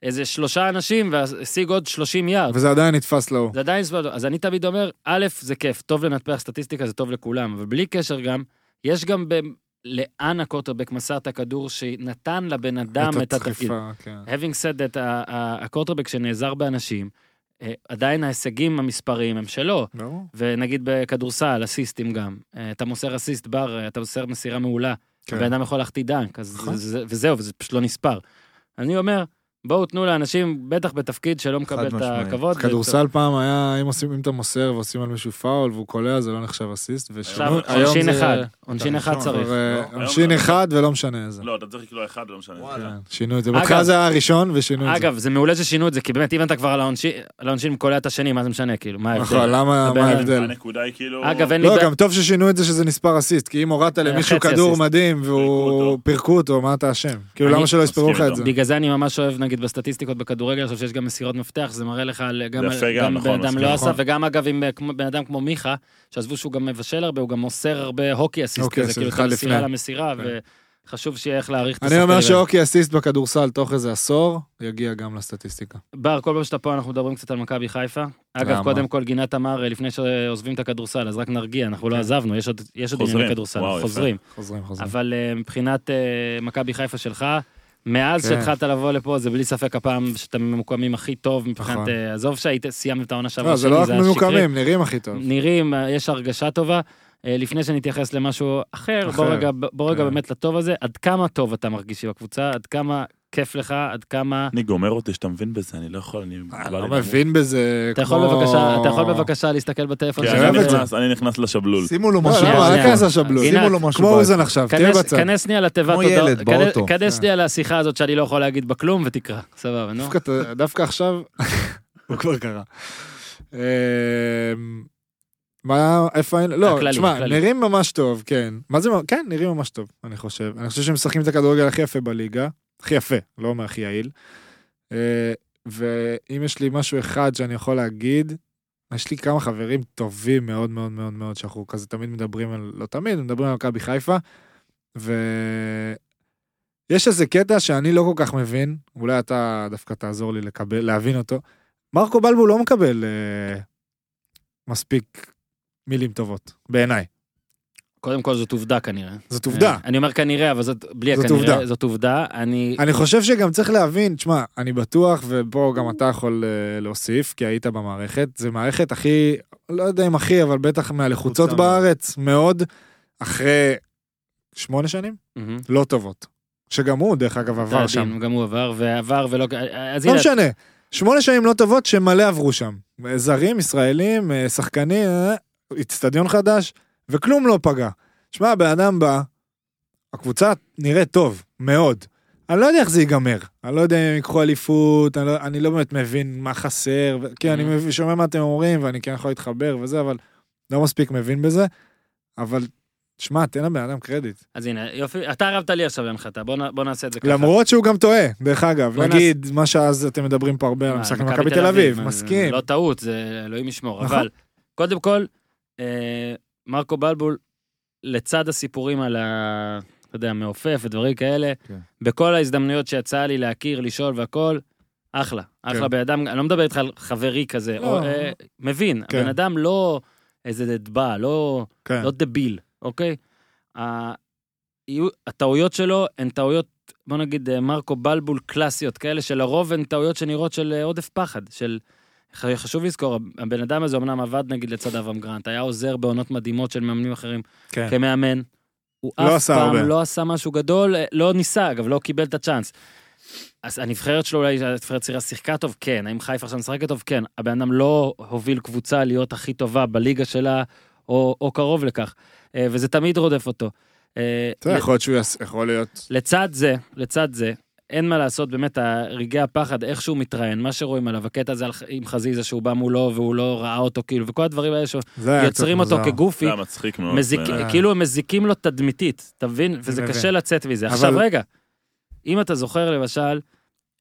S2: איזה שלושה אנשים והשיג עוד 30 יארד.
S4: וזה עדיין נתפס להוא.
S2: זה עדיין סבבה. אז אני תמיד אומר, א', זה כיף, טוב לנתח סטטיסטיקה, זה טוב לכולם, אבל בלי קשר גם, יש גם ב... לאן הקורטרבק מסר את הכדור שנתן לבן אדם את התפקיד. אה?
S4: הדחיפה, כן.
S2: Having said that, ה- ה- הקורטרבק שנעזר באנשים, אה, עדיין ההישגים המספריים הם שלו.
S4: ברור.
S2: ונגיד בכדורסל, אסיסטים גם. אה, אתה מוסר אסיסט בר, אה, אתה מוסר מסירה מעולה.
S4: כן.
S2: הבן אדם יכול להחטיא דנק, אז
S4: נכון.
S2: זה- זה- וזהו, וזה פשוט לא נספר. אני אומר, בואו תנו לאנשים, בטח בתפקיד שלא מקבל את
S1: משמעית.
S2: הכבוד.
S4: כדורסל פעם היה, אם עושים, אם אתה מוסר ועושים על מישהו פאול והוא קולע, זה לא נחשב אסיסט.
S2: עכשיו,
S4: ושוב, היום
S2: עונשין
S4: זה-
S2: אחד, עונשין
S1: אתה
S2: אחד
S1: ראשון,
S2: צריך.
S4: אה,
S3: לא,
S4: עונשין
S3: היום-
S4: אחד ולא משנה איזה.
S3: לא, אתה צריך לקלוע אחד, לא משנה.
S1: וואלה.
S4: כן, שינו את זה.
S2: אגב-
S4: בהתחלה זה היה הראשון ושינו את זה.
S2: אגב, זה מעולה ששינו את זה, כי באמת, אם אתה כבר על העונשין- על העונשין קולע את השני, מה זה משנה, כאילו, מה
S4: נכון,
S2: ההבדל?
S4: למה,
S2: הבן
S4: מה
S2: אדם-
S4: ההבדל?
S3: כן. הנקודה היא כאילו...
S2: אגב, אין לי
S4: לא,
S2: בעיה-
S4: גם טוב ששינו את זה שזה נספר אסיסט, כי אם הורדת למישהו
S2: חצי
S4: כדור
S2: אסיסט.
S4: מדהים והוא
S3: אותו.
S4: פירקו אותו, מה אתה אשם? כאילו,
S2: אני-
S4: למה שלא יספרו לך
S3: מסכים
S4: את זה?
S2: בגלל זה אני ממש אוהב, נגיד, בסטטיסטיקות בכדורגל, עכשיו שיש גם מסירות מפתח, זה מראה לך על- גם
S3: זה
S2: על-
S3: יפה גם,
S2: גם
S3: נכון,
S2: בן אדם
S3: מסכים,
S2: לא
S4: נכון.
S2: עשה, וגם אגב, עם אה, כמו- בן אדם כמו מיכה, שעזבו שהוא גם מבשל הרבה, הוא גם מוסר הרבה הוקי אסיסט
S4: הוקי
S2: כזה,
S4: אסיסט,
S2: כאילו, את
S4: אוקיי, אחד
S2: המסירה
S4: לפני.
S2: למסירה,
S4: כן.
S2: וחשוב שיהיה איך להעריך את
S4: אני אומר
S2: השחקנים האלה.
S4: שאוקי אסיסט בכדורסל תוך איזה עשור, יגיע גם לסטטיסטיקה.
S2: בר, כל פעם שאתה פה אנחנו מדברים קצת על מכבי חיפה. אגב,
S4: למה?
S2: קודם כל גינת אמר, אה, לפני שעוזבים את הכדורסל, אז רק נרגיע, אנחנו לא
S4: כן.
S2: עזבנו, יש עוד- יש עוד
S3: חוזרים.
S2: ענייני כדורסל,
S3: וואו, יפה.
S2: חוזרים.
S4: חוזרים, חוזרים.
S2: אבל אה, מבחינת אה, מכבי חיפה שלך, מאז
S4: כן.
S2: שהתחלת לבוא לפה, זה בלי ספק הפעם שאתם ממוקמים הכי טוב מבחינת...
S4: נכון.
S2: אה, עזוב שהיית- סיימנו את העונה שעברה
S4: לא, זה
S2: שלי,
S4: לא רק
S2: היה שקרי.
S4: ממוקמים, נראים הכי טוב.
S2: נראים, אה, יש הרגשה טובה. אה, לפני שנתייחס למשהו אחר, בוא
S4: אחר,
S2: רגע- בוא רגע
S4: כן.
S2: באמת לטוב הזה, עד כמה טוב אתה מרגיש עם הקבוצה, עד כמה כיף לך, עד כמה...
S3: אני גומר אותי שאתה מבין בזה, אני לא יכול, אני...
S4: אני
S3: בא לי
S4: לא
S3: למות.
S4: מבין בזה
S2: אתה יכול
S4: כמו-
S2: בבקשה, אתה יכול בבקשה להסתכל בטלפון
S3: כן,
S4: אני אוהב
S3: אני
S4: את זה.
S3: נכנס- אני נכנס לשבלול.
S1: שימו לו
S4: לא,
S1: משהו.
S2: שנייה,
S4: למה?
S1: באוזן.
S4: אל
S2: שנייה.
S4: תיכנס לשבלול.
S2: הנה,
S1: שימו לו משהו.
S4: כמו
S1: באוזן.
S4: אוזן עכשיו, תהיה
S2: כנס-
S4: בצד.
S2: כנס שנייה לתיבת
S1: כמו
S2: הודעות,
S1: ילד
S2: כנס-
S1: באוטו.
S2: כנס
S4: כן.
S2: שנייה לשיחה הזאת שאני לא יכול להגיד בה כלום ותקרא, סבבה, נו.
S4: דווקא אתה- דווקא עכשיו, הוא כבר קרה. אמ, מה, איפה היינו? לא,
S2: הכללי,
S4: תשמע,
S2: הכללי.
S4: נראים ממש טוב, כן. מה זה, מ- כן, נראים ממש טוב, אני חושב. אני חושב שהם משחקים את הכדורגל הכי יפה בליגה. הכי יפה, לא אומר הכי יעיל. אה, ואם יש לי משהו אחד שאני יכול להגיד, יש לי כמה חברים טובים מאוד מאוד מאוד מאוד, שאנחנו כזה תמיד מדברים על, לא תמיד, מדברים על מכבי חיפה, ויש איזה קטע שאני לא כל כך מבין, אולי אתה דווקא תעזור לי לקבל, להבין אותו. מרקו בלבו לא מקבל אה, מספיק מילים טובות, בעיניי.
S2: קודם כל זאת עובדה כנראה.
S4: זאת עובדה.
S2: אה, אני אומר כנראה, אבל זאת בלי
S4: זאת
S2: הכנראה,
S4: עובדה.
S2: זאת עובדה. אני...
S4: אני חושב שגם צריך להבין, תשמע, אני בטוח, ופה גם אתה יכול אה, להוסיף, כי היית במערכת, זו מערכת הכי, לא יודע אם הכי, אבל בטח מהלחוצות לחוצה מאוד. בארץ, מאוד, אחרי שמונה שנים?
S2: מהמם.
S4: לא טובות. שגם הוא, דרך אגב, עבר
S2: טעדין,
S4: שם.
S2: גם הוא עבר, ועבר ולא... אז
S4: לא
S2: הנה,
S4: משנה, שמונה שנים לא טובות שמלא עברו שם. אה, זרים, ישראלים, אה, שחקנים, אה, אצטדיון חדש, וכלום לא פגע. שמע, הבן אדם בא, הקבוצה נראית טוב, מאוד. אני לא יודע איך זה ייגמר, אני לא יודע אם הם ייקחו אליפות, אני לא, אני לא באמת מבין מה חסר, ו- כן, אני
S2: Mhm.
S4: מבין- שומע מה אתם אומרים ואני כן יכול להתחבר וזה, אבל לא מספיק מבין בזה, אבל שמע, תן לבן אדם קרדיט.
S2: אז הנה, יופי, אתה הרמת לי עכשיו להנחתה, בוא נ- בוא נעשה את זה ככה.
S4: למרות שהוא גם טועה, דרך אגב,
S2: בוא אה,
S4: נגיד, מה שאז אתם מדברים פה הרבה על
S2: מה,
S4: המשחק עם מכבי תל אביב,
S2: מה, זה
S4: מסכים.
S2: לא טעות, זה אלוהים ישמור.
S4: נכון.
S2: אבל, קודם כל, אה, מרקו בלבול, לצד הסיפורים על ה... אתה יודע, מעופף ודברים כאלה,
S1: כן.
S2: בכל ההזדמנויות שיצא לי להכיר, לשאול והכל, אחלה. אחלה
S4: כן.
S2: בן אדם, אני לא מדבר איתך על חברי כזה,
S4: לא.
S2: או, אה, מבין,
S4: כן.
S2: הבן אדם לא איזה דבע, לא...
S4: כן.
S2: לא דביל, אוקיי? ה- יהיו- הטעויות שלו הן טעויות, בוא נגיד, אה, מרקו בלבול קלאסיות כאלה, שלרוב הן טעויות שנראות של אה, עודף פחד, של... ח- חשוב לזכור, הבן אדם הזה אמנם עבד נגיד לצד אברהם גרנט, היה עוזר בעונות מדהימות של מאמנים אחרים
S4: כן.
S2: כמאמן. הוא
S4: לא
S2: אף
S4: עשה
S2: פעם
S4: הרבה.
S2: לא עשה משהו גדול, אה, לא ניסה, אגב, לא קיבל את הצ'אנס. אז הנבחרת שלו אולי, הנבחרת צעירה שיחקה טוב, כן. האם חיפה עכשיו משחקת טוב? כן. הבן אדם לא הוביל קבוצה להיות הכי טובה בליגה שלה, או, או קרוב לכך, אה, וזה תמיד רודף אותו. אה,
S4: אתה יודע, יכול להיות שהוא יעשה, יכול להיות.
S2: לצד זה, לצד זה, אין מה לעשות, באמת, רגעי הפחד, איך שהוא מתראיין, מה שרואים עליו, הקטע הזה על- עם חזיזה שהוא בא מולו והוא לא ראה אותו, כאילו, וכל הדברים האלה
S4: זה היה
S2: שיוצרים
S4: קצת
S2: אותו
S4: אה, מוזר.
S2: כגופי,
S3: זה היה מצחיק מאוד.
S2: מזיק,
S3: בעיניי.
S2: כאילו הם מזיקים לו תדמיתית, אתה מבין? וזה
S4: מבין.
S2: קשה לצאת מזה.
S4: אבל-
S2: עכשיו רגע, אם אתה זוכר למשל,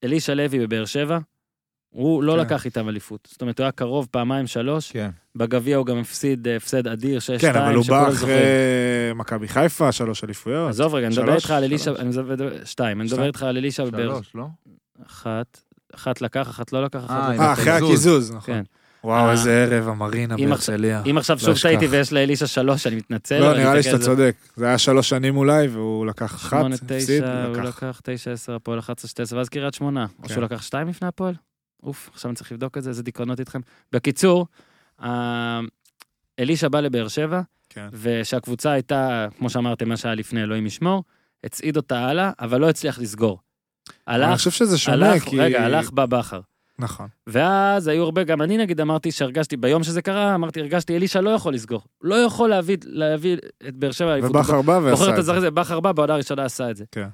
S2: אלישע לוי בבאר שבע, הוא לא
S4: כן.
S2: לקח איתם אליפות. זאת אומרת, הוא היה קרוב פעמיים שלוש,
S1: כן.
S2: בגביע הוא גם הפסיד אה, הפסד אדיר, 6-2,
S4: כן, אבל הוא בא
S2: שכולם
S4: אחרי
S2: זוכרים.
S4: מכבי חיפה, שלוש אליפויות.
S2: עזוב רגע, אני מדבר
S4: שלוש?
S2: איתך על אלישע,
S4: שלוש.
S2: אני מדבר, שתיים, אני מדבר
S4: שתיים?
S2: איתך על אלישע בבאר
S1: שלוש, לא?
S2: אחת, אחת לקח, אחת לא לקח, אחת
S1: אה,
S2: לא לקח.
S4: אה, אחרי
S1: הקיזוז.
S4: הקיזוז, נכון.
S2: כן.
S4: וואו,
S2: אה.
S4: איזה ערב, המרינה
S2: אם
S4: בהרצליה.
S2: אם עכשיו
S4: לא
S2: שוב
S4: אשכח.
S2: טעיתי ויש לאלישע שלוש, אני מתנצל.
S4: לא,
S2: אני
S4: נראה לי
S2: אתקן
S4: שאתה
S2: את זה.
S4: צודק. זה היה שלוש שנים אולי, והוא לקח אחת,
S2: שמונה,
S4: הפסיד,
S2: תשע, הוא
S4: לקח.
S2: לקח תשע, עשר, הפועל 11, 12, ואז קריית שמונה. או
S4: כן.
S2: שהוא לקח שתיים לפני הפועל? אוף, עכשיו אני צריך לבדוק את זה, איזה דיכאונות איתכם. בקיצור, אה, אלישע בא לבאר שבע,
S4: כן.
S2: ושהקבוצה הייתה, כמו שאמרתם, מה שהיה לפני, אלוהים ישמור, הצעיד אותה הלאה, אבל לא הצליח לסגור.
S4: אני
S2: הלך,
S4: חושב שזה שונה,
S2: הלך,
S4: כי...
S2: רגע, הלך בא בכר.
S4: נכון.
S2: ואז היו הרבה, גם אני נגיד אמרתי שהרגשתי, ביום שזה קרה, אמרתי, הרגשתי, אלישע לא יכול לסגור. לא יכול להביא, להביא את באר שבע לאליפות.
S4: ובכר בא
S2: הוא בוחר
S4: ועשה
S2: את
S4: את זה.
S2: הזר הזה, בכר בא, בעונה הראשונה עשה את זה.
S4: כן.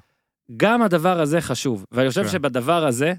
S2: גם הדבר הזה חשוב, ואני חושב
S4: כן.
S2: שבדבר הזה,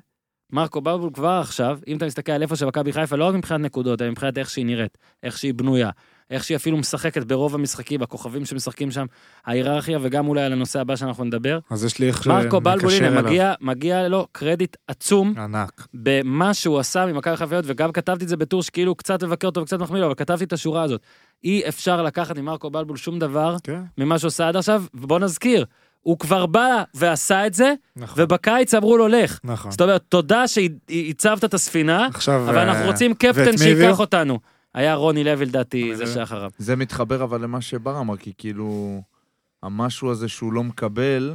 S2: מרקו בבול כבר עכשיו, אם אתה מסתכל על איפה שמכבי חיפה, לא רק מבחינת נקודות, אלא מבחינת איך שהיא נראית, איך שהיא בנויה, איך שהיא אפילו משחקת ברוב המשחקים, הכוכבים שמשחקים שם, ההיררכיה, וגם אולי על הנושא הבא שאנחנו נדבר.
S4: אז יש לי איך
S2: מרקו בלבול,
S4: שנקשר
S2: הנה,
S4: כן, אליו.
S2: מגיע, מגיע לו קרדיט עצום
S4: ענק.
S2: במה שהוא עשה ממכבי חיפה, היות, וגם כתבתי את זה בטור שכאילו קצת מבקר אותו וקצת מחמיא לו, אבל כתבתי את השורה הזאת. אי אפשר לקחת ממרקו בלבול שום דבר
S4: כן,
S2: ממה שהוא עשה עד עכשיו, ובוא נזכיר, הוא כבר בא ועשה את זה,
S4: נכון.
S2: ובקיץ אמרו לו לך.
S4: נכון.
S2: זאת אומרת, תודה שהצבת את הספינה,
S4: עכשיו...
S2: אבל אנחנו
S4: אה,
S2: רוצים
S4: ואת
S2: קפטן
S4: מי הביאו? אה,
S2: שייקח אותנו. היה רוני לוי לדעתי,
S4: רוני
S2: זה
S4: לוי.
S2: שאחריו.
S1: זה מתחבר אבל למה שבר אמר, כי כאילו, המשהו הזה שהוא לא מקבל,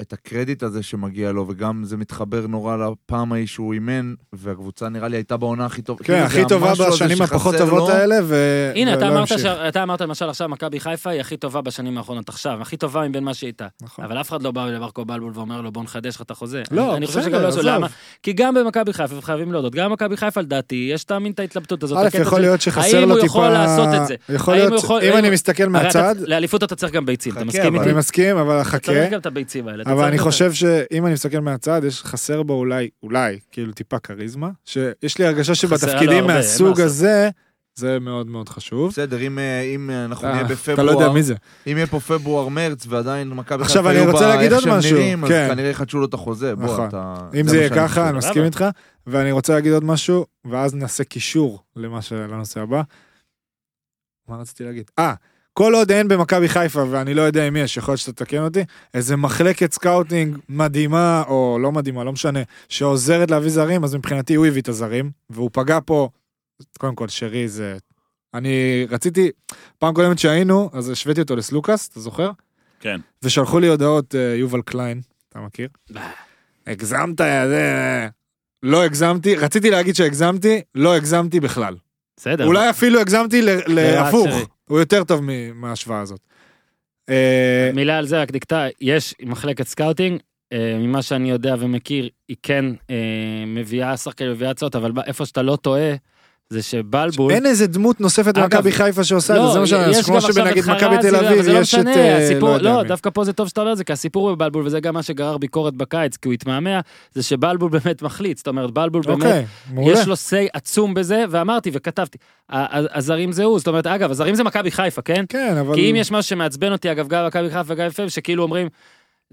S1: את הקרדיט הזה שמגיע לו, וגם זה מתחבר נורא לפעם ההיא שהוא אימן, והקבוצה נראה לי הייתה בעונה הכי טובה.
S4: כן,
S1: כאילו,
S4: הכי
S1: זה
S2: לא
S4: טובה
S1: המשהו הזה
S4: בשנים
S1: שחסר
S4: הפחות
S1: לו.
S4: טובות האלה, ו...
S2: הנה, אתה
S4: ולא
S2: אמרת, ש...
S4: לא, המשיך.
S2: אתה אמרת למשל עכשיו, מכבי חיפה היא הכי טובה בשנים האחרונות עכשיו, הכי טובה מבין מה שהיא הייתה.
S4: נכון.
S2: אבל אף אחד לא בא למרקו בלבול ואומר לו, בוא נחדש לך את החוזה.
S4: לא,
S2: אני, אני חושב
S4: בסדר,
S2: שגם לא עשו,
S4: עזוב.
S2: למה? כי גם במכבי חיפה, וחייבים להודות, גם במכבי חיפה לדעתי, יש תמיד את ההתלבטות הזאת.
S4: א',
S2: הקטע
S4: יכול
S2: של-
S4: להיות שחסר
S2: האם
S4: לו
S2: הוא
S4: טיפה...
S2: יכול לעשות את זה?
S4: יכול
S2: האם הוא
S4: להיות,
S2: יכול-
S4: אם
S2: האם-
S4: אני מסתכל
S2: הרי אתה-
S4: מהצד,
S2: לאליפות אתה צריך גם ביצים, אתה
S1: חכה,
S2: מסכים
S1: אבל
S2: איתי?
S4: אני מסכים, אבל
S2: אתה צריך
S4: חכה.
S2: גם את הביצים האלה. אתה
S4: אבל
S2: צריך
S4: אני
S2: גם את-
S4: חושב שאם אני מסתכל מהצד, יש חסר בו אולי, אולי, כאילו טיפה כריזמה, שיש לי הרגשה
S2: חסר לו
S4: שבתפקידים
S2: הרבה, אין מה
S4: מהסוג
S2: לעשות.
S4: הזה, זה מאוד מאוד חשוב.
S1: בסדר, אם, אה, אם אה, אנחנו נהיה
S4: אתה
S1: בפברואר,
S4: אתה לא יודע מי זה.
S1: אם יהיה פה פברואר-מרץ, ועדיין מכבי
S4: עכשיו,
S1: חיפה
S4: אני
S1: יהיו
S4: רוצה
S1: בה
S4: להגיד
S1: איך
S4: עוד
S1: שהם
S4: משהו,
S1: נראים, אז
S4: כן.
S1: כנראה יחדשו לו את החוזה. בוא,
S4: נכון.
S1: אתה...
S4: אם
S1: זה
S4: זה
S1: מה שאני
S4: יהיה
S1: חושב.
S4: ככה, אני מסכים
S2: סבבה.
S4: איתך, ואני רוצה להגיד עוד משהו, ואז נעשה קישור למה ש... לנושא הבא. מה רציתי להגיד? אה, כל עוד אין במכבי חיפה, ואני לא יודע אם יש, יכול להיות שתתקן אותי, איזה מחלקת סקאוטינג מדהימה, או לא מדהימה, לא משנה, שעוזרת להביא זרים, אז מבחינתי הוא הביא את הזרים, והוא פגע פה, קודם כל, שרי זה... אני רציתי, פעם קודמת שהיינו, אז השוויתי אותו לסלוקאס, אתה זוכר?
S3: כן.
S4: ושלחו לי הודעות אה, יובל קליין, אתה מכיר?
S2: אה.
S4: הגזמת, אה, זה... לא הגזמתי, רציתי להגיד שהגזמתי, לא הגזמתי בכלל.
S2: בסדר.
S4: אולי אפילו הגזמתי ל- להפוך,
S2: שרי.
S4: הוא יותר טוב מ- מההשוואה הזאת. אה,
S2: מילה על זה רק נקטע, יש מחלקת סקאוטינג, אה, ממה שאני יודע ומכיר, היא כן אה, מביאה שחקנים מביאה הצעות, אבל ב- איפה שאתה לא טועה, זה שבלבול...
S4: אין איזה דמות נוספת
S2: אגב, לא,
S4: במכבי חיפה שעושה את זה, זה מה
S2: יש
S4: שאני, זה
S2: גם
S4: כמו
S2: עכשיו
S4: שבנגיד
S2: את
S4: מכבי
S2: חרזי,
S4: תל
S2: אבל
S4: אביב,
S2: זה לא
S4: יש את,
S2: משנה,
S4: אה,
S2: הסיפור-
S4: יודע
S2: לא,
S4: מי.
S2: דווקא פה זה טוב שאתה אומר את זה, כי הסיפור הוא בבלבול, וזה גם מה שגרר ביקורת בקיץ, כי הוא התמהמה, זה שבלבול באמת מחליט, זאת אומרת, בלבול באמת
S4: אוקיי, מעולה.
S2: יש לו סיי עצום בזה, ואמרתי וכתבתי, ה- ה- הזרים זה הוא, זאת אומרת, אגב, הזרים זה מכבי חיפה, כן?
S4: כן, אבל...
S2: כי אם יש משהו שמעצבן אותי, אגב, גם מכבי חיפה וגם יפה, שכאילו אומרים,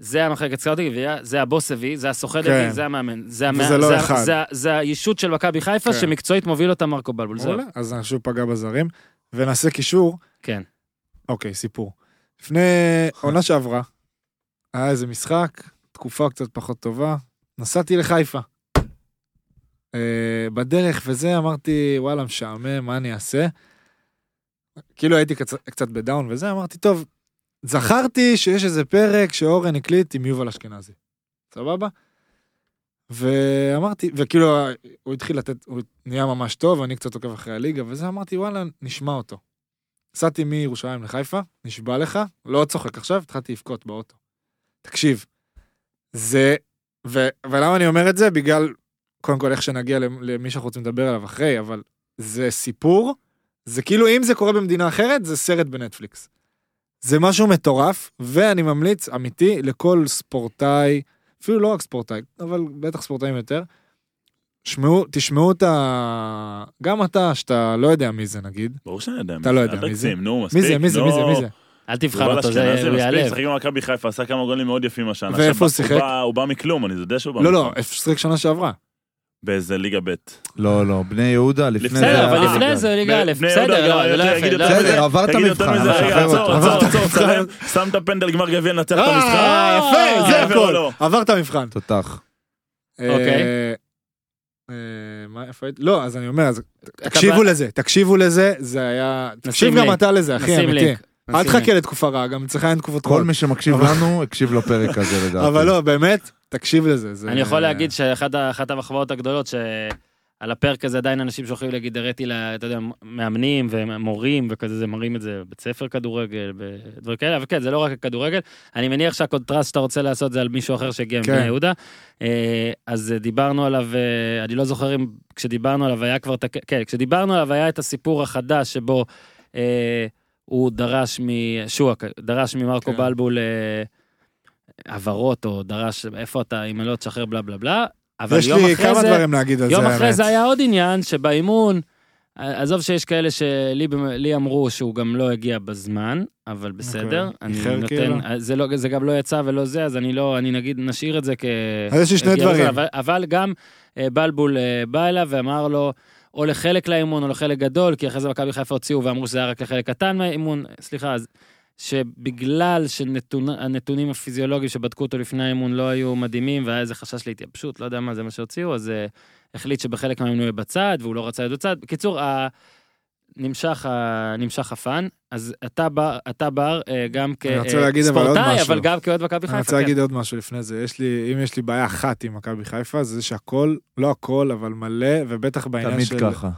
S2: זה המחלקת סקאוטינג, ויה- זה הבוס הביא, זה הסוחד
S4: כן.
S2: הביא, זה המאמן, זה המא-
S4: וזה לא
S2: זה-
S4: אחד.
S2: זה- זה הישות של מכבי חיפה,
S4: כן.
S2: שמקצועית מוביל אותה מרקו בלבול, זהו.
S4: מעולה, אז אני שוב פגע בזרים, ונעשה קישור.
S2: כן.
S4: אוקיי, סיפור. לפני עונה שעברה, היה איזה משחק, תקופה קצת פחות טובה, נסעתי לחיפה. אה, בדרך וזה, אמרתי, וואלה, משעמם, מה אני אעשה? כאילו הייתי קצ... קצת בדאון וזה, אמרתי, טוב, זכרתי שיש איזה פרק שאורן הקליט עם יובל אשכנזי. סבבה? ואמרתי, וכאילו, הוא התחיל לתת, הוא נהיה ממש טוב, אני קצת עוקב אחרי הליגה וזה, אמרתי, וואלה, נשמע אותו. נסעתי מירושלים לחיפה, נשבע לך, לא צוחק עכשיו, התחלתי לבכות באוטו. תקשיב, זה... ו, ולמה אני אומר את זה? בגלל, קודם כל, איך שנגיע למ- למי שאנחנו רוצים לדבר עליו אחרי, אבל זה סיפור, זה כאילו אם זה קורה במדינה אחרת, זה סרט בנטפליקס. זה משהו מטורף, ואני ממליץ, אמיתי, לכל ספורטאי, אפילו לא רק ספורטאי, אבל בטח ספורטאים יותר, שמעו, תשמעו את ה... גם אתה, שאתה לא יודע מי זה נגיד,
S3: ברור שאני יודע.
S4: אתה לא יודע
S3: אל
S4: מי זה.
S3: תגזים, נו,
S4: מי
S3: מספיק.
S4: זה, מי זה, מי זה, מי זה?
S2: אל תבחן אותו, זה הוא
S3: לא מספיק,
S2: יעלב.
S3: שחק במכבי חיפה, עשה כמה גולים מאוד יפים השנה.
S4: ואיפה
S3: עכשיו,
S4: הוא שיחק?
S3: בא- הוא בא מכלום, אני יודע שהוא בא
S4: לא,
S3: מכלום.
S4: לא, הפסיק שנה שעברה.
S3: באיזה ליגה ב'.
S1: לא, לא, בני יהודה, לפני
S3: בסדר,
S2: בסדר,
S1: זה-
S2: אבל
S3: אה,
S2: לפני זה ליגה א',
S3: בני יהודה
S2: בסדר,
S3: גם
S2: לא, זה לא
S3: יותר
S2: יפה.
S3: יגיד
S2: לא,
S3: יותר
S1: בסדר,
S3: מזה.
S1: עברת
S3: תגיד יותר
S1: מבחן,
S3: מזה,
S1: אבל
S3: רגע,
S1: שחרר
S3: עצור,
S1: אותו.
S4: עברת
S3: עצור, עצור,
S4: מבחן.
S3: צלם, שם את הפנדל, גמר גביע, נצח את המשחק.
S4: אה, יפה, זה
S3: גבר או
S4: הכל.
S3: לא?
S4: עברת מבחן.
S1: תותח.
S2: אוקיי.
S4: אה, אה, מה, איפה הייתי? לא, אז אני אומר, אז תקשיבו לזה, תקשיבו לזה, זה היה... תקשיב גם
S2: לינק.
S4: אתה לזה, אחי,
S2: נשים
S4: אמיתי.
S2: לינק.
S4: אל
S2: נשים
S4: תחכה לתקופה רעה, גם אצלך אין תקופות
S1: כל
S4: רעות.
S1: מי שמקשיב
S4: אבל-
S1: לנו, הקשיב לפרק הזה לדעתי.
S4: אבל לא, באמת, תקשיב לזה. זה-
S2: אני יכול להגיד שאחת ה- אחת המחמאות הגדולות שעל הפרק הזה עדיין אנשים שולחים להגיד, הראתי לה, אתה יודע, מאמנים ומורים וכזה, זה מראים את זה בבית ספר כדורגל, בדברים כאלה, אבל כן, זה לא רק הכדורגל. אני מניח שהקונטרסט שאתה רוצה לעשות זה על מישהו אחר שהגיע
S4: כן.
S2: מבני יהודה. אה, אז אה, דיברנו עליו, אה, אני לא זוכר אם כשדיברנו עליו היה כבר, את הק- כן, כשדיברנו עליו היה את הסיפור החדש שבו אה, הוא דרש משועק, דרש ממרקו
S4: כן.
S2: בלבול אה, הבהרות, או דרש, איפה אתה, אם אני לא תשחרר בלה בלה בלה. אבל
S4: יש
S2: יום
S4: לי
S2: אחרי
S4: כמה
S2: זה,
S4: דברים להגיד על זה,
S2: יום אחרי
S4: האמת.
S2: זה היה עוד עניין שבאימון, אה, עזוב שיש כאלה שלי במ- לי אמרו שהוא גם לא הגיע בזמן, אבל בסדר. אני
S4: איחר
S2: נותן,
S4: כאילו?
S2: אה, זה לא- זה גם לא יצא ולא זה, אז אני לא, אני נגיד, נשאיר את זה כ...
S4: אז יש לי שני
S2: הגיע
S4: דברים.
S2: בזמן, אבל- אבל גם אה, בלבול אה, בא אליו ואמר לו, או לחלק לאימון או לחלק גדול, כי אחרי זה מכבי חיפה הוציאו ואמרו שזה היה רק לחלק קטן מהאימון, סליחה, אז שבגלל שהנתונים הפיזיולוגיים שבדקו אותו לפני האימון לא היו מדהימים, והיה איזה חשש להתייבשות, לא יודע מה, זה מה שהוציאו, אז אה, החליט שבחלק מהאימון הוא יהיה בצד, והוא לא רצה להיות בצד. בקיצור, ה... נמשך, ה... נמשך הפאן, אז אתה בר, אתה בר אה, גם
S4: אני רוצה להגיד אבל עוד
S2: כספורטאי,
S4: משהו.
S2: אבל גם כאוהד מכבי חיפה.
S4: אני רוצה
S2: כן.
S4: להגיד עוד משהו לפני זה. יש לי, אם יש לי בעיה אחת עם מכבי חיפה, זה שהכל, לא הכל, אבל מלא, ובטח בעניין
S1: תמיד
S4: של...
S1: ככה,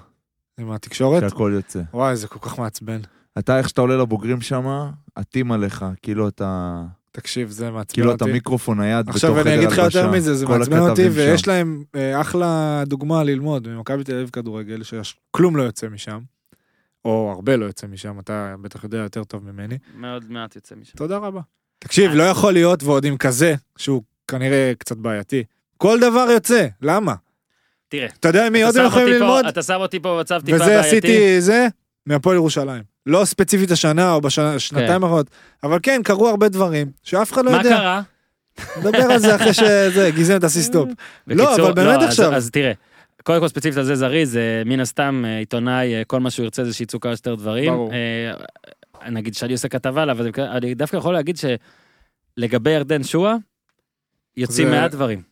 S4: עם התקשורת?
S1: שהכל יוצא.
S4: וואי, זה כל כך מעצבן.
S1: אתה, איך שאתה עולה לבוגרים שם, עטים עליך, כאילו אתה...
S4: תקשיב, זה מעצבן
S1: כאילו אתה
S4: אותי.
S1: מיקרופון נייד בתוך חדר
S4: לא,
S1: הלבשה.
S4: אוקיי. עכשיו אני אגיד לך יותר מזה, זה
S1: כל
S4: מעצבן אותי,
S1: הכתבים
S4: ויש
S1: שם.
S4: להם אה, אחלה דוגמה ללמוד ממכבי תל אביב כדורגל, שכלום לא יוצא משם, או הרבה לא יוצא משם, אתה בטח יודע יותר טוב ממני.
S2: מאוד מעט יוצא משם.
S4: תודה רבה. תקשיב,
S2: אה.
S4: לא יכול להיות, ועוד עם כזה, שהוא כנראה קצת בעייתי. כל דבר יוצא, למה?
S2: תראה,
S4: אתה יודע מי עוד
S2: אתה
S4: הם
S2: שם
S4: יכולים
S2: אותי פה-
S4: ללמוד?
S2: אתה שם אותי פה במצב טיפה בעייתי.
S4: וזה עשיתי זה מהפועל ירושלים. לא ספציפית השנה או בשנתיים האחרונות, אבל כן, קרו הרבה דברים שאף אחד לא
S2: מה
S4: יודע.
S2: קרה?
S4: נדבר על זה אחרי שזה, גזען, תעשי סטופ. לא,
S2: בקיצור,
S4: אבל באמת
S2: אז-
S4: עכשיו.
S2: אז תראה, קודם כל ספציפית על זה זריז, אה, מן הסתם אה, עיתונאי, אה, כל מה שהוא ירצה זה שיצאו כמה שיותר דברים.
S4: ברור.
S2: אה, נגיד שאני עושה כתבה עליו, אז אני- אני דווקא יכול להגיד שלגבי ירדן שואה, יוצאים
S4: זה-
S2: מעט דברים.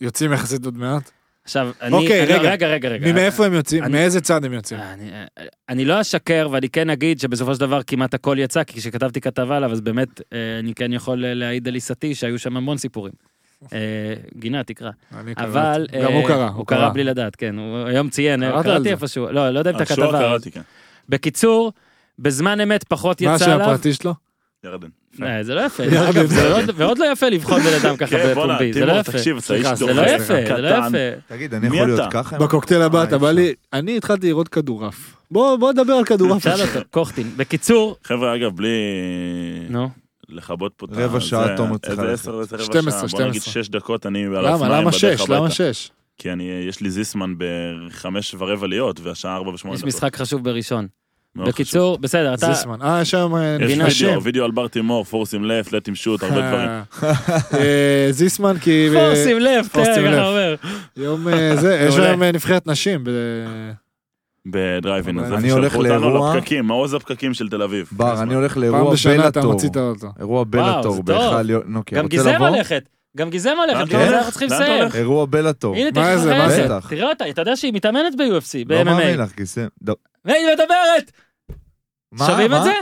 S4: יוצאים יחסית עוד מעט.
S2: עכשיו, אני...
S4: אוקיי,
S2: אני- לא-
S4: רגע.
S2: רגע, רגע, רגע.
S4: מאיפה הם יוצאים?
S2: אני-
S4: מאיזה צד הם יוצאים?
S2: אני, אני לא אשקר, ואני כן אגיד שבסופו של דבר כמעט הכל יצא, כי כשכתבתי כתבה עליו, אז באמת, אה, אני כן יכול אה, להעיד על עיסתי שהיו שם המון סיפורים. אה, גינה, תקרא.
S4: אני לא קראתי.
S2: אבל...
S4: גם
S2: אה,
S4: הוא קרא,
S2: הוא קרא בלי לדעת, כן. הוא היום ציין, אה,
S4: קראת על
S2: קראתי
S4: זה?
S2: איפשהו, לא, לא יודע אם את
S3: על שור
S2: הכתבה.
S3: קראתי, כן.
S2: בקיצור, בזמן אמת פחות
S4: מה
S2: יצא
S4: השם
S2: עליו.
S4: הפרטי שלו?
S3: ירדן. יפה.
S2: אה, זה לא יפה,
S4: ירדן.
S2: אגב, זה לא- ועוד לא יפה לבחון בן אדם ככה
S3: כן, בואנה,
S2: בפומבי, זה לא
S3: תימור,
S2: יפה.
S3: תקשיב, אתה איש
S2: סליחה, זה
S3: דוחה,
S2: לא יפה, זה לא
S3: קטן.
S2: יפה.
S1: תגיד, אני
S3: מי
S1: יכול להיות
S3: אתה?
S1: ככה? עם-
S4: בקוקטייל הבא
S1: אה,
S4: אתה בא
S1: אפשר.
S4: לי, אני התחלתי לראות כדורעף. בוא בוא נדבר על כדורעף.
S2: שאל אותו, קוכטין. בקיצור,
S3: חבר'ה, אגב, בלי
S2: נו,
S3: לכבות פה את ה...
S1: רבע שעה
S3: זה-
S1: תומר צריכה
S3: איזה
S1: ללכת.
S3: עשר, איזה רבע
S4: 12,
S3: שעה. בוא נגיד
S4: 12.
S3: שש דקות, אני על
S2: לא
S4: למה?
S3: האופניים
S4: למה
S3: בדרך
S4: שש? למה
S3: הביתה.
S4: שש?
S3: כי אני, יש לי זיסמן בחמש ורבע להיות, והשעה ארבע ושמונה
S2: יש
S3: דקות.
S2: משחק חשוב בראשון.
S3: מאוד חשוב.
S2: בקיצור, בסדר, אתה...
S4: זיסמן. אה, יש שם אה,
S3: יש
S2: גינה
S3: וידאו,
S4: נשים.
S3: וידאו על בר תימור, פורסים לפט, לטים שוט,
S2: אה.
S3: הרבה דברים.
S4: אה, זיסמן כי... אה,
S2: פה, שים לב, תראה,
S4: שים לב.
S2: ככה אומר.
S4: יום אה, זה, יש
S2: מעולה.
S4: להם אה, נבחרת נשים. ב-
S3: בדרייבין, אז
S1: אני
S3: איפה
S1: הולך
S3: שלחו אותנו
S1: לאירוע-
S3: לפקקים, מעוז הפקקים של תל אביב.
S1: בר, אני הולך
S4: פעם
S1: לאירוע
S4: בשנה אתה
S1: בלאטור.
S4: מוציא את האוטו.
S1: אירוע
S2: זה
S1: בלאטור
S2: טוב.
S1: בהיכל... יו- נו, כי
S2: גם
S1: רוצה
S2: גיזם
S1: לבוא?
S2: הולכת, גם גיזם הולכת, לא,
S3: לאן
S2: גם
S1: אתה
S2: זה
S1: הולך?
S2: אנחנו צריכים
S3: לאן אתה
S2: לסיים.
S3: הולך?
S1: אירוע בלאטור. לא
S2: הנה,
S4: מה
S2: תכף
S4: זה,
S2: אחרי
S4: מה
S2: זה.
S1: בטח.
S2: תראה אותה, אתה יודע שהיא מתאמנת ב-UFC,
S1: לא מאמין
S2: ב-MMA.
S1: לך, גיסם. ד-
S2: והיא מדברת,
S1: מה?
S2: שומעים
S1: מה?
S2: את זה?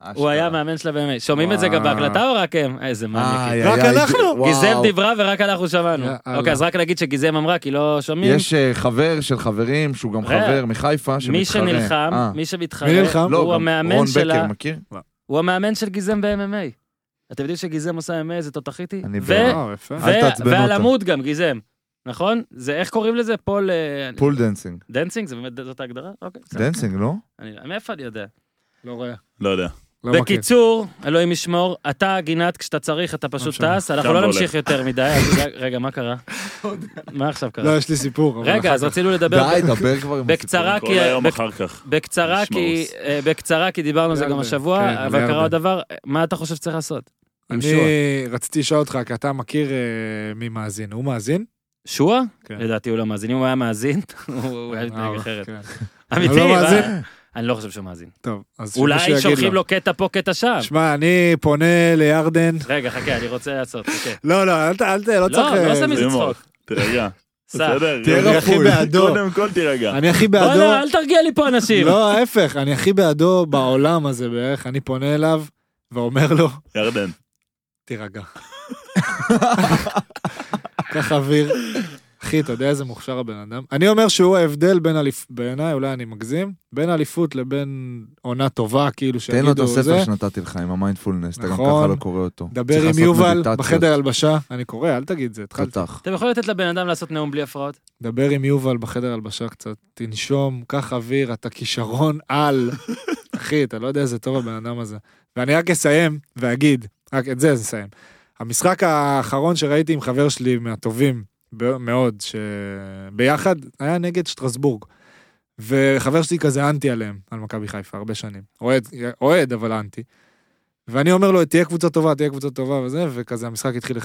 S1: אשכרה.
S2: הוא היה מאמן שלה ב-MMA. שומעים את זה גם
S4: וואו.
S2: בהקלטה או רק הם? אה, איזה
S1: איי,
S2: מניאקים.
S1: איי,
S4: רק
S1: איי,
S4: אנחנו?
S1: אה, וואו.
S2: גיזם דיברה ורק אנחנו שמענו.
S4: יאללה.
S2: אוקיי, אז רק נגיד שגיזם אמרה, כי לא שומעים.
S1: יש אה, חבר של חברים, שהוא גם
S2: רע.
S1: חבר מחיפה, שמתחרה.
S2: אה, מי שנלחם,
S1: אה.
S2: מי
S4: מי
S2: שמתחרה,
S4: נלחם?
S2: הוא
S1: לא, גם
S2: המאמן
S1: רון
S2: שלה,
S1: בקר, מכיר?
S2: הוא המאמן של גיזם ב-MMA. אתם יודעים שגיזם עושה MMA, זה תותחית היא?
S1: אני
S2: ו-
S1: בעד.
S4: וואו, אה, יפה.
S1: אל
S2: ו-
S1: תעצבנו
S2: ועל
S1: אותה.
S2: עמוד גם, גיזם. נכון? זה, איך קוראים לזה? פול... אה,
S1: פול דנסינג.
S2: דנסינג? זה באמת, זאת ההגדרה? אוקיי, בסדר.
S1: דנסינג, לא?
S2: אני- מאיפה אני יודע?
S4: לא רואה.
S3: לא יודע.
S4: לא מכיר.
S2: בקיצור, אלוהים ישמור, אתה, גינת, כשאתה צריך, אתה
S4: לא
S2: פשוט
S4: משנה.
S2: טס, אנחנו
S3: קם
S2: לא
S3: והולך.
S2: נמשיך יותר מדי. אז רגע- רגע, מה קרה? מה עכשיו קרה?
S4: לא, יש לי סיפור. אבל
S2: רגע,
S4: אחר
S2: אז
S4: כך.
S2: רצינו לדבר...
S1: די, דבר כבר עם
S2: בקצרה,
S3: כל
S2: כי-
S3: היום
S2: בק-
S3: אחר כך.
S2: בקצרה,
S3: נשמע
S2: כי,
S3: רוס.
S2: אה, בקצרה, כי דיברנו על זה גם
S4: ירדן, כן,
S2: השבוע, אבל
S4: ירדן.
S2: קרה עוד דבר, אה, מה אתה חושב שצריך לעשות? עם שועה.
S4: אני רציתי לשאול אותך, כי אתה מכיר אה, מי מאזין. הוא מאזין?
S2: שועה?
S4: כן.
S2: לדעתי הוא לא מאזין, אם הוא היה מאזין, הוא היה
S4: אה,
S2: מתנהג אחרת.
S4: כן.
S2: אמיתי,
S4: הוא לא
S2: מה?
S4: מאזין?
S2: אני לא חושב שהוא מאזין.
S4: טוב, אז שמישהו
S2: אולי
S4: יגיד
S2: שולחים לו קטע פה, קטע שם.
S4: שמע, אני פונה לירדן.
S2: רגע, חכה, אני רוצה לעשות, חכה.
S4: לא, לא, אל ת... אל ת... לא
S2: לא,
S4: צריך...
S2: אני לא
S4: אה,
S2: עושה מזה
S3: רימון.
S2: צחוק.
S3: תירגע.
S2: סע.
S3: בסדר?
S4: אני
S1: תהיה
S4: הכי
S1: רפוי.
S4: בעדו.
S3: קודם כל תירגע.
S4: לא, אני הכי בעדו.
S2: וואלה, לא, אל תרגיע לי פה אנשים.
S4: לא, ההפך, אני הכי בעדו בעולם הזה בערך. אני פונה אליו ואומר לו,
S3: ירדן.
S4: תירגע. קח אוויר. אחי, אתה יודע איזה מוכשר הבן אדם? אני אומר שהוא ההבדל בין אליפות, בעיניי, אולי אני מגזים, בין אליפות לבין עונה טובה, כאילו,
S1: תן לו את
S4: שיגידו זה.
S1: הספר שנתתי לך עם המיינדפולנס, אתה גם
S4: נכון.
S1: ככה לא קורא אותו. צריך
S4: דבר עם
S1: לעשות
S4: יובל
S1: מדיטציות.
S4: בחדר הלבשה. אני קורא, אל תגיד זה, התחלתי.
S1: חתך.
S2: אתם יכולים לתת לבן אדם לעשות נאום בלי הפרעות?
S4: דבר עם יובל בחדר הלבשה קצת, תנשום, קח אוויר, אתה כישרון על. אחי, אתה לא יודע איזה טוב הבן אדם הזה. ואני רק אסיים ואגיד, רק את זה נסיים. המשחק האחרון שראיתי עם חבר שלי מהטובים ב- מאוד, שביחד, היה נגד שטרסבורג. וחבר שלי כזה אנטי עליהם, על מכבי חיפה, הרבה שנים. אוהד, אוהד, אבל אנטי. ואני אומר לו, תהיה קבוצה טובה, תהיה קבוצה טובה וזה, וכזה המשחק התחיל 1-0,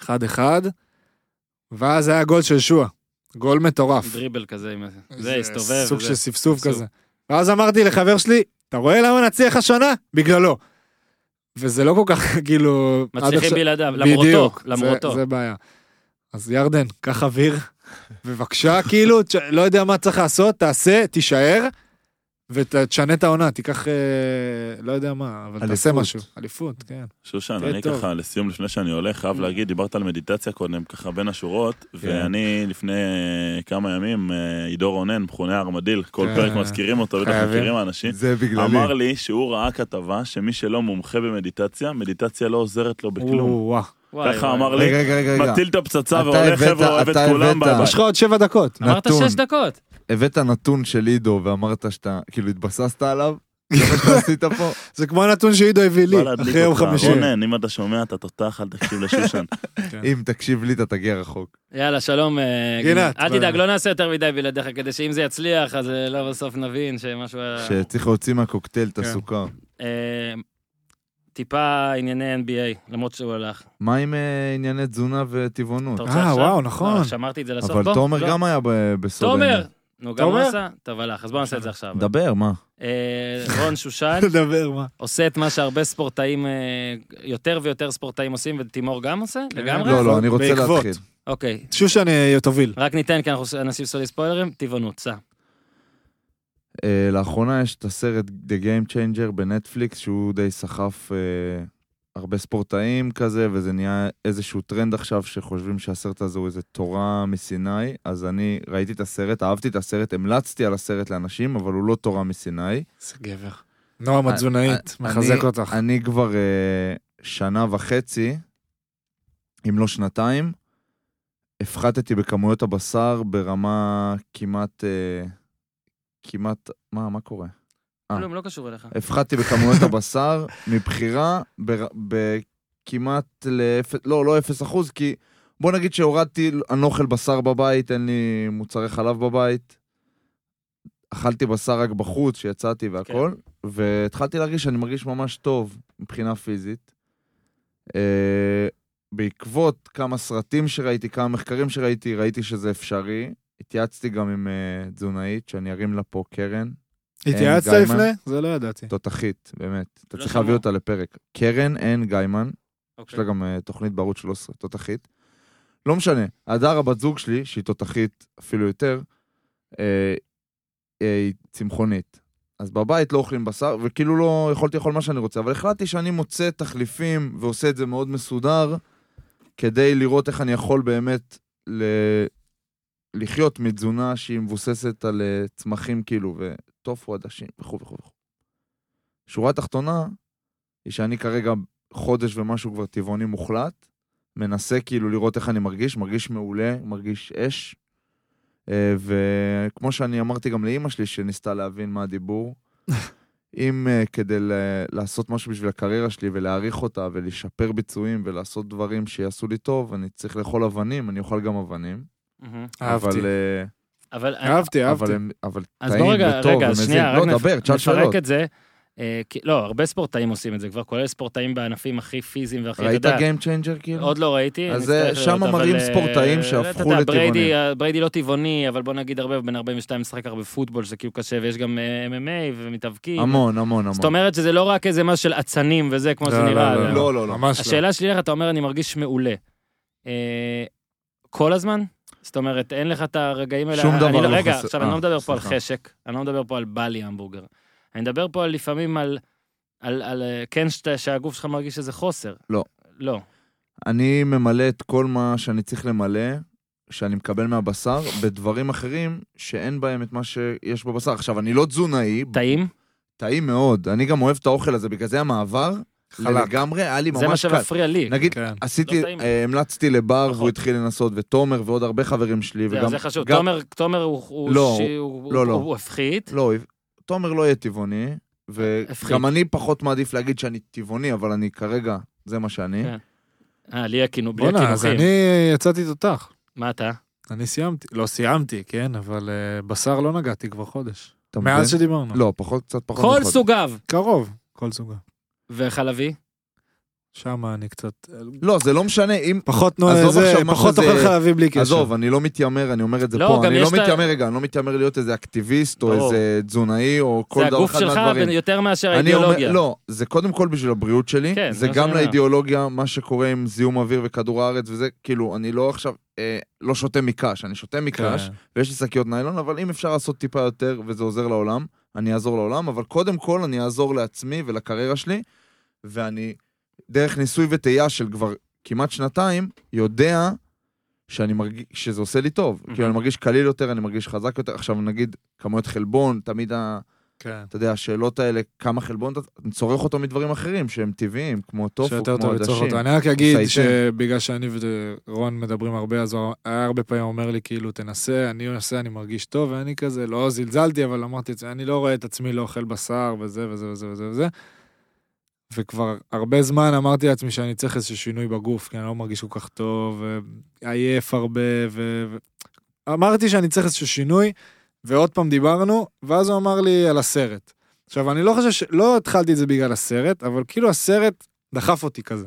S4: 1-1, ואז היה גול של שועה. גול מטורף.
S2: דריבל כזה, עם- זה
S4: איזה
S2: הסתובב.
S4: סוג
S2: וזה.
S4: של סבסוב
S2: סוג.
S4: כזה. ואז אמרתי לחבר שלי, אתה רואה למה נצליח השנה? בגללו. וזה לא כל כך, כאילו... עד
S2: מצליחים
S4: עכשיו-
S2: בלעדיו, למרותו,
S4: בדיוק, זה-
S2: למרותו.
S4: זה בעיה. אז ירדן, קח אוויר, בבקשה, כאילו, תש- לא יודע מה צריך לעשות, תעשה, תישאר, ותשנה את העונה, תיקח, אה, לא יודע מה, אבל תעשה
S1: אליפות.
S4: משהו. אליפות, כן.
S3: שושן,
S4: תהיה
S3: אני
S4: טוב.
S3: ככה, לסיום, לפני שאני הולך,
S2: אה.
S3: חייב להגיד, דיברת על מדיטציה קודם, ככה בין השורות,
S1: כן.
S3: ואני לפני אה, כמה ימים, אה, עידו רונן, מכונה ארמדיל, כל
S4: כן.
S1: אה.
S3: פרק מזכירים אותו, בטח
S4: חייבים.
S3: מכירים האנשים,
S1: כן. זה בגללי.
S3: אמר לי שהוא ראה כתבה שמי שלא מומחה במדיטציה, מדיטציה לא עוזרת לו בכלום.
S4: או-אה.
S2: וואי,
S3: ככה
S2: וואי.
S3: אמר לי,
S1: רגע, רגע, רגע.
S3: מטיל את הפצצה
S1: אתה
S3: והולך,
S1: הבאת-
S3: חבר'ה, אוהב את
S1: אתה
S3: כולם,
S1: הבאת.
S3: ביי ביי.
S4: יש לך עוד שבע דקות.
S2: אמרת
S1: נתון.
S2: שש דקות.
S1: הבאת נתון של עידו ואמרת שאתה, כאילו התבססת עליו, זה מה שאתה עשית פה.
S4: זה כמו הנתון שעידו הביא לי,
S3: בא להדליק
S4: אחרי יום
S3: אותך.
S4: חמישי.
S3: רונן, אם אתה שומע, אתה תותח, אל תקשיב לשושן.
S2: כן.
S1: אם תקשיב לי, אתה תגיע רחוק.
S2: יאללה, שלום. אה,
S4: גינת,
S2: גינת. אל
S4: ביי.
S2: תדאג, לא נעשה יותר מדי בלעדיך, כדי שאם זה יצליח, אז אה, לא בסוף נבין שמשהו... היה-
S1: שצריך להוציא מהקוקטייל את
S4: כן.
S1: הסוכר.
S2: אה, טיפה ענייני NBA, למרות שהוא הלך.
S1: מה עם אה, ענייני תזונה וטבעונות?
S2: אתה רוצה
S4: אה,
S2: עכשיו?
S4: וואו,
S2: לא,
S4: נכון.
S2: שמרתי את זה לסוף.
S1: אבל
S2: בוא,
S1: תומר
S2: לא.
S1: גם היה ב- בסוד.
S2: תומר!
S1: העניין.
S2: נו, גם
S4: תומר?
S2: הוא עשה? טוב, הלך, אז בואו נעשה את זה עכשיו.
S1: דבר, מה?
S2: אה, רון שושן
S4: דבר, מה.
S2: עושה את מה שהרבה ספורטאים, אה, יותר ויותר ספורטאים עושים, ותימור גם עושה? לגמרי?
S1: לא, לא, אני רוצה
S4: בעקבות.
S1: להתחיל.
S2: אוקיי,
S4: שושן אה, תוביל.
S2: רק ניתן, כי אנחנו אנשים סולי ספוילרים, טבעונות, סע.
S1: אה, לאחרונה יש את הסרט The Game Changer בנטפליקס, שהוא די סחף אה, הרבה ספורטאים כזה, וזה נהיה איזשהו טרנד עכשיו שחושבים שהסרט הזה הוא איזה תורה מסיני. אז אני ראיתי את הסרט, אהבתי את הסרט, המלצתי על הסרט לאנשים, אבל הוא לא תורה מסיני.
S4: איזה גבר. נועם התזונאית,
S1: אני-
S4: מחזק אותך.
S1: אני כבר אה, שנה וחצי, אם לא שנתיים, הפחתתי בכמויות הבשר ברמה כמעט... אה, כמעט... מה, מה קורה? אה.
S2: כלום, לא קשור אליך.
S1: הפחדתי בכמויות הבשר מבחירה בר- בכמעט לאפס, לא, לא אפס אחוז, כי בוא נגיד שהורדתי, אני לא אוכל בשר בבית, אין לי מוצרי חלב בבית. אכלתי בשר רק בחוץ, שיצאתי והכל, והתחלתי להרגיש שאני מרגיש ממש טוב מבחינה פיזית. אה, בעקבות כמה סרטים שראיתי, כמה מחקרים שראיתי, ראיתי שזה אפשרי. התייעצתי גם עם אה, תזונאית, שאני ארים לה פה קרן.
S4: התייעצת
S1: אה, גיימן.
S4: לפני? זה לא ידעתי.
S1: תותחית, באמת. אתה
S2: לא
S1: צריך
S2: שמעו.
S1: להביא אותה לפרק. קרן אין גיימן, יש
S2: אוקיי.
S1: לה גם אה, תוכנית בערוץ 13, תותחית. לא משנה, הדר הבת זוג שלי, שהיא תותחית אפילו יותר, אה, אה, היא צמחונית. אז בבית לא אוכלים בשר, וכאילו לא יכולתי לאכול מה שאני רוצה, אבל החלטתי שאני מוצא תחליפים ועושה את זה מאוד מסודר, כדי לראות איך אני יכול באמת ל... לחיות מתזונה שהיא מבוססת על אה, צמחים כאילו, וטופו, עדשים וכו' וכו'. וכו'. שורה תחתונה, היא שאני כרגע חודש ומשהו כבר טבעוני מוחלט, מנסה כאילו לראות איך אני מרגיש, מרגיש מעולה, מרגיש אש. אה, וכמו שאני אמרתי גם לאימא שלי, שניסתה להבין מה הדיבור, אם אה, כדי ל- לעשות משהו בשביל הקריירה שלי ולהעריך אותה ולשפר ביצועים ולעשות דברים שיעשו לי טוב, אני צריך לאכול אבנים, אני אוכל גם אבנים.
S2: מהמם.
S4: אהבתי.
S1: אבל, אה,
S2: אבל...
S4: אהבתי, אהבתי.
S1: אבל, הם- אבל
S2: אז
S1: טעים
S2: בוא רגע,
S1: וטוב
S2: רגע,
S1: ומזין.
S2: שנייה,
S1: לא,
S2: רק נפ-
S1: דבר, תשאל שאלות.
S2: נפרק את זה. אה, כי- לא, הרבה ספורטאים עושים את זה כבר, כולל ספורטאים בענפים הכי פיזיים והכי... אתה
S1: ראית
S2: יודע,
S1: Game Changer כאילו?
S2: עוד לא ראיתי.
S1: אז
S2: אני
S1: זה-
S2: אצטרך
S1: שם
S2: לראות, אבל,
S1: מראים
S2: אה,
S1: ספורטאים
S2: אתה
S1: שהפכו
S2: יודע,
S1: לטבעונים.
S2: בריידי, אה, בריידי לא טבעוני, אבל בוא נגיד הרבה, הוא בן 42 משחק הרבה פוטבול, שזה כאילו קשה, ויש גם אה, MMA ומתאבקים.
S1: המון, המון, המון.
S2: זאת אומרת שזה לא רק איזה משהו של אצנים וזה, כמו שזה
S4: לא,
S2: נראה.
S4: לא,
S2: אתה-
S1: לא, לא, לא.
S4: ממש לא.
S2: השאלה שלי לך, אתה אומר, אני מרגיש מעולה. אה, כל הזמן? זאת אומרת, אין לך את הרגעים האלה...
S1: שום
S2: אני
S1: דבר לא
S2: רגע,
S1: חסר.
S2: עכשיו, אני
S1: אה,
S2: לא מדבר פה על
S1: סליחה.
S2: חשק, אני לא מדבר פה על בא לי המבורגר. אני מדבר פה על לפעמים על... על, על אה, כן, שאתה- שהגוף שלך מרגיש איזה חוסר.
S1: לא.
S2: לא.
S1: אני ממלא את כל מה שאני צריך למלא, שאני מקבל מהבשר, בדברים אחרים שאין בהם את מה שיש בבשר. עכשיו, אני לא תזונאי,
S2: טעים?
S1: טעים מאוד. אני גם אוהב את האוכל הזה, בגלל זה המעבר,
S4: חלק.
S1: לגמרי, היה לי
S2: זה מה
S1: ממש קל.
S2: שמפריע לי.
S1: נגיד,
S4: כן.
S1: עשיתי,
S2: לא טעים.
S1: אה, המלצתי לבר,
S2: נכון.
S1: והוא התחיל לנסות, ותומר ועוד הרבה חברים שלי,
S2: זה-
S1: וגם...
S2: זה חשוב.
S1: גם-
S2: תומר- תומר הוא- הוא
S1: לא,
S2: שי- הוא-
S1: לא,
S2: הוא-
S1: לא.
S2: הוא הפחית.
S1: לא, תומר לא יהיה טבעוני,
S2: הפחית.
S1: וגם אני פחות מעדיף להגיד שאני טבעוני, אבל אני כרגע, זה מה שאני.
S2: כן. אה, לי הכינו- בלי
S4: בואנה, אז
S2: הקינוחים.
S4: אני אה, יצאתי תותח.
S2: מה אתה?
S4: אני סיימתי. לא סיימתי, כן, אבל אה, בשר לא נגעתי כבר חודש.
S1: אתה מבין?
S4: מאז שדיברנו.
S1: לא, פחות, קצת פחות.
S2: כל
S1: מחודש.
S2: סוגיו.
S4: קרוב, כל סוגה.
S2: וחלבי?
S4: שם אני קצת... אה,
S1: לא, זה לא משנה, אם...
S4: פחות נו...
S1: עזוב
S4: זה,
S1: עכשיו מה
S4: פחות
S1: שזה-
S4: אוכל חלבים בלי קשר.
S1: עזוב, אני לא מתיימר, אני אומר את זה
S2: לא,
S1: פה,
S2: גם
S1: אני
S2: יש
S1: לא
S2: את ה-
S1: מתיימר, רגע, אני לא מתיימר להיות איזה אקטיביסט, או
S2: ברור.
S1: איזה תזונאי, או כל
S2: זה
S1: דבר
S2: הגוף
S1: אחד
S2: שלך
S1: מהדברים.
S2: בין- יותר מאשר
S1: אני אומר-
S2: האידיאולוגיה.
S1: לא, זה קודם כל בשביל הבריאות שלי,
S2: כן, זה
S1: זה
S2: מה
S1: גם
S2: שאני אומר.
S1: לאידיאולוגיה, מה שקורה עם זיהום אוויר וכדור הארץ וזה, כאילו, אני לא עכשיו, אה, לא שותה מקש, אני שותה
S4: כן.
S1: מקש, ויש לי שקיות ניילון, אבל אם אפשר לעשות טיפה יותר וזה עוזר לעולם, אני אעזור לעולם, אבל קודם כל אני אעזור לעצמי ולקריירה שלי, ואני, דרך ניסוי וטעייה של כבר כמעט שנתיים, יודע שאני מרגיש, שזה עושה לי טוב.
S2: Mhm.
S1: כאילו, אני מרגיש קליל יותר, אני מרגיש חזק יותר. עכשיו, נגיד, כמויות חלבון, תמיד ה...
S4: כן.
S1: אתה יודע, השאלות האלה, כמה חלבון אתה... אני צורך אותו מדברים אחרים שהם טבעיים, כמו טופו,
S4: שיותר
S1: כמו
S4: טוב לצורך
S1: עדשים.
S4: אותו. אני רק אגיד
S1: סייטן.
S4: שבגלל שאני ורון מדברים הרבה, אז הוא היה הרבה פעמים אומר לי, כאילו, תנסה, אני אנסה, אני מרגיש טוב, ואני כזה, לא זלזלתי, אבל אמרתי את זה, אני לא רואה את עצמי לא אוכל בשר, וזה וזה וזה וזה וזה. וכבר הרבה זמן אמרתי לעצמי שאני צריך איזשהו שינוי בגוף, כי אני לא מרגיש כל כך טוב, עייף הרבה, ו... ו- אמרתי שאני צריך איזשהו שינוי, ועוד פעם דיברנו, ואז הוא אמר לי על הסרט. עכשיו, אני לא חושב ש... לא התחלתי את זה בגלל הסרט, אבל כאילו הסרט דחף אותי כזה,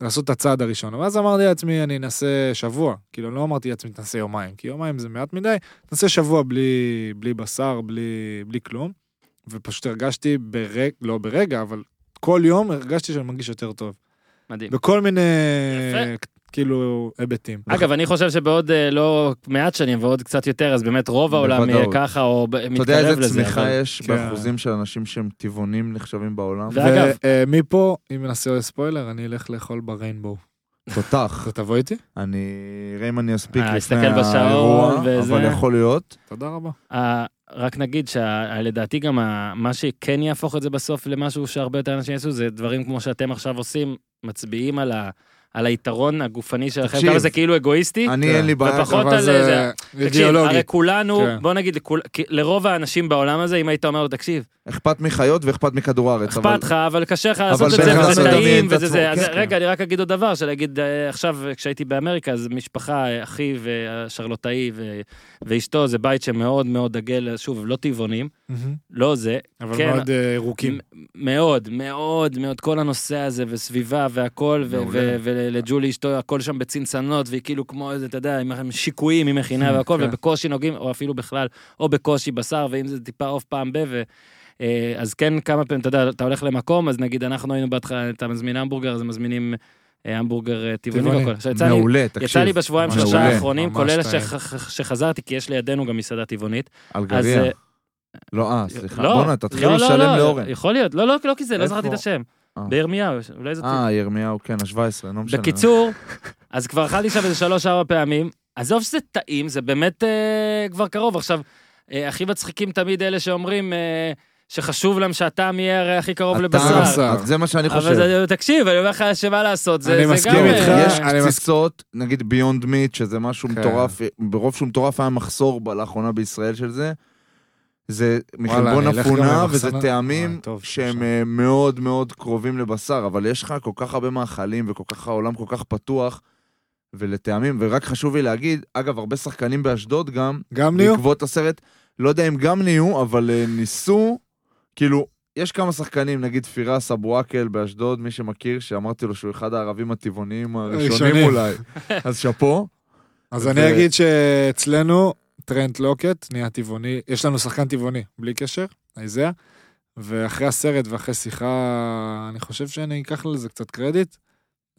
S4: לעשות את הצעד הראשון. ואז אמרתי לעצמי, אני אנסה שבוע. כאילו, לא אמרתי לעצמי, תנסה יומיים, כי יומיים זה מעט מדי, תנסה שבוע בלי, בלי בשר, בלי, בלי כלום. ופשוט הרגשתי, ברג, לא ברגע, אבל כל יום הרגשתי שאני מרגיש יותר טוב.
S2: מדהים.
S4: בכל מיני,
S2: יפה.
S4: כאילו, היבטים.
S2: אגב, אני חושב שבעוד אה, לא מעט שנים ועוד קצת יותר, אז באמת רוב העולם יהיה
S1: בוודאות.
S2: ככה, או ב-
S1: אתה יודע
S2: מתקרב
S1: איזה
S2: לזה.
S1: צמיחה
S2: אבל-
S1: יש
S4: כן.
S1: באחוזים של אנשים שהם טבעונים נחשבים בעולם?
S2: ו- אגב-
S4: ומפה, אה, אם נעשה ספוילר, אני אלך לאכול בריינבואו.
S1: תותח.
S4: אתה תבוא איתי?
S1: אני אראה אם אני אספיק
S2: אה,
S1: לפני
S2: הסתכל בשעון
S1: האירוע,
S2: וזה.
S1: אבל יכול להיות.
S4: תודה רבה.
S2: אה, רק נגיד שלדעתי גם ה- מה שכן יהפוך את זה בסוף למשהו שהרבה יותר אנשים יעשו, זה דברים כמו שאתם עכשיו עושים, מצביעים על ה- על היתרון הגופני שלכם,
S1: תקשיב.
S2: כמה זה כאילו אגואיסטי.
S1: אני אין לי בעיה.
S2: ופחות
S1: אבל
S2: על
S1: זה-
S2: נכון, זה. תקשיב, הרי
S4: אידיאולוגי.
S2: כולנו,
S4: כן.
S2: בוא נגיד, לכול- כי- לרוב האנשים בעולם הזה, אם היית אומר לו, תקשיב,
S1: אכפת מחיות ואכפת מכדור הארץ. אבל-
S2: אכפת לך, אבל קשה לך לעשות את
S1: בן
S2: זה,
S1: אדם
S2: וזה
S1: מדמיין
S2: טעים,
S1: את
S2: וזה זה.
S1: עצמו,
S2: אז
S1: כן,
S2: רגע, אני רק אגיד עוד דבר, שלהגיד, אה, עכשיו, כשהייתי באמריקה, אז משפחה, אה, אחי והשרלוטאי ו- ואשתו, זה בית שמאוד מאוד דגל, שוב, לא טבעונים,
S4: מהמם.
S2: לא זה,
S4: אבל
S2: כן.
S4: מאוד אה, ירוקים.
S2: מ- מאוד, מאוד, מאוד, כל הנושא הזה, וסביבה, והכל, ו-
S4: מעולה.
S2: ו- ולג'ולי אשתו, הכל שם בצנצנות, והיא כאילו כמו איזה, אתה יודע, עם- עם שיקויים, היא מכינה והכל,
S4: כן.
S2: ובקושי נוגעים, או אפילו בכלל, או בקושי בשר, ואם זה טיפה עוף פעם ב... ו... אה, אז כן, כמה פעמים, אתה יודע, אתה הולך למקום, אז נגיד, אנחנו היינו בהתחלה, אתה מזמין המבורגר, אז מזמינים אה, המבורגר אה, טבעוני
S4: טבעוני.
S2: והכל. עכשיו, יצא לי-
S1: מעולה, תקשיב.
S2: יצא לי בשבועיים
S1: ממש
S2: שלושה
S1: מעולה.
S2: האחרונים,
S4: ממש
S2: כולל
S4: טעים.
S2: שח- שחזרתי, כי יש לידינו גם מסעדה טבעונית. אז...
S1: אלגריה.
S2: אה,
S1: לא, אה, סליחה.
S2: לא,
S1: בואנה, תתחילו
S2: לא, לא,
S1: לשלם
S2: לא,
S1: לאורן.
S2: יכול להיות, לא, לא, לא כי זה, לא
S1: איפה?
S2: זכרתי את השם.
S1: אה.
S2: בירמיהו, יש- אולי זאת...
S1: אה, ירמיהו, כן, ה-17, לא משנה.
S2: בקיצור, אז כבר אכלתי שם איזה שלוש-ארבע פעמים. עזוב שזה טעים, זה באמת אה, כבר קרוב. עכשיו, אה, הכי מצחיקים תמיד אלה שאומרים אה, שחשוב להם שהטעם יהיה הרי הכי קרוב
S1: אתה-
S2: לבשר.
S4: בשר.
S1: אז זה מה שאני חושב.
S2: אבל זה- תקשיב, אני אומר לך שמה לעשות, זה
S4: אני
S2: זה גם...
S4: מסכים
S2: אה,
S4: איתך.
S1: יש
S4: אני מסכים.
S1: קציצות, נגיד ביונד מיט, שזה משהו
S4: כן.
S1: מטורף, ברוב שהוא מטורף היה מחסור ב- לאחרונה בישראל של זה. זה
S4: אני
S1: מחלבון
S4: אלך גם
S1: אפונה,
S4: למחסן
S1: וזה
S4: ה-
S1: טעמים
S4: אה, טוב,
S1: שהם
S4: שם.
S1: אה, מאוד מאוד קרובים לבשר, אבל יש לך כל כך הרבה מאכלים, וכל כך העולם כל כך פתוח, ולטעמים, ורק חשוב לי להגיד, אגב, הרבה שחקנים באשדוד גם,
S4: גם ניו?
S1: בעקבות הסרט, לא יודע אם גם נהיו, אבל אה, ניסו, כאילו, יש כמה שחקנים, נגיד פירס אבו עקל באשדוד, מי שמכיר, שאמרתי לו שהוא אחד הערבים הטבעונים הראשונים
S4: הראשונים.
S1: אולי. אז שאפו.
S4: אז
S1: ו-
S4: אני אגיד שאצלנו טרנט לוקט נהיה טבעוני, יש לנו שחקן טבעוני, בלי קשר, איזיה, ואחרי הסרט ואחרי שיחה, אני חושב שאני אקח לזה קצת קרדיט,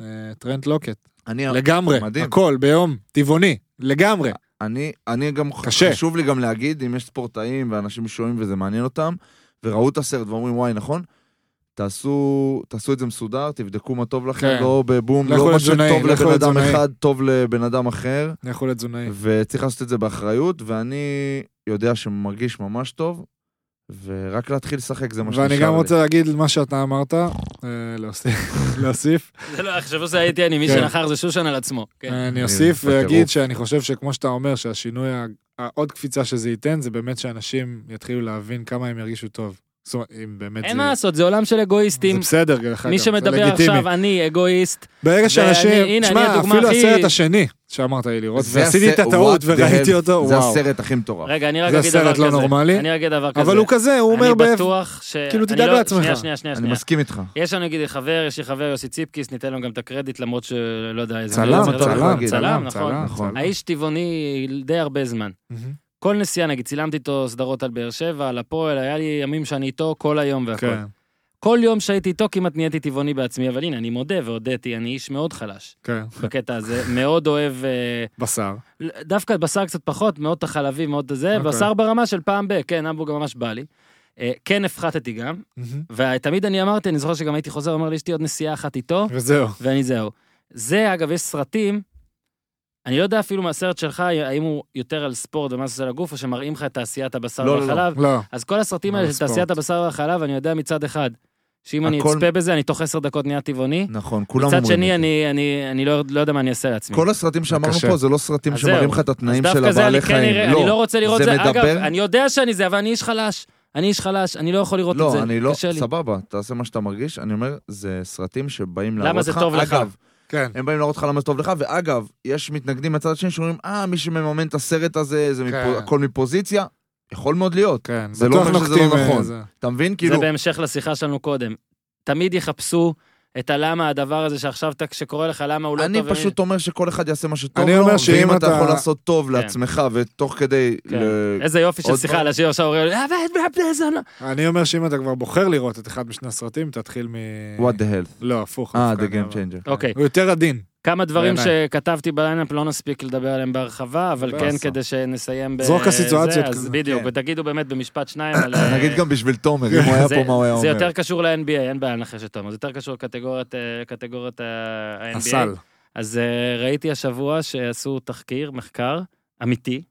S4: אה, טרנט לוקט,
S1: אני,
S4: לגמרי,
S1: מדהים. אה,
S4: הכל ביום, טבעוני, לגמרי.
S1: אני, אני גם,
S4: קשה.
S1: חשוב לי גם להגיד, אם יש ספורטאים ואנשים שומעים וזה מעניין אותם, וראו את הסרט ואומרים, וואי, נכון? תעשו, תעשו את זה מסודר, תבדקו מה טוב לכם,
S4: כן.
S1: לא בבום,
S4: לכו
S1: לא מה
S4: לתזונאי,
S1: שטוב
S4: לכו
S1: לבן אדם
S4: לתזונאי.
S1: אחד, טוב לבן אדם אחר.
S4: לכו לתזונאי.
S1: וצריך לעשות את זה באחריות, ואני יודע שמרגיש ממש טוב, ורק להתחיל לשחק זה מה שנשאר לי.
S4: ואני גם רוצה להגיד מה שאתה אמרת, אה, להוסיף- להוסיף.
S2: זה לא, חשבו שהייתי אני, מי
S4: כן.
S2: שנחר זה שושן על עצמו. כן.
S1: אה,
S4: אני אוסיף
S1: בטירוף.
S4: ואגיד שאני חושב שכמו שאתה אומר, שהשינוי, ה- העוד קפיצה שזה ייתן, זה באמת שאנשים יתחילו להבין כמה הם ירגישו טוב. זאת אומרת, אם באמת
S2: אין
S4: זה...
S2: מה לעשות, זה עולם של
S4: זה
S2: אגואיסטים.
S4: בסדר, דרך אגב,
S2: מי
S4: זה
S2: שמדבר
S4: לגיטימי.
S2: עכשיו, אני אגואיסט.
S4: ברגע
S2: ואני-
S4: שאנשים,
S2: הנה, אני
S4: תשמע,
S2: הדוגמה
S4: אפילו
S2: הכי-
S4: הסרט השני שאמרת לי לראות,
S1: זה
S4: ועשיתי את
S1: הסרט-
S4: הטעות
S1: what the
S4: וראיתי
S1: hell.
S4: אותו,
S1: זה
S4: וואו.
S1: הסרט הכי מטורף.
S2: רגע, אני רק
S4: זה
S2: אגיד דבר כזה.
S4: סרט לא נורמלי?
S2: אני רק אגיד דבר כזה.
S4: אבל הוא כזה, הוא אומר,
S2: אני
S4: באיפה-
S2: בטוח ש...
S4: כאילו,
S2: אני
S4: תדאג
S2: לא-
S4: לעצמך.
S2: שנייה, שנייה, שנייה.
S1: אני
S2: שנייה.
S1: מסכים איתך.
S2: יש לנו נגיד חבר, יש לי חבר, יוסי ציפקיס, ניתן לו גם את הקרדיט, למרות שלא יודע איזה...
S1: צלם,
S2: זה לא-
S1: צלם,
S2: צלם,
S4: צלם,
S2: נכון.
S4: צלם,
S1: נכון.
S4: צלם.
S2: האיש טבעוני די הרבה זמן.
S4: מהמם.
S2: כל נסיעה, נגיד, צילמתי איתו סדרות על באר שבע, על הפועל, היה לי ימים שאני איתו כל היום והכל.
S4: כן,
S2: כל יום שהייתי איתו כמעט נהייתי טבעוני בעצמי, אבל הנה, אני מודה והודיתי, אני איש מאוד חלש
S4: כן,
S2: בקטע הזה, מאוד אוהב... אה,
S4: בשר.
S2: דווקא בשר קצת פחות, מאוד את החלבי, מאוד את זה,
S4: אוקיי.
S2: בשר ברמה של פעם ב... כן, המבורגר ממש בא לי. אה, כן, הפחתתי גם,
S4: מהמם.
S2: ותמיד אני אמרתי, אני זוכר שגם הייתי חוזר, אומר לי, יש לי עוד נסיעה אחת איתו,
S4: וזהו.
S2: ואני זהו. זה, אגב, יש סרטים, אני לא יודע אפילו מהסרט שלך, האם הוא יותר על ספורט ומה זה עושה לגוף, או שמראים לך את תעשיית הבשר
S1: לא, לא, לא.
S2: והחלב.
S4: לא.
S2: אז כל הסרטים
S4: מה
S2: האלה של
S4: הספורט?
S2: תעשיית הבשר והחלב, אני יודע מצד אחד, שאם אני
S1: הכל-
S2: אצפה בזה, אני תוך עשר דקות נהיה טבעוני.
S1: נכון, כולם אומרים.
S2: מצד
S1: את
S2: שני,
S1: זה.
S2: אני- אני אני לא לא יודע מה אני אעשה לעצמי.
S1: כל הסרטים שאמרנו
S4: קשה.
S1: פה זה לא סרטים
S2: אז
S1: שמראים
S2: זהו.
S1: לך את
S2: אז
S1: התנאים של
S2: דווקא זה אני
S1: הבעלי
S2: כן
S1: חיים.
S2: אראה, אני לא רוצה לראות
S1: זה
S2: זה. אגב,
S1: מדבר-
S2: אני יודע שאני זה, אבל אני איש חלש. אני איש חלש, אני לא יכול לראות את זה.
S1: לא, אני לא,
S2: קשה לי.
S1: סבבה, תעשה מה שאתה מרגיש. אני אומר, זה סרטים שבאים
S2: למה
S1: להראות לך.
S2: זה טוב לך?
S1: אגב,
S4: כן.
S1: הם באים להראות לך למה זה טוב לך, ואגב, יש מתנגדים מהצד השני שאומרים, אה, מי שמממן את הסרט הזה, זה
S4: כן.
S1: מפו- הכל מפוזיציה. יכול מאוד להיות.
S4: כן,
S1: זה לא
S4: בטוח
S1: אומר שזה
S4: נוקטים,
S1: לא
S4: אה,
S1: נכון.
S4: זה.
S1: אתה מבין?
S2: זה
S1: כאילו,
S2: בהמשך לשיחה שלנו קודם. תמיד יחפשו את הלמה הדבר הזה שעכשיו אתה- שקורה לך, למה הוא לא טוב.
S1: אני
S2: ומי-
S1: פשוט אומר שכל אחד יעשה מה שטוב
S4: אני
S1: לו,
S4: אומר שאם
S1: ואם אתה
S4: אתה-
S1: יכול לעשות טוב
S2: כן.
S1: לעצמך, ותוך כדי...
S2: כן.
S1: ל-
S2: איזה יופי של
S1: עוד
S2: שיחה
S1: פעם.
S2: על השיר עכשיו אומרים, "אה, ואת- ואת- ואת- זה לא-"
S4: אני אומר שאם אתה כבר בוחר לראות את אחד משני הסרטים, תתחיל מ...
S1: what the hell.
S4: לא, הפוך.
S1: אה,
S4: דווקא,
S1: the
S4: אני
S1: game
S4: אומר.
S1: changer.
S2: אוקיי,
S4: הוא יותר עדין.
S2: כמה דברים
S4: בעיניי.
S2: שכתבתי בליינאפ לא נספיק לדבר עליהם בהרחבה, אבל כן
S4: באסה.
S2: כדי שנסיים ב...
S4: זרוק
S2: זה,
S4: הסיטואציות
S2: אז
S4: כזה.
S2: בדיוק,
S1: כן.
S2: ותגידו באמת במשפט שניים על... אה,
S1: נגיד גם בשביל תומר, אם הוא היה
S2: זה-
S1: פה, מה הוא היה
S2: זה
S1: אומר.
S2: יותר קשור ל-NBA, אין בעיה לנחש את תומר, זה יותר קשור לקטגוריית אה, קטגוריית, אה, ה-NBA.
S4: הסל.
S2: אז אה, ראיתי השבוע שעשו תחקיר, מחקר, אמיתי.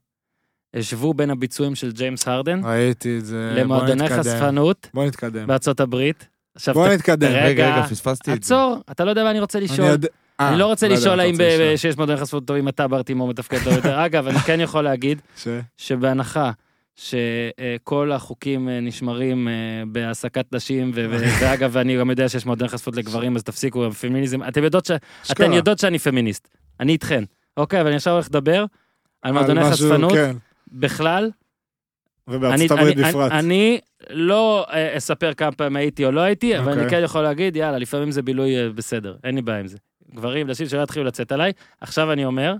S2: השוו בין הביצועים של ג'יימס הרדן
S4: ראיתי את זה. אה, בוא
S2: למועדוני
S4: נתקדם.
S2: חשפנות
S4: בוא נתקדם.
S2: בארצות הברית. עכשיו,
S4: בוא
S2: ת-
S4: נתקדם.
S2: רגע,
S1: רגע, רגע, פספסתי את זה.
S2: עצור, אתה לא יודע מה אני רוצה
S4: אני
S2: לשאול.
S4: יודע- אה,
S2: אני לא רוצה
S4: לא יודע
S2: לשאול
S4: מה אתה
S2: האם
S4: רוצה
S2: ב-
S4: לשאול.
S2: שיש מועדוני חשפנות טובים אתה ברטימו מתפקד טוב יותר. אגב, אני כן יכול להגיד
S4: ש-
S2: שבהנחה שכל החוקים אה, נשמרים אה, בהעסקת נשים, ו- ו- ואגב, אני גם יודע שיש מועדון חשפות לגברים, אז תפסיקו עם הפמיניזם. אתם יודעות, ש... אתן
S4: אשכרה.
S2: יודעות שאני פמיניסט, אני איתכן. אוקיי, אבל אני עכשיו הולך לדבר על
S4: על
S2: מועדוני
S4: משהו,
S2: חשפנות
S4: כן,
S2: בכלל.
S4: ובארצות הברית
S2: אני,
S4: בפרט.
S2: אני, אני לא אה, אספר כמה פעמים הייתי או לא הייתי, אבל
S4: אוקיי.
S2: אני כן יכול להגיד, יאללה, לפעמים זה בילוי אה, בסדר, אין לי בעיה עם זה. גברים, נשים שלא יתחילו לצאת עליי. עכשיו אני אומר,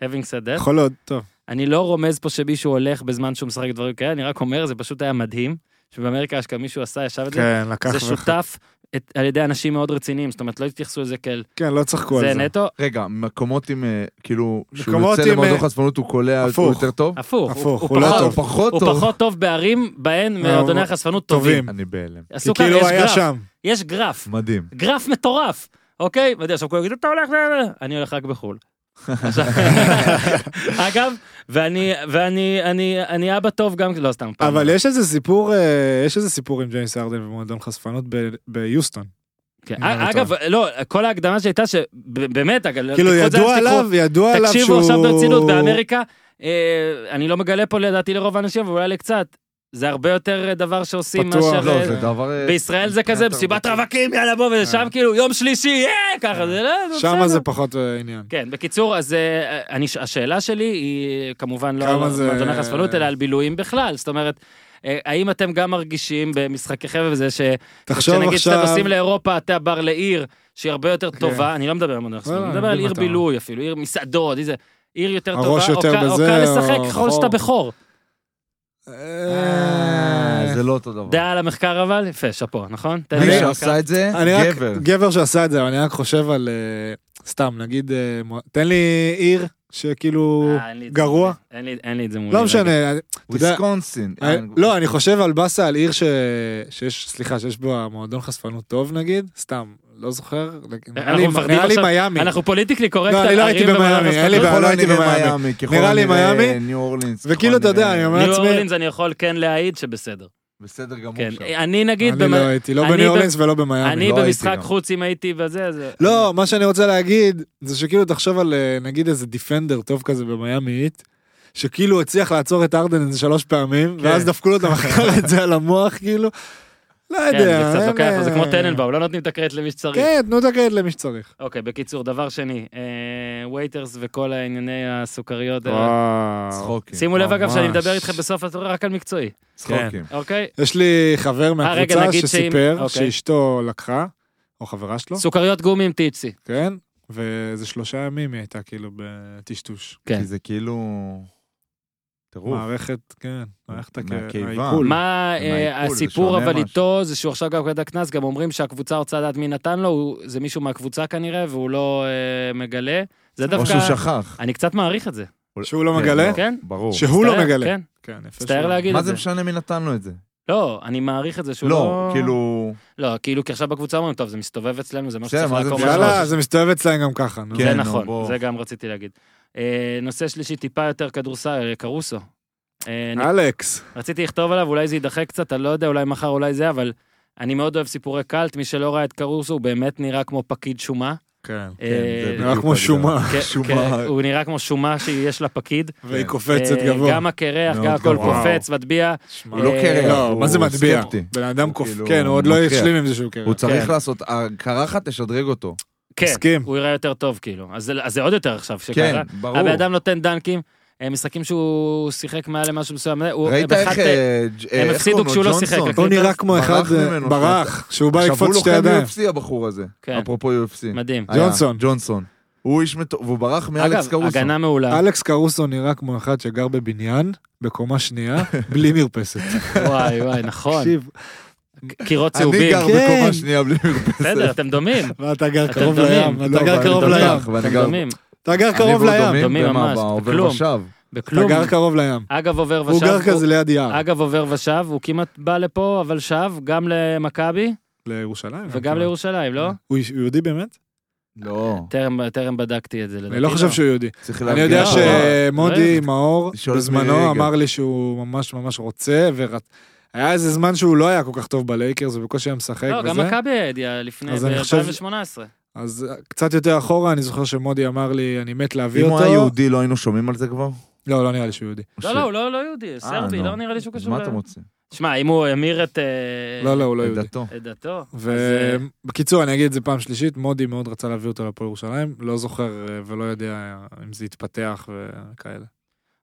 S2: having said that,
S4: יכול להיות, טוב.
S2: אני לא רומז פה שמישהו הולך בזמן שהוא משחק דברים כאלה, אני רק אומר, זה פשוט היה מדהים, שבאמריקה אשכרה מישהו עשה, ישב את זה,
S4: כן, לקח
S2: זה
S4: לך.
S2: שותף את, על ידי אנשים מאוד רציניים, זאת אומרת, לא התייחסו לזה כאל
S4: כן, לא צחקו
S2: זה
S4: על זה.
S2: נטו,
S1: רגע, מקומות עם, אה, כאילו, שהוא
S4: מקומות
S1: יוצא
S4: עם,
S1: למועדון
S4: אה,
S1: חשפנות, הוא קולע, הוא
S4: הפוך.
S1: יותר טוב?
S2: הפוך,
S4: הפוך,
S2: הוא,
S4: הוא לא
S1: הוא פחות
S2: פחות,
S4: טוב.
S2: הוא
S1: טוב.
S2: פחות טוב בערים בהן
S4: אה,
S2: מועדוני
S4: הוא-
S2: החשפנות טובים.
S4: טובים.
S1: אני בהלם.
S4: כי
S2: עשו כאן,
S4: כאילו
S2: יש
S4: היה
S2: גרף,
S4: שם.
S2: יש גרף,
S1: מדהים.
S2: גרף מטורף, אוקיי? ואתה יודע, עכשיו כולם יגידו, אתה הולך, ל- ל-". אני הולך רק בחו"ל. עכשיו- אגב, ואני, ואני, אני, אני אבא טוב גם, לא סתם. פעם.
S4: אבל יש איזה סיפור, אה, יש איזה סיפור עם ג'יימס ארדן ומועדון חשפנות ב- ביוסטון.
S2: כן.
S4: נראה לי
S2: אגב, לא, כל ההקדמה שהייתה שבאמת, אגב,
S4: כאילו,
S2: תיקחו את זה
S4: ידוע
S2: לאן שתיקחו.
S4: עליו, ידוע עליו שהוא...
S2: תקשיבו עכשיו ברצינות, באמריקה, אה, אני לא מגלה פה לדעתי לרוב האנשים, אבל אולי לקצת, זה הרבה יותר אה, דבר שעושים
S4: פתוח,
S2: מאשר...
S4: לא,
S2: אה,
S1: לא, זה דבר... אה,
S2: בישראל זה כזה,
S4: אתה
S2: מסיבת
S4: רוצה.
S2: רווקים, יאללה בוא, ושם כאילו יום שלישי, אה, ככה, זה לא, זה
S4: שם
S2: בסדר.
S4: זה פחות אה, עניין.
S2: כן, בקיצור, אז אה, אני, השאלה שלי היא כמובן לא
S4: כמה
S2: על
S4: זה-
S2: מועדוני חשפנות, אלא על בילויים בכלל. זאת אומרת, אה, האם אתם גם מרגישים במשחקי חבר וזה ש...
S4: תחשוב
S2: כשנגיד שאתם
S4: עכשיו- כן.
S2: נוסעים לאירופה, אתה בר לעיר שהיא הרבה יותר טובה, אני לא מדבר על מועדוני חשפנות,
S4: לא,
S2: אני
S4: לא,
S2: מדבר
S4: אני
S2: על
S4: מבין
S2: עיר
S4: מה אתה אומר.
S2: בילוי אפילו, עיר מסעדות, איזה... עיר יותר
S4: הראש
S2: טובה, או
S4: יותר
S2: קל- או
S4: בזה, אה,
S2: קל
S4: או
S2: לשחק ככל שאתה
S4: חור.
S2: בכור.
S1: אה,
S4: אה,
S1: זה לא אותו דבר.
S2: דעה על המחקר אבל, יפה, שאפו, נכון? תן
S1: מי
S4: לא,
S2: לי
S1: שעשה את זה,
S4: אני רק,
S1: גבר.
S4: גבר שעשה את זה, אבל אני רק חושב על, אה, סתם, נגיד, אה, מו- תן לי עיר שכאילו
S2: אה, אין לי את זה
S4: גרוע.
S2: מולי. אין לי- אין לי את זה אוקיי. מולי.
S4: לא
S2: רגע.
S4: משנה, אני- אתה יודע,
S1: וויסקונסין.
S4: אה, לא, אני חושב על באסה, על עיר ש- שיש, סליחה, שיש בו מועדון חספנות טוב נגיד, סתם, לא זוכר, נראה לי-
S2: מפחדים
S4: נראה לי
S2: עכשיו-
S4: מיאמי.
S2: אנחנו פוליטיקלי קורקט.
S4: לא, אני
S2: על
S4: לא הייתי
S2: ערים
S4: במיאמי,
S2: ומעלות
S4: אין לי
S2: הסתדרות.
S4: בעיה.
S1: ככל
S4: לא הייתי
S1: הנראה
S4: במיאמי.
S1: מיאמי, ככל
S4: נראה לי
S1: הנראה
S4: מיאמי.
S1: ניו אורלינס. ככל
S4: וכאילו, אתה יודע,
S1: הנראה-
S4: אני אומר
S2: ניו
S4: לעצמי, לא
S2: אורלינס אני יכול כן להעיד שבסדר.
S1: בסדר גמור
S2: כן.
S1: שם.
S2: אני נגיד,
S4: אני
S2: במ-
S4: לא הייתי, לא
S2: אני
S4: בניו
S2: ב-
S4: אורלינס ולא במיאמי.
S2: אני
S1: לא הייתי
S2: במשחק
S1: גם.
S2: חוץ אם הייתי בזה, זה...
S4: לא, מה שאני רוצה להגיד, זה שכאילו תחשוב על אה, נגיד איזה דיפנדר טוב כזה במיאמי איט, שכאילו הצליח לעצור את ארדן איזה שלוש פעמים,
S2: כן.
S4: ואז דפקו לו את המחקר את זה על המוח, כאילו. לא
S2: כן, זה
S4: יודע.
S2: קצת
S4: אין,
S2: לוקח,
S4: אה,
S2: זה כמו טננבאום, לא נותנים את הקרדיט למי שצריך.
S4: כן, תנו את הקרדיט למי שצריך.
S2: אוקיי, בקיצור, דבר שני, אה, וייטרס וכל הענייני הסוכריות. אה,
S4: וואו.
S1: צחוקים.
S2: שימו לב אגב שאני
S4: ממש.
S2: מדבר איתכם בסוף התורה רק על מקצועי,
S1: צחוקים.
S2: אוקיי?
S4: יש לי חבר
S2: אה, רגע,
S4: מהקבוצה
S2: נגיד שאם-
S4: שסיפר
S2: אוקיי.
S4: שאשתו לקחה, או חברה
S1: לא.
S4: שלו,
S2: סוכריות גומי עם טיפסי.
S1: אה,
S4: כן, ואיזה שלושה ימים היא הייתה כאילו בטשטוש.
S2: כן.
S1: כי זה כאילו... טירוף.
S4: מערכת, כן, מערכת הכ-
S1: מהקיבה.
S4: העיכול.
S2: מה
S1: עם
S2: אה,
S1: העיכול, זה
S2: הסיפור
S1: שונה
S2: אבל
S1: משהו.
S2: איתו, זה שהוא עכשיו גם קטע קנס, גם אומרים שהקבוצה רוצה לדעת מי נתן לו, הוא- זה מישהו מהקבוצה כנראה, והוא לא אה, מגלה. זה
S1: או שהוא
S2: דווקא,
S1: שכח.
S2: אני קצת מעריך את זה.
S4: שהוא לא
S1: כן,
S4: מגלה?
S2: כן?
S1: ברור.
S4: שהוא לא
S2: מצטער,
S4: מגלה.
S2: כן.
S4: כן, יפה.
S2: מצטער
S4: שהוא-
S2: להגיד
S1: מה
S2: את
S1: זה
S2: זה.
S1: משנה מי נתן לו את זה?
S2: לא, אני מעריך את זה שהוא לא...
S1: לא, כאילו...
S2: לא, כאילו, כי עכשיו בקבוצה אומרים, טוב, זה מסתובב אצלנו, זה מה
S1: בסדר,
S2: שצריך
S1: מה זה
S2: לעקור.
S1: משנה?
S2: מהשורש."
S4: יאללה, זה מסתובב אצלהם גם ככה, נו.
S1: כן,
S2: זה
S1: נו,
S2: נכון,
S1: בוא.
S2: זה גם רציתי להגיד. אה, נושא שלישי, טיפה יותר כדורסל, אה, קרוסו. אה, אני
S4: אלכס.
S2: רציתי לכתוב עליו, אולי זה יידחה קצת, אני לא יודע, אולי מחר, אולי זה, אבל אני מאוד אוהב סיפורי קאלט, מי שלא ראה את קרוסו, הוא באמת נראה כמו פקיד שומה.
S4: כן.
S2: אה,
S1: זה
S4: נראה כמו שומה,
S2: כן,
S1: שומה.
S2: כן, הוא נראה כמו שומה שיש לה פקיד.
S4: והיא
S1: כן.
S4: קופצת
S2: אה,
S4: גבוה.
S2: גם הקרח,
S1: מאוד
S2: גם הכל
S1: גבוה.
S2: קופץ, מטביע.
S4: שמע,
S1: הוא לא
S2: אה,
S1: קרח,
S4: לא,
S1: הוא
S4: מה זה מטביע?
S1: סקפטי.
S4: בן אדם
S1: הוא
S4: קוף...
S1: כאילו
S4: כן, הוא עוד לא
S1: מקריח.
S4: השלים עם זה שהוא קרח.
S1: הוא צריך
S2: כן.
S1: לעשות... הקרחת תשדרג אותו.
S2: כן,
S4: מסכים.
S2: הוא יראה יותר טוב, כאילו. אז זה- אז זה עוד יותר עכשיו
S1: כן,
S2: שקרה. אה,
S1: ברור.
S2: הבן אדם נותן דנקים, אה, משחקים שהוא שיחק מעל למשהו מסוים. הוא-
S1: ראית
S2: באחד-
S1: איך... אה, ג'- אה, איך
S2: הפסידו
S1: קוראים לו?
S2: כשהוא לא שיחק,
S1: ג'ונסון?
S2: רק
S4: הוא
S2: הקליפרס
S4: נראה כמו
S1: ברח
S4: אחד אה,
S1: ממנו,
S4: ברח, שהוא בא
S1: עכשיו הוא
S4: לקפוץ שתי
S1: לוחם
S4: ידיים.
S1: UFC הבחור הזה.
S2: כן.
S1: אפרופו UFC.
S2: מדהים.
S1: היה,
S4: ג'ונסון.
S1: ג'ונסון. הוא איש מטורף, והוא ברח מאלכס
S2: אגב,
S1: קרוסו.
S2: הגנה מעולה.
S4: אלכס קרוסו נראה כמו אחד שגר בבניין, בקומה שנייה, בלי מרפסת.
S2: וואי, וואי, נכון.
S4: תקשיב,
S2: קירות
S1: אני
S2: צהובים.
S1: גר
S4: כן.
S1: בקומה שנייה בלי מרפסת.
S2: בסדר, אתם דומים.
S4: ואתה גר
S2: אתם
S4: קרוב
S2: דומים.
S4: לים, אתה
S1: טוב,
S4: גר
S1: לא, אני
S4: קרוב
S1: דומם
S4: לים.
S1: לך, ואני
S2: אתם
S1: גר-
S2: דומים.
S4: אתה גר
S1: אני
S4: קרוב
S1: והוא
S4: לים.
S2: דומים
S1: במה?
S2: ממש,
S1: בעובר
S2: בכלום.
S1: ושב.
S4: אתה
S2: בכלום.
S4: גר קרוב לים.
S2: אגב עובר ושב.
S4: הוא גר כזה ליד יער.
S2: אגב עובר ושב, הוא כמעט בא לפה, אבל שב גם
S4: אה,
S2: למכבי
S4: לירושלים.
S2: וגם לירושלים, לא?
S4: הוא הוא יהודי באמת?
S1: לא,
S2: טרם- טרם בדקתי את זה.
S4: אני לא חושב שהוא יהודי.
S1: צריך
S4: אני
S1: להגיד.
S4: יודע
S2: לא,
S4: שמודי
S2: לא.
S4: מאור
S1: לשאול את כן. מירי
S4: בזמנו
S1: רגב.
S4: אמר לי שהוא ממש ממש רוצה, והיה איזה זמן שהוא לא היה כל כך טוב בלייקרס ובקושי היה משחק
S2: לא, גם
S4: וזה,
S2: מכבי הידיעה לפני,
S4: אז אני חושב-
S2: ב-2018. לא,
S4: אז קצת יותר אחורה אני זוכר שמודי אמר לי אני מת להביא
S1: אם הוא היה
S4: אותו.
S1: יהודי, לא היינו שומעים על זה כבר?
S4: לא, לא נראה לי שהוא יהודי.
S2: לא, לא, הוא לא לא יהודי, סרבי,
S1: אה, נו.
S2: לא נראה לי שהוא
S1: אז
S2: קשור.
S1: מה
S2: ל-
S1: אתם רוצים?
S2: שמע, אם הוא המיר את אה,
S4: לא, לא, הוא לא יהודי.
S1: לדתו.
S2: את דתו, אז, אה,
S4: ובקיצור, אני אגיד את זה פעם שלישית, מודי מאוד רצה להביא אותו לפועל ירושלים, לא זוכר אה, ולא יודע אם זה יתפתח וכאלה.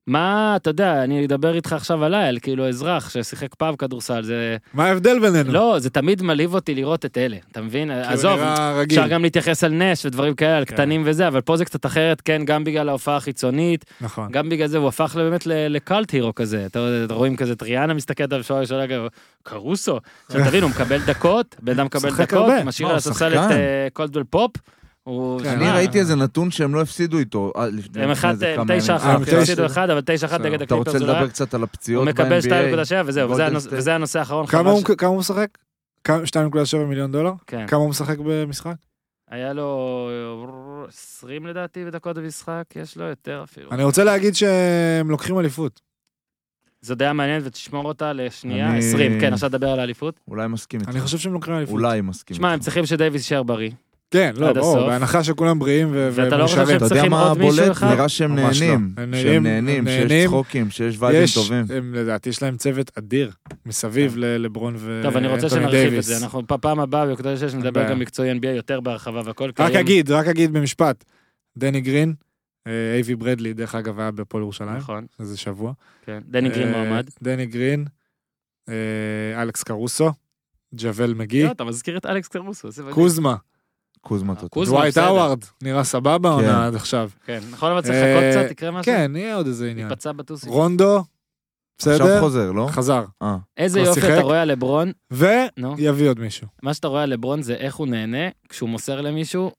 S2: מה, אתה יודע, אני אדבר איתך עכשיו עליי, על כאילו אזרח ששיחק פעם כדורסל, זה...
S4: מה ההבדל בינינו?
S2: לא, זה תמיד מלהיב אותי לראות את אלה, אתה מבין?
S4: כי הוא
S2: עזוב,
S4: כאילו, נראה רגיל.
S2: אפשר גם להתייחס על נש ודברים כאלה, על קטנים וזה, אבל פה זה קצת אחרת, כן, גם בגלל ההופעה החיצונית,
S4: נכון.
S2: גם בגלל זה הוא הפך באמת ל- לקלט הירו כזה. אתה יודע, אתה רואים כזה, את ריאנה מסתכלת עליו שואלה ראשונה, כאילו, קרוסו. עכשיו תבין, הוא מקבל דקות, בן אדם מקבל
S4: משחק
S2: דקות,
S4: הרבה.
S2: משאיר
S1: מה,
S2: על
S1: הוא
S2: הספסל
S1: שחקן?
S2: את אה, קולדוול פופ. הוא-
S4: כן,
S1: אני
S2: שמע,
S1: ראיתי איזה נתון שהם לא הפסידו איתו. אה, לפני-
S2: הם אחד,
S1: לפני איזה
S2: הם
S1: כמה
S2: תשע
S1: ימים.
S4: אה,
S2: אחת,
S4: הם
S2: הם הפסידו
S4: תשע.
S2: אחד, אבל תשע אחת
S4: בסדר.
S2: נגד
S1: אתה
S2: הקליפרס.
S1: רוצה
S2: זה לא היה-
S1: לדבר קצת על הפציעות
S2: הוא מקבל
S1: ב-NBA?
S2: 2.7 וזהו, וזה
S1: גולדן
S2: הנוס-
S1: סטייט.
S2: וזה הנושא האחרון.
S4: כמה
S2: חבל
S4: הוא-
S2: ש-
S4: כמה הוא משחק? כמה- 2.7 מיליון דולר?
S2: כן.
S4: כמה הוא משחק במשחק?
S2: היה לו 20 לדעתי בדקות במשחק, יש לו יותר אפילו.
S4: אני רוצה להגיד שהם לוקחים אליפות.
S2: זו דעה מעניינת ותשמור אותה לשנייה,
S1: אני-
S2: 20, כן, עכשיו נדבר על האליפות.
S1: אולי מסכים איתך.
S4: אני חושב שהם לוקחים אליפות.
S1: אולי מסכים
S2: שמע, הם צריכים שדייוויס יישאר בריא.
S4: כן, לא,
S2: עד
S4: ברור,
S2: הסוף.
S4: בהנחה שכולם בריאים ו-
S2: ואתה לא חושב
S4: ומאושרים.
S1: אתה יודע
S2: צריכים
S1: מה
S2: עוד מישהו
S1: הבולט?
S2: אחד?
S1: נראה שהם
S4: ממש לא.
S1: נהנים.
S4: הם
S1: שהם
S4: נהנים,
S1: נהנים,
S4: הם
S1: שיש
S4: נהנים.
S1: צחוקים, שיש וייבים טובים.
S4: הם, לדעתי יש להם צוות אדיר מסביב ל- לברון ואנטוני דייוויס.
S2: כן. טוב, אני רוצה שנרחיב את זה. אנחנו בפעם הבאה, וכדי שיש נדבר
S4: בעיה.
S2: גם מקצועי NBA יותר בהרחבה והכל. כי
S4: רק
S2: היום-
S4: אגיד, רק אגיד במשפט. דני גרין, אה, אייבי ברדלי, דרך אגב, היה בפועל ירושלים,
S2: נכון,
S4: איזה שבוע.
S2: כן. דני גרין
S4: אה,
S2: מועמד.
S4: דני גרין, אה, אלכס קרוסו, ג'וול מגי,
S2: לא, אתה מזכיר את אלכס קרוסו. זה מדהים.
S4: קוזמה,
S1: קוזמה תותו.
S2: קוזמה,
S4: דווייט
S2: בסדר.
S4: האווארד, נראה סבבה עונה עד עכשיו.
S2: כן, נכון, אבל צריך לחכות
S4: אה,
S2: קצת, יקרה משהו.
S4: כן, יהיה עוד איזה עניין.
S2: פצע בטוסי.
S4: רונדו,
S1: עכשיו
S4: בסדר?
S1: חוזר, לא?
S4: חזר.
S1: אה.
S2: איזה
S4: לא
S2: יופי
S4: שיחק.
S2: אתה רואה על לברון,
S4: ויביא
S2: נו.
S4: עוד מישהו.
S2: מה שאתה רואה על לברון זה איך הוא נהנה כשהוא מוסר למישהו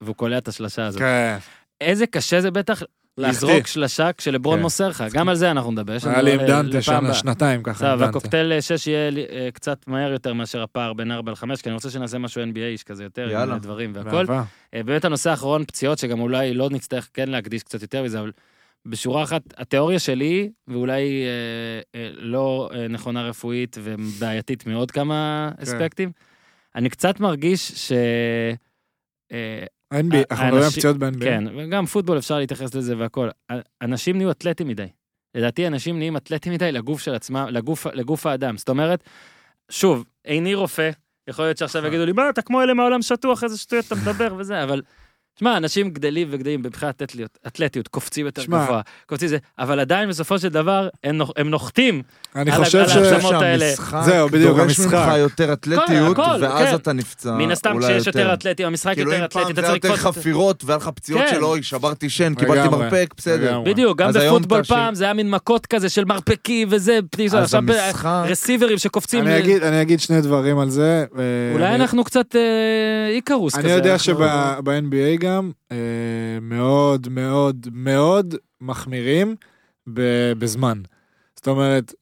S2: והוא קולע את השלשה הזאת.
S4: כן.
S2: איזה קשה זה בטח
S4: להחטיא.
S2: לזרוק שלשה כשלברון
S4: כן.
S2: מוסר לך, גם על זה אנחנו נדבר. יש לנו
S4: היה לי עם
S2: ל-
S4: דנטה
S2: לפעם
S4: שנה,
S2: הבאה.
S4: שנתיים ככה עם
S2: בסדר,
S4: דנטה.
S2: והקוקטייל 6 יהיה לי, אה, קצת מהר יותר מאשר הפער בין 4 ל-5, כי אני רוצה שנעשה משהו NBA איש כזה יותר, עם
S1: יאללה.
S2: אה, דברים והכל.
S4: באהבה.
S2: אה, באמת הנושא האחרון, פציעות, שגם אולי לא נצטרך כן להקדיש קצת יותר מזה, אבל בשורה אחת, התיאוריה שלי, ואולי אה, אה, לא אה, נכונה רפואית ובעייתית מעוד כמה
S4: כן.
S2: אספקטים, אני קצת מרגיש ש... אה,
S4: NBA, אנחנו מדברים על
S2: האנשים-
S4: פציעות ב-NBA.
S2: כן, וגם פוטבול אפשר להתייחס לזה והכל. אנשים נהיו אתלטים מדי. לדעתי אנשים נהיים אתלטים מדי לגוף של עצמם, לגוף, לגוף האדם. זאת אומרת, שוב, איני רופא, יכול להיות שעכשיו
S1: נכון.
S2: יגידו לי, מה, אתה כמו אלה מהעולם שטוח, איזה שטויות אתה מדבר וזה, אבל... שמע, אנשים גדלים וגדלים מבחינת אתליות- אתלטיות, קופצים יותר
S4: שמע.
S2: גבוה, קופצים זה, אבל עדיין בסופו של דבר הם, נוח, הם נוחתים.
S4: אני
S2: על
S4: חושב
S2: הג-
S4: ש...
S2: על ההגזמות האלה.
S1: שהמשחק
S4: זהו, בדיוק,
S1: דורש ממך
S4: המשחק.
S1: יותר אתלטיות,
S2: הכל, הכל, כן.
S1: ואז אתה נפצע
S2: מן הסתם,
S1: אה, אולי
S2: כשיש יותר אתלטים, המשחק
S1: כאילו
S2: יותר
S1: אם פעם
S2: אתלטי,
S1: זה
S2: אתה
S1: היה
S2: צריך
S1: יותר
S2: לקפוץ.
S1: חפירות והיה לך פציעות
S2: כן.
S1: של אוי, שברתי שן, קיבלתי
S4: לגמרי,
S1: מרפק, בסדר.
S4: לגמרי.
S2: בדיוק, גם
S1: אז היום
S2: בפוטבול
S1: אתה
S2: פעם זה היה מין מכות כזה של מרפקים וזה, פתאום
S1: אז
S2: עכשיו ב-
S1: המשחק...
S2: אה, רסיברים שקופצים.
S4: אני אגיד- אני אגיד שני דברים על זה. אה,
S2: אולי
S4: אני-
S2: אנחנו קצת אה, איקרוס כזה.
S4: אני יודע
S2: אנחנו-
S4: שב-NBA גם אה, מאוד מאוד מאוד מחמירים ב- בזמן. זאת אומרת,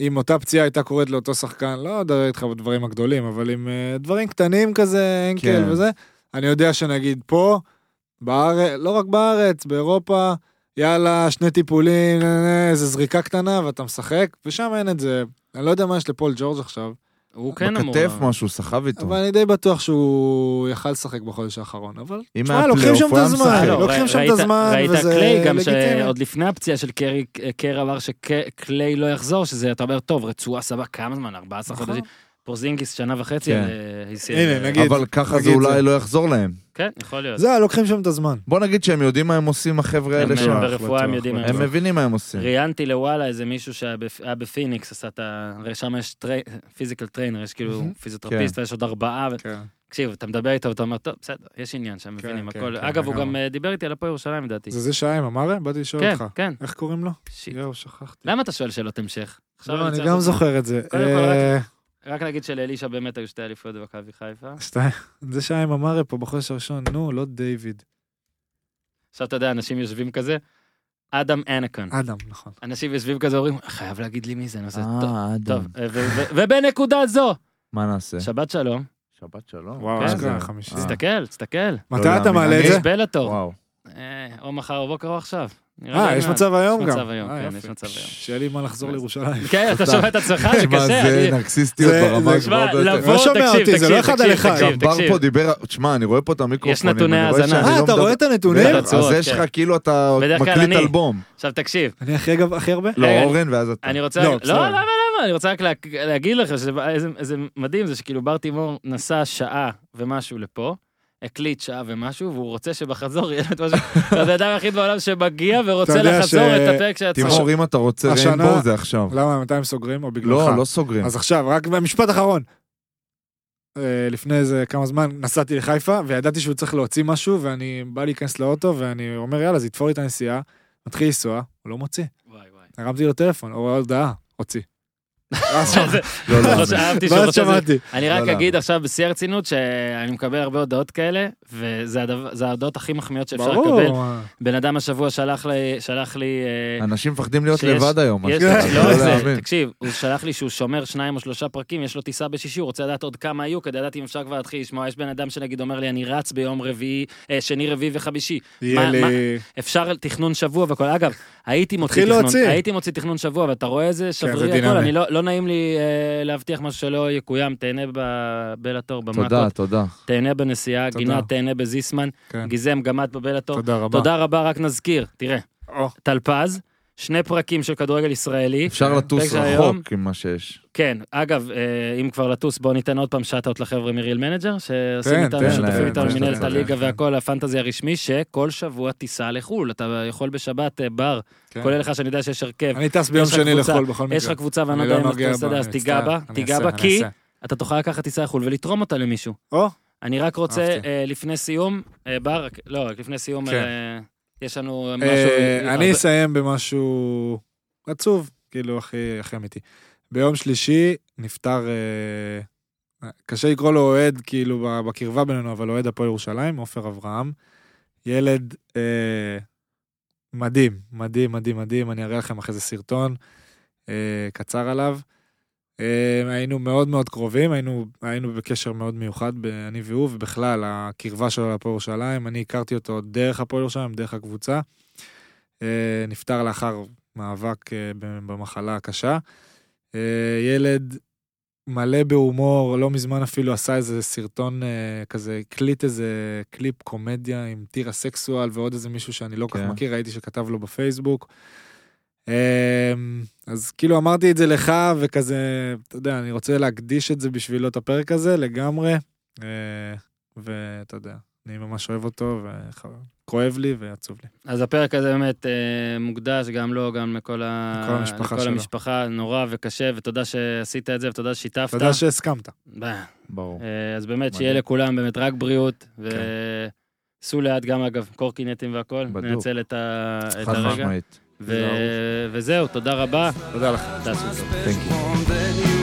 S4: אם אותה פציעה הייתה קורית לאותו שחקן, לא אדבר איתך בדברים הגדולים, אבל עם אה, דברים קטנים כזה, אנקל
S1: כן.
S4: וזה, אני יודע שנגיד פה, בארץ, לא רק בארץ, באירופה, יאללה, שני טיפולים, נה, נה, איזה זריקה קטנה ואתה משחק, ושם אין את זה. אני לא יודע מה יש לפול ג'ורג' עכשיו,
S2: הוא כן אמור.
S1: בכתף משהו, סחב איתו.
S4: אבל אני די בטוח שהוא יכל לשחק בחודש האחרון, אבל...
S1: אם
S4: תשמע,
S1: היה
S4: לוקחים שם
S1: פלייאוף,
S4: את
S1: הוא היה
S4: הזמן,
S1: משחק.
S2: לא,
S4: לוקחים
S2: ראית-
S4: שם את הזמן,
S2: ראית
S4: וזה
S2: קליי גם
S4: לגיטימי.
S2: שעוד לפני הפציעה של קרי, קר אמר שקליי לא יחזור, שזה, אתה אומר, טוב, רצועה סבבה, כמה זמן? 14
S4: נכון.
S2: חודשים. פורזינגיס שנה וחצי.
S1: כן.
S2: אה, הסיר.
S4: הנה, נגיד.
S1: אבל ככה זה
S4: נגיד זה.
S1: אולי לא יחזור להם.
S2: כן, יכול להיות.
S4: זה, לוקחים שם את הזמן.
S1: בוא נגיד שהם יודעים מה הם עושים, החבר'ה
S2: הם
S1: האלה
S2: שם
S1: שם.
S2: ברפואה הם
S4: בטוח,
S2: יודעים.
S4: בטוח.
S1: הם מבינים מה הם עושים.
S2: ראיינתי לוואלה איזה מישהו שהיה בפ- היה בפיניקס, עשה את ה... הרי שם יש פיזיקל טריינר, יש כאילו
S4: מהמם.
S2: פיזיותרפיסט, ויש עוד ארבעה, ו-
S4: כן.
S2: תקשיב, אתה מדבר איתו ואתה אומר, טוב, בסדר, יש עניין שם,
S4: כן,
S2: מבינים
S4: כן,
S2: הכל.
S4: כן,
S2: אגב, הוא גם
S4: לגמרי.
S2: אה, דיבר איתי על הפועל ירושלים, לדעתי.
S4: זה זה שהיה עם אמרה? באתי לשאול
S2: כן,
S4: אותך.
S2: כן.
S4: איך קוראים לו?
S2: שיט.
S4: יואו, שכחתי.
S2: למה אתה שואל שאלות המשך? עכשיו
S4: לא, אני
S2: צריך
S4: גם
S2: לעשות-
S4: זוכר את זה.
S2: קודם כל, רק-
S4: אה,
S2: רק נגיד שלאלישע באמת היו שתי אליפויות במכבי חיפה.
S4: שתיים. זה שהיה עם אמרה פה בחודש הראשון, נו, לא דיוויד.
S2: עכשיו אתה יודע, אנשים יושבים כזה, אדם אנקון.
S4: אדם, נכון.
S2: אנשים יושבים כזה, אומרים, חייב להגיד לי מי זה, נו, זה טוב.
S1: אה, אדם.
S2: טוב, אה, ו- ו- ובנקודה זו,
S1: מה נעשה?
S2: שבת שלום.
S4: אה.
S1: שבת שלום.
S4: וואו,
S2: כן,
S4: אשכרה,
S1: זה-
S4: חמישי.
S1: אה.
S2: תסתכל, תסתכל.
S4: מתי אתה
S1: להאמין.
S4: מעלה את
S1: אני-
S4: זה?
S2: יש בלאטור.
S1: וואו.
S2: אה, או מחר או בוקר או עכשיו. נראה לי
S4: אה,
S2: עוד
S4: יש
S2: מעט.
S4: מצב היום
S2: לא יש
S4: גם.
S2: מצב היום,
S4: אה,
S2: כן,
S4: יופי.
S2: יש מצב היום.
S4: שיהיה לי מה לחזור לירושלים.
S2: כן, אתה שומע את עצמך, זה
S1: תשמע,
S2: קשה.
S1: זה
S2: אני-
S1: נרקסיסטיות
S4: זה-
S1: ברמה
S4: זה-
S1: הגבוהה
S2: תשמע,
S1: ביותר.
S2: לבוא,
S4: לא שומע
S2: תקשיב,
S4: אותי, זה לא
S2: תקשיב,
S4: אחד על
S2: תקשיב,
S4: אחד.
S1: גם
S2: תקשיב,
S1: בר
S2: תקשיב.
S1: פה דיבר, תשמע, אני רואה פה את המיקרופונים.
S2: נתוני
S1: אני רואה
S2: האזנה.
S1: שאני לא
S4: אה, אתה
S1: מדבר-
S4: רואה את הנתונים?
S2: בטח.
S1: אז
S2: הרצועות,
S1: יש
S2: כן.
S1: לך כאילו אתה
S2: בדרך כלל
S1: מקליט
S2: אני.
S1: אלבום.
S2: עכשיו תקשיב,
S4: אני הכי אגב- הכי הרבה?
S1: לא,
S2: רגע, אני-
S1: אורן ואז אתה.
S2: אני רוצה...
S4: לא,
S2: לא,
S4: בסדר.
S2: למה, למה? אני רוצה רק להק- להגיד לך שזה איזה- איזה מדהים זה שכאילו בר תימור נסע שעה ומשהו לפה. הקליט שעה ומשהו, והוא רוצה שבחזור יהיה לו את משהו. זה האדם היחיד בעולם שמגיע ורוצה
S4: אתה יודע
S2: לחזור
S4: ש-
S2: את הפרק של הצהריים.
S1: תימור, אם אתה רוצה
S4: השנה-
S1: ריינבו, זה עכשיו.
S4: למה, מתי הם סוגרים? או בגללך?
S1: לא, לא
S2: כן.
S1: סוגרים.
S4: אז עכשיו, רק משפט אחרון. אה, לפני איזה כמה זמן נסעתי לחיפה, וידעתי שהוא צריך להוציא משהו, ואני בא להיכנס לאוטו, ואני אומר, יאללה, זה יתפור לי את הנסיעה, מתחיל לנסוע, הוא לא מוציא.
S2: וואי, וואי.
S4: הרמתי לו טלפון, או הודעה, הוציא. ואז
S2: זה-
S1: לא, לא.
S2: לא שאהבתי שהוא
S4: ואז
S2: רוצה... זה.
S4: שמעתי.
S2: אני רק
S1: לא, לא.
S2: אגיד עכשיו בשיא הרצינות שאני מקבל הרבה הודעות כאלה, וזה הדבר- זה ההודעות הכי מחמיאות שאפשר לקבל.
S4: ברור.
S2: בן אדם השבוע שלח לי- שלח לי... אה,
S1: אנשים מפחדים להיות
S2: שיש-
S1: לבד היום. מה
S2: יש-
S4: כן,
S1: שקרה,
S2: לא רק
S1: לא
S2: זה,
S1: להאמין.
S2: תקשיב, הוא שלח לי שהוא שומר שניים או שלושה פרקים, יש לו טיסה בשישי, הוא רוצה לדעת עוד כמה היו, כדי לדעת אם אפשר כבר להתחיל לשמוע. יש בן אדם שנגיד אומר לי, אני רץ ביום רביעי, אה, שני, רביעי וחמישי.
S4: יהיה
S2: מה-
S4: לי...
S2: מה- אפשר תכנון שבוע והכל. אגב, הייתי מוציא
S4: תתחיל
S2: תכנון,
S4: להוציא. כן,
S2: הייתי מוציא תכנון שבוע, ואתה רואה איזה שברי הכל,
S4: דינמי.
S2: אני לא לא נעים לי אה, להבטיח משהו שלא יקוים, תהנה ב- בלטור,
S1: תודה,
S2: במטות,
S1: תודה.
S2: תהנה בנסיעה,
S4: תודה.
S2: גינה, תהנה בזיסמן,
S4: כן.
S2: גיזם, גם את בבלטור.
S4: תודה רבה.
S2: תודה רבה, רק נזכיר, תראה,
S4: או,
S2: טלפז, שני פרקים של כדורגל ישראלי,
S1: אפשר
S2: פרק
S1: לטוס
S2: של היום.
S1: רחוק עם מה שיש.
S2: כן, אגב, אה, אם כבר לטוס, בואו ניתן עוד פעם שאט-אאוט לחבר'ה מריל מנג'ר, שעושים
S4: תן,
S2: איתנו,
S1: תן,
S2: שותפים
S1: אה,
S2: איתנו
S1: תן,
S2: מנהלת
S1: תן,
S2: הליגה
S4: תן.
S2: והכל, הפנטזי הרשמי, שכל שבוע תיסע לחו"ל, אתה יכול בשבת אה, בר,
S4: כן.
S2: כולל לך שאני יודע שיש הרכב,
S4: אני טס ביום
S2: יש לך
S4: שני
S2: קבוצה-
S4: לחו"ל בכל מקרה.
S2: יש לך קבוצה ואני לא
S4: אני
S2: יודע אם
S4: לא
S2: אתה
S4: נוגע
S2: תעשה את
S4: בה,
S2: זה, אז
S4: אני
S2: תיגע
S4: מצטער.
S2: בה,
S4: אני
S2: תיגע
S4: אעשה,
S2: בה,
S4: אני
S2: כי
S4: אעשה.
S2: אתה תוכל לקחת טיסה לחו"ל ולתרום אותה למישהו.
S4: או,
S2: אני רק רוצה,
S4: אהבתי.
S2: אה, לפני סיום, אה, בר, רק- לא, רק לפני סיום,
S4: כן.
S2: אה, יש לנו משהו...
S4: אה,
S2: הרבה-
S4: אני אסיים במשהו עצוב, כאילו הכי הכי אמיתי. ביום שלישי נפטר, אה, קשה לקרוא לו אוהד, כאילו ב- בקרבה בינינו, אבל אוהד הפועל ירושלים, עופר אברהם. ילד אה, מדהים, מדהים, מדהים, מדהים, אני אראה לכם אחרי זה סרטון אה, קצר עליו. אה, היינו מאוד מאוד קרובים, היינו, היינו בקשר מאוד מיוחד, ב- אני והוא, ובכלל, הקרבה שלו להפועל ירושלים, אני הכרתי אותו דרך הפועל ירושלים, דרך הקבוצה. אה, נפטר לאחר מאבק אה, ב- במחלה הקשה. אה, ילד מלא בהומור, לא מזמן אפילו עשה איזה סרטון אה, כזה, הקליט איזה קליפ קומדיה עם טירה סקסואל ועוד איזה מישהו שאני לא כל כך
S1: כן.
S4: מכיר, ראיתי שכתב לו בפייסבוק. אה, אז כאילו אמרתי את זה לך, וכזה, אתה יודע, אני רוצה להקדיש את זה בשבילו, את הפרק הזה, לגמרי. אה, ואתה יודע, אני ממש אוהב אותו, וכואב לי ועצוב לי.
S2: אז הפרק הזה באמת אה, מוקדש גם לו, גם לכל, ה...
S4: לכל המשפחה
S2: לכל
S4: שלו.
S2: המשפחה, נורא וקשה, ותודה שעשית את זה, ותודה ששיתפת.
S4: תודה שהסכמת.
S2: ב-
S1: ברור.
S2: אה, אז באמת,
S1: מדהים.
S2: שיהיה לכולם באמת רק בריאות,
S4: כן.
S2: וסעו לאט גם, אגב, קורקינטים והכול.
S1: בדוק.
S2: ננצל את, ה... אה, את
S1: חד
S2: הרגע.
S1: משמעית.
S2: ו... וזהו, תודה רבה.
S4: תודה לך.
S2: תעשו טוב.
S1: Thank you.
S5: from the new